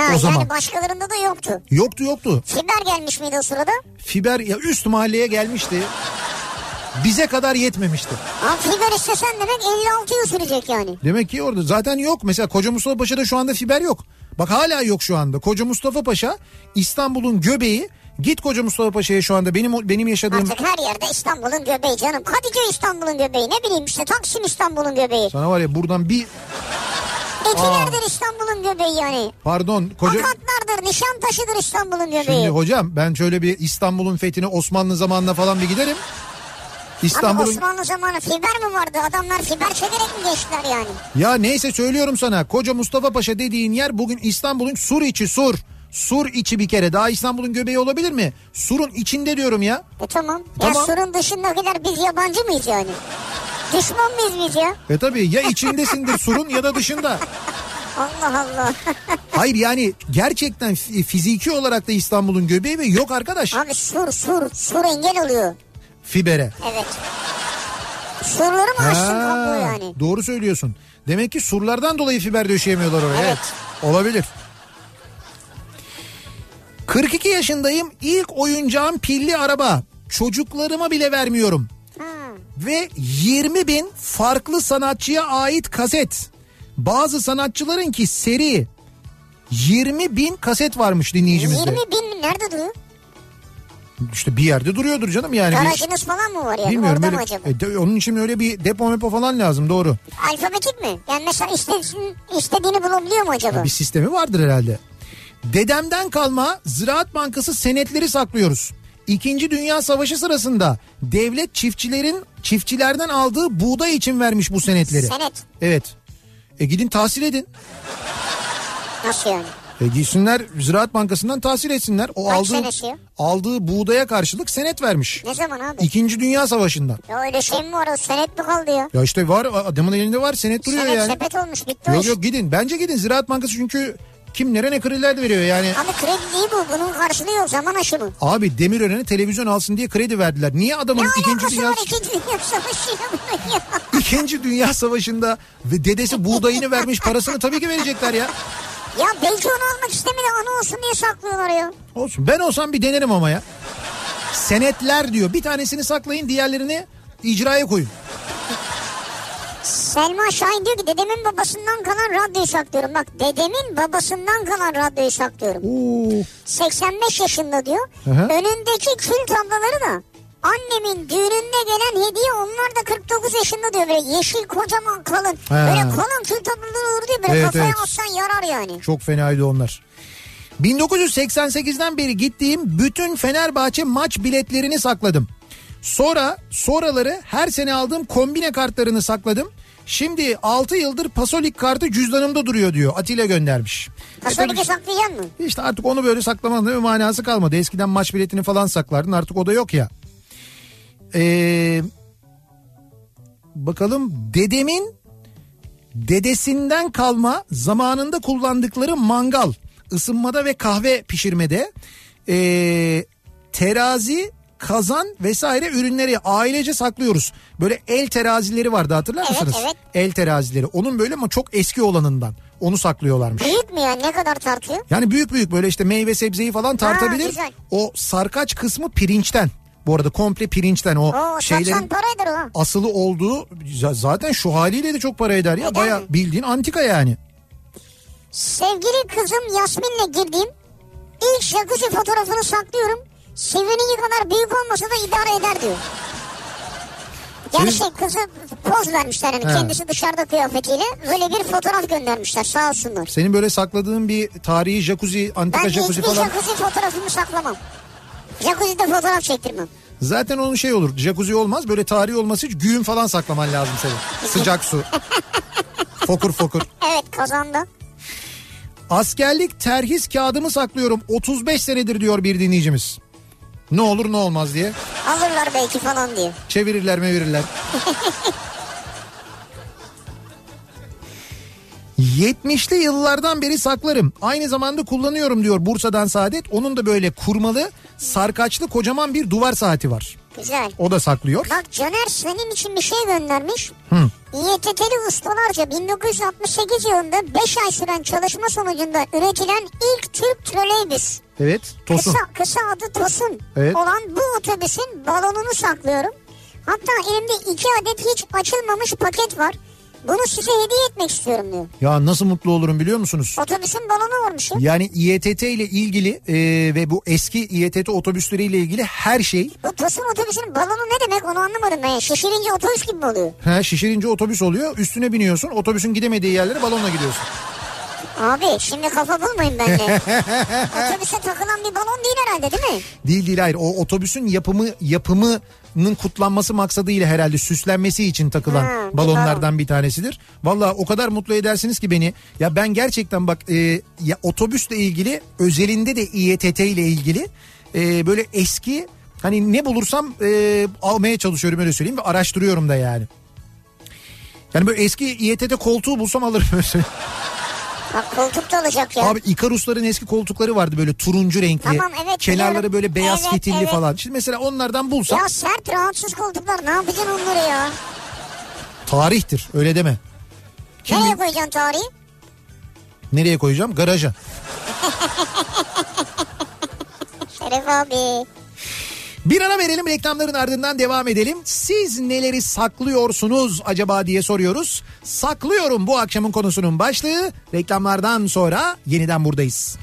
Speaker 1: O
Speaker 2: yani
Speaker 1: zaman.
Speaker 2: başkalarında da yoktu.
Speaker 1: Yoktu yoktu
Speaker 2: Fiber gelmiş miydi o sırada?
Speaker 1: fiber ya üst mahalleye gelmişti bize kadar yetmemişti.
Speaker 2: Ama fiber istesen demek 56 yıl sürecek yani.
Speaker 1: Demek ki orada zaten yok. Mesela Koca Mustafa Paşa'da şu anda fiber yok. Bak hala yok şu anda. Koca Mustafa Paşa İstanbul'un göbeği. Git Koca Mustafa Paşa'ya şu anda benim benim yaşadığım
Speaker 2: Artık her yerde İstanbul'un göbeği canım. Kadıköy İstanbul'un göbeği ne bileyim işte Taksim İstanbul'un göbeği.
Speaker 1: sana var ya buradan bir
Speaker 2: Etilerdir İstanbul'un göbeği yani.
Speaker 1: pardon koca
Speaker 2: Akatlardır, Nişantaşı'dır İstanbul'un
Speaker 1: şimdi
Speaker 2: göbeği.
Speaker 1: hocam ben şöyle bir İstanbul'un fethine Osmanlı zamanına falan bir giderim.
Speaker 2: Ama
Speaker 1: İstanbul'un
Speaker 2: Osmanlı zamanı fiber mi vardı? Adamlar fiber çekerek mi geçtiler yani?
Speaker 1: ya neyse söylüyorum sana. Koca Mustafa Paşa dediğin yer bugün İstanbul'un sur içi sur. Sur içi bir kere. Daha İstanbul'un göbeği olabilir mi? Surun içinde diyorum ya.
Speaker 2: E tamam.
Speaker 1: Tamam.
Speaker 2: Ya surun dışındakiler biz yabancı mıyız yani? Düşman mıyız biz ya?
Speaker 1: E tabii ya içindesindir surun ya da dışında.
Speaker 2: Allah Allah.
Speaker 1: Hayır yani gerçekten fi- fiziki olarak da İstanbul'un göbeği ve yok arkadaş
Speaker 2: Abi sur sur sur engel oluyor.
Speaker 1: fibere.
Speaker 2: Evet. Surları mı açtın
Speaker 1: Ha,
Speaker 2: kablo yani?
Speaker 1: Doğru söylüyorsun. Demek ki surlardan dolayı fiber döşeyemiyorlar oraya.
Speaker 2: Evet.
Speaker 1: Olabilir. 42 yaşındayım. İlk oyuncağım pilli araba. Çocuklarıma bile vermiyorum. Ve 20 bin farklı sanatçıya ait kaset. Bazı sanatçıların ki seri 20 bin kaset varmış dinleyicimizde.
Speaker 2: 20 bin mi? Nerede duruyor?
Speaker 1: İşte bir yerde duruyordur canım yani. Hani Bir-
Speaker 2: Garajınız falan mı var yani?
Speaker 1: Bilmiyorum
Speaker 2: Orada
Speaker 1: öyle,
Speaker 2: mı acaba?
Speaker 1: e, de- onun için öyle bir depo mepo falan lazım doğru.
Speaker 2: Alfabetik mi? Yani mesela iste, istediğini bulabiliyor mu acaba?
Speaker 1: Bir sistemi vardır herhalde. Dedemden kalma Ziraat Bankası senetleri saklıyoruz. İkinci Dünya Savaşı sırasında devlet çiftçilerin çiftçilerden aldığı buğday için vermiş bu senetleri.
Speaker 2: Senet.
Speaker 1: Evet. E gidin tahsil edin.
Speaker 2: Nasıl yani?
Speaker 1: E gitsinler Ziraat Bankası'ndan tahsil etsinler. O
Speaker 2: Kaç
Speaker 1: aldığı,
Speaker 2: senesi ya?
Speaker 1: aldığı buğdaya karşılık senet vermiş.
Speaker 2: Ne zaman abi?
Speaker 1: İkinci Dünya Savaşı'ndan.
Speaker 2: Ya öyle şey mi var? O senet mi kaldı ya?
Speaker 1: Ya işte var adamın elinde var senet duruyor
Speaker 2: senet
Speaker 1: yani.
Speaker 2: sepet olmuş bitti o
Speaker 1: Yok
Speaker 2: iş.
Speaker 1: yok gidin. Bence gidin. Ziraat Bankası çünkü kimlere ne krediler de veriyor yani.
Speaker 2: Abi kredi değil bu. Bunun karşılığı yok. Zaman aşımı.
Speaker 1: Abi Demirören'e televizyon alsın diye kredi verdiler. Niye
Speaker 2: Ne
Speaker 1: adamın
Speaker 2: alakası
Speaker 1: ikinci dünya,
Speaker 2: var ikinci dünya şey savaşıyla bunun ya?
Speaker 1: ikinci dünya savaşında ve dedesi buğdayını vermiş parasını tabii ki verecekler ya.
Speaker 2: Ya belki onu almak istemedi anı olsun diye saklıyorlar ya.
Speaker 1: Olsun. Ben olsam bir denerim ama ya. Senetler diyor. Bir tanesini saklayın diğerlerini icraya koyun.
Speaker 2: Selma Şahin diyor ki dedemin babasından kalan radyoyu saklıyorum. Bak dedemin babasından kalan radyoyu saklıyorum.
Speaker 1: Oo.
Speaker 2: 85 yaşında diyor.
Speaker 1: Hı hı.
Speaker 2: Önündeki kül tablaları da annemin düğününde gelen hediye onlar da 49 yaşında diyor. Böyle yeşil kocaman kalın.
Speaker 1: Ha.
Speaker 2: Böyle kalın kül tablaları olur diyor. Böyle
Speaker 1: Evet,
Speaker 2: kafaya
Speaker 1: evet.
Speaker 2: atsan yarar yani.
Speaker 1: Çok fenaydı onlar. 1988'den beri gittiğim bütün Fenerbahçe maç biletlerini sakladım. Sonra sonraları her sene aldığım kombine kartlarını sakladım. Şimdi 6 yıldır Pasolik kartı cüzdanımda duruyor diyor. Atilla göndermiş.
Speaker 2: Pasolik'e saklayacaksın mı?
Speaker 1: İşte artık onu böyle saklamanın bir manası kalmadı. Eskiden maç biletini falan saklardın artık o da yok ya. Ee, bakalım dedemin dedesinden kalma zamanında kullandıkları mangal ısınmada ve kahve pişirmede ee, terazi kazan vesaire ürünleri ailece saklıyoruz. Böyle el terazileri vardı hatırlar
Speaker 2: Evet,
Speaker 1: mısınız?
Speaker 2: evet.
Speaker 1: El terazileri. Onun böyle ama çok eski olanından. Onu saklıyorlarmış.
Speaker 2: Büyük mü ya? Ne kadar tartıyor?
Speaker 1: Yani büyük büyük böyle işte meyve sebzeyi falan tartabilir.
Speaker 2: güzel.
Speaker 1: o sarkaç kısmı pirinçten. Bu arada komple pirinçten o
Speaker 2: Oo,
Speaker 1: şeylerin
Speaker 2: 80 paraydır o.
Speaker 1: asılı olduğu za- zaten şu haliyle de çok para eder ya.
Speaker 2: Eder
Speaker 1: Baya
Speaker 2: mi?
Speaker 1: bildiğin antika yani.
Speaker 2: Sevgili kızım Yasmin'le girdiğim ilk jacuzzi fotoğrafını saklıyorum. Sivininki kadar büyük olmasa da idare eder diyor. Yani
Speaker 1: Siz-
Speaker 2: şey kızı poz vermişler hani
Speaker 1: He.
Speaker 2: kendisi dışarıda kıyafetiyle böyle bir fotoğraf göndermişler sağ olsunlar.
Speaker 1: Senin böyle sakladığın bir tarihi jacuzzi, antika
Speaker 2: Ben
Speaker 1: jacuzzi
Speaker 2: hiçbir şey-
Speaker 1: falan.
Speaker 2: jacuzzi fotoğrafımı saklamam. Jacuzzi'de fotoğraf çektirmem.
Speaker 1: Zaten onun şey olur. Jacuzzi olmaz. Böyle tarihi olması için güğün falan saklaman lazım senin. Sıcak su. fokur fokur.
Speaker 2: Evet kazandı.
Speaker 1: Askerlik terhis kağıdımı saklıyorum. 35 senedir diyor bir dinleyicimiz. Ne olur ne olmaz diye.
Speaker 2: Alırlar belki falan diye.
Speaker 1: Çevirirler mevirirler. 70'li yıllardan beri saklarım. Aynı zamanda kullanıyorum diyor Bursa'dan Saadet. Onun da böyle kurmalı, sarkaçlı kocaman bir duvar saati var.
Speaker 2: Güzel.
Speaker 1: O da saklıyor.
Speaker 2: Bak Caner senin için bir şey göndermiş. İETT'li ustalarca 1968 yılında 5 ay süren çalışma sonucunda üretilen ilk Türk troleybüs.
Speaker 1: Evet, Tosun.
Speaker 2: Kısa, kısa adı Tosun
Speaker 1: Evet.
Speaker 2: olan bu otobüsün balonunu saklıyorum. Hatta elimde 2 adet hiç açılmamış paket var. Bunu size hediye etmek istiyorum diyor.
Speaker 1: Ya nasıl mutlu olurum biliyor musunuz?
Speaker 2: Otobüsün balonu varmış ya.
Speaker 1: Yani İETT ile ilgili e, ve bu eski İETT otobüsleriyle ilgili her şey
Speaker 2: Bu Tosun otobüsünün balonu ne demek onu anlamadım ben. ya. Şişirince otobüs gibi mi oluyor?
Speaker 1: ha, şişirince otobüs oluyor. Üstüne biniyorsun. Otobüsün gidemediği yerlere balonla gidiyorsun.
Speaker 2: Abi şimdi kafa bulmayın benimle. Otobüse takılan bir balon değil herhalde değil mi?
Speaker 1: Değil değil hayır. O otobüsün yapımı yapımının kutlanması maksadıyla herhalde süslenmesi için takılan
Speaker 2: Ha, bir
Speaker 1: balonlardan bir tanesidir. Valla o kadar mutlu edersiniz ki beni. Ya ben gerçekten bak e, ya otobüsle ilgili özelinde de İETT ile ilgili e, böyle eski hani ne bulursam e, almaya çalışıyorum öyle söyleyeyim ve araştırıyorum da yani. Yani böyle eski İETT koltuğu bulsam alırım mesela.
Speaker 2: Bak koltukta olacak ya.
Speaker 1: Abi Ikarusların eski koltukları vardı böyle turuncu renkli.
Speaker 2: Tamam, evet,
Speaker 1: Kenarları
Speaker 2: biliyorum.
Speaker 1: böyle beyaz
Speaker 2: Evet,
Speaker 1: fitilli
Speaker 2: evet.
Speaker 1: falan. Şimdi mesela onlardan bulsam
Speaker 2: ya sert rahatsız koltuklar ne yapacaksın onları ya?
Speaker 1: tarihtir öyle deme. Kim
Speaker 2: Nereye
Speaker 1: bilir-
Speaker 2: koyacaksın tarihi?
Speaker 1: nereye koyacağım? Garaja.
Speaker 2: Şeref abi.
Speaker 1: Bir ara verelim reklamların ardından devam edelim. Siz neleri saklıyorsunuz acaba diye soruyoruz. Saklıyorum bu akşamın konusunun başlığı. Reklamlardan sonra yeniden buradayız.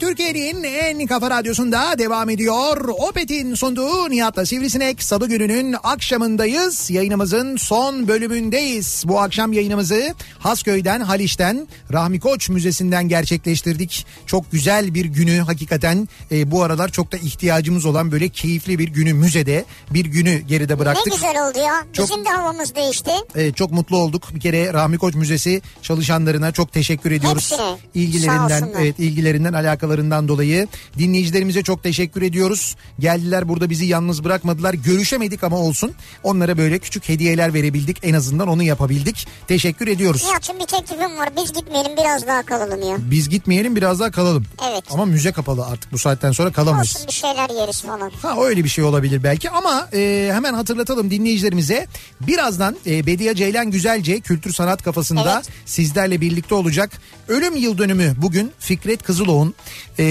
Speaker 1: Türkiye'nin en kafa radyosunda devam ediyor. Opet'in sunduğu Nihat'la Sivrisinek salı gününün akşamındayız. Yayınımızın son bölümündeyiz. Bu akşam yayınımızı Hasköy'den, Haliç'ten, Rahmi Koç Müzesi'nden gerçekleştirdik. Çok güzel bir günü hakikaten e, bu aralar çok da ihtiyacımız olan böyle keyifli bir günü müzede bir günü geride bıraktık.
Speaker 2: Ne güzel oldu ya.
Speaker 1: Çok-
Speaker 2: Bizim de havamız değişti.
Speaker 1: Ee, çok mutlu olduk. Bir kere Rahmi Koç Müzesi çalışanlarına çok teşekkür ediyoruz.
Speaker 2: Hepsine. Sağ
Speaker 1: İlgilerinden,
Speaker 2: olsunlar.
Speaker 1: evet, ilgilerinden, alakalarından dolayı dinleyicilerimize çok teşekkür ediyoruz. Geldiler burada bizi yalnız bırakmadılar. Görüşemedik ama olsun. Onlara böyle küçük hediyeler verebildik. En azından onu yapabildik. Teşekkür ediyoruz.
Speaker 2: Nihat'cığım bir teklifim var. Biz gitmeyelim biraz daha kalalım ya.
Speaker 1: Biz gitmeyelim biraz daha kalalım.
Speaker 2: Evet.
Speaker 1: Ama müze kapalı artık bu saatten sonra kalamayız.
Speaker 2: Olsun bir şeyler yeriz falan.
Speaker 1: Ha öyle bir şey olabilir belki ama e, hemen hatırlatalım dinleyicilerimize. Birazdan e, Bediye Ceylan Güzelce Kültür Sanat Kafası'nda
Speaker 2: Evet.
Speaker 1: sizlerle birlikte olacak. Ölüm yıl dönümü bugün Fikret Kızılok'un e,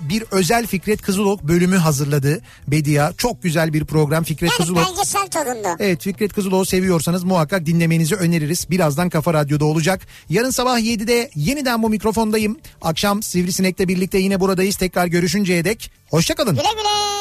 Speaker 1: bir özel Fikret Kızılok bölümü hazırladı Bediye. Çok güzel bir program Fikret
Speaker 2: Yani
Speaker 1: Kızılok.
Speaker 2: belgesel tadında.
Speaker 1: Evet Fikret Kızılok'u seviyorsanız muhakkak dinlemenizi öneririz. Birazdan Kafa Radyo'da olacak. Yarın sabah 7'de yeniden bu mikrofondayım. Akşam Sivrisinek'le birlikte yine buradayız. Tekrar görüşünceye dek hoşçakalın.
Speaker 2: Güle güle.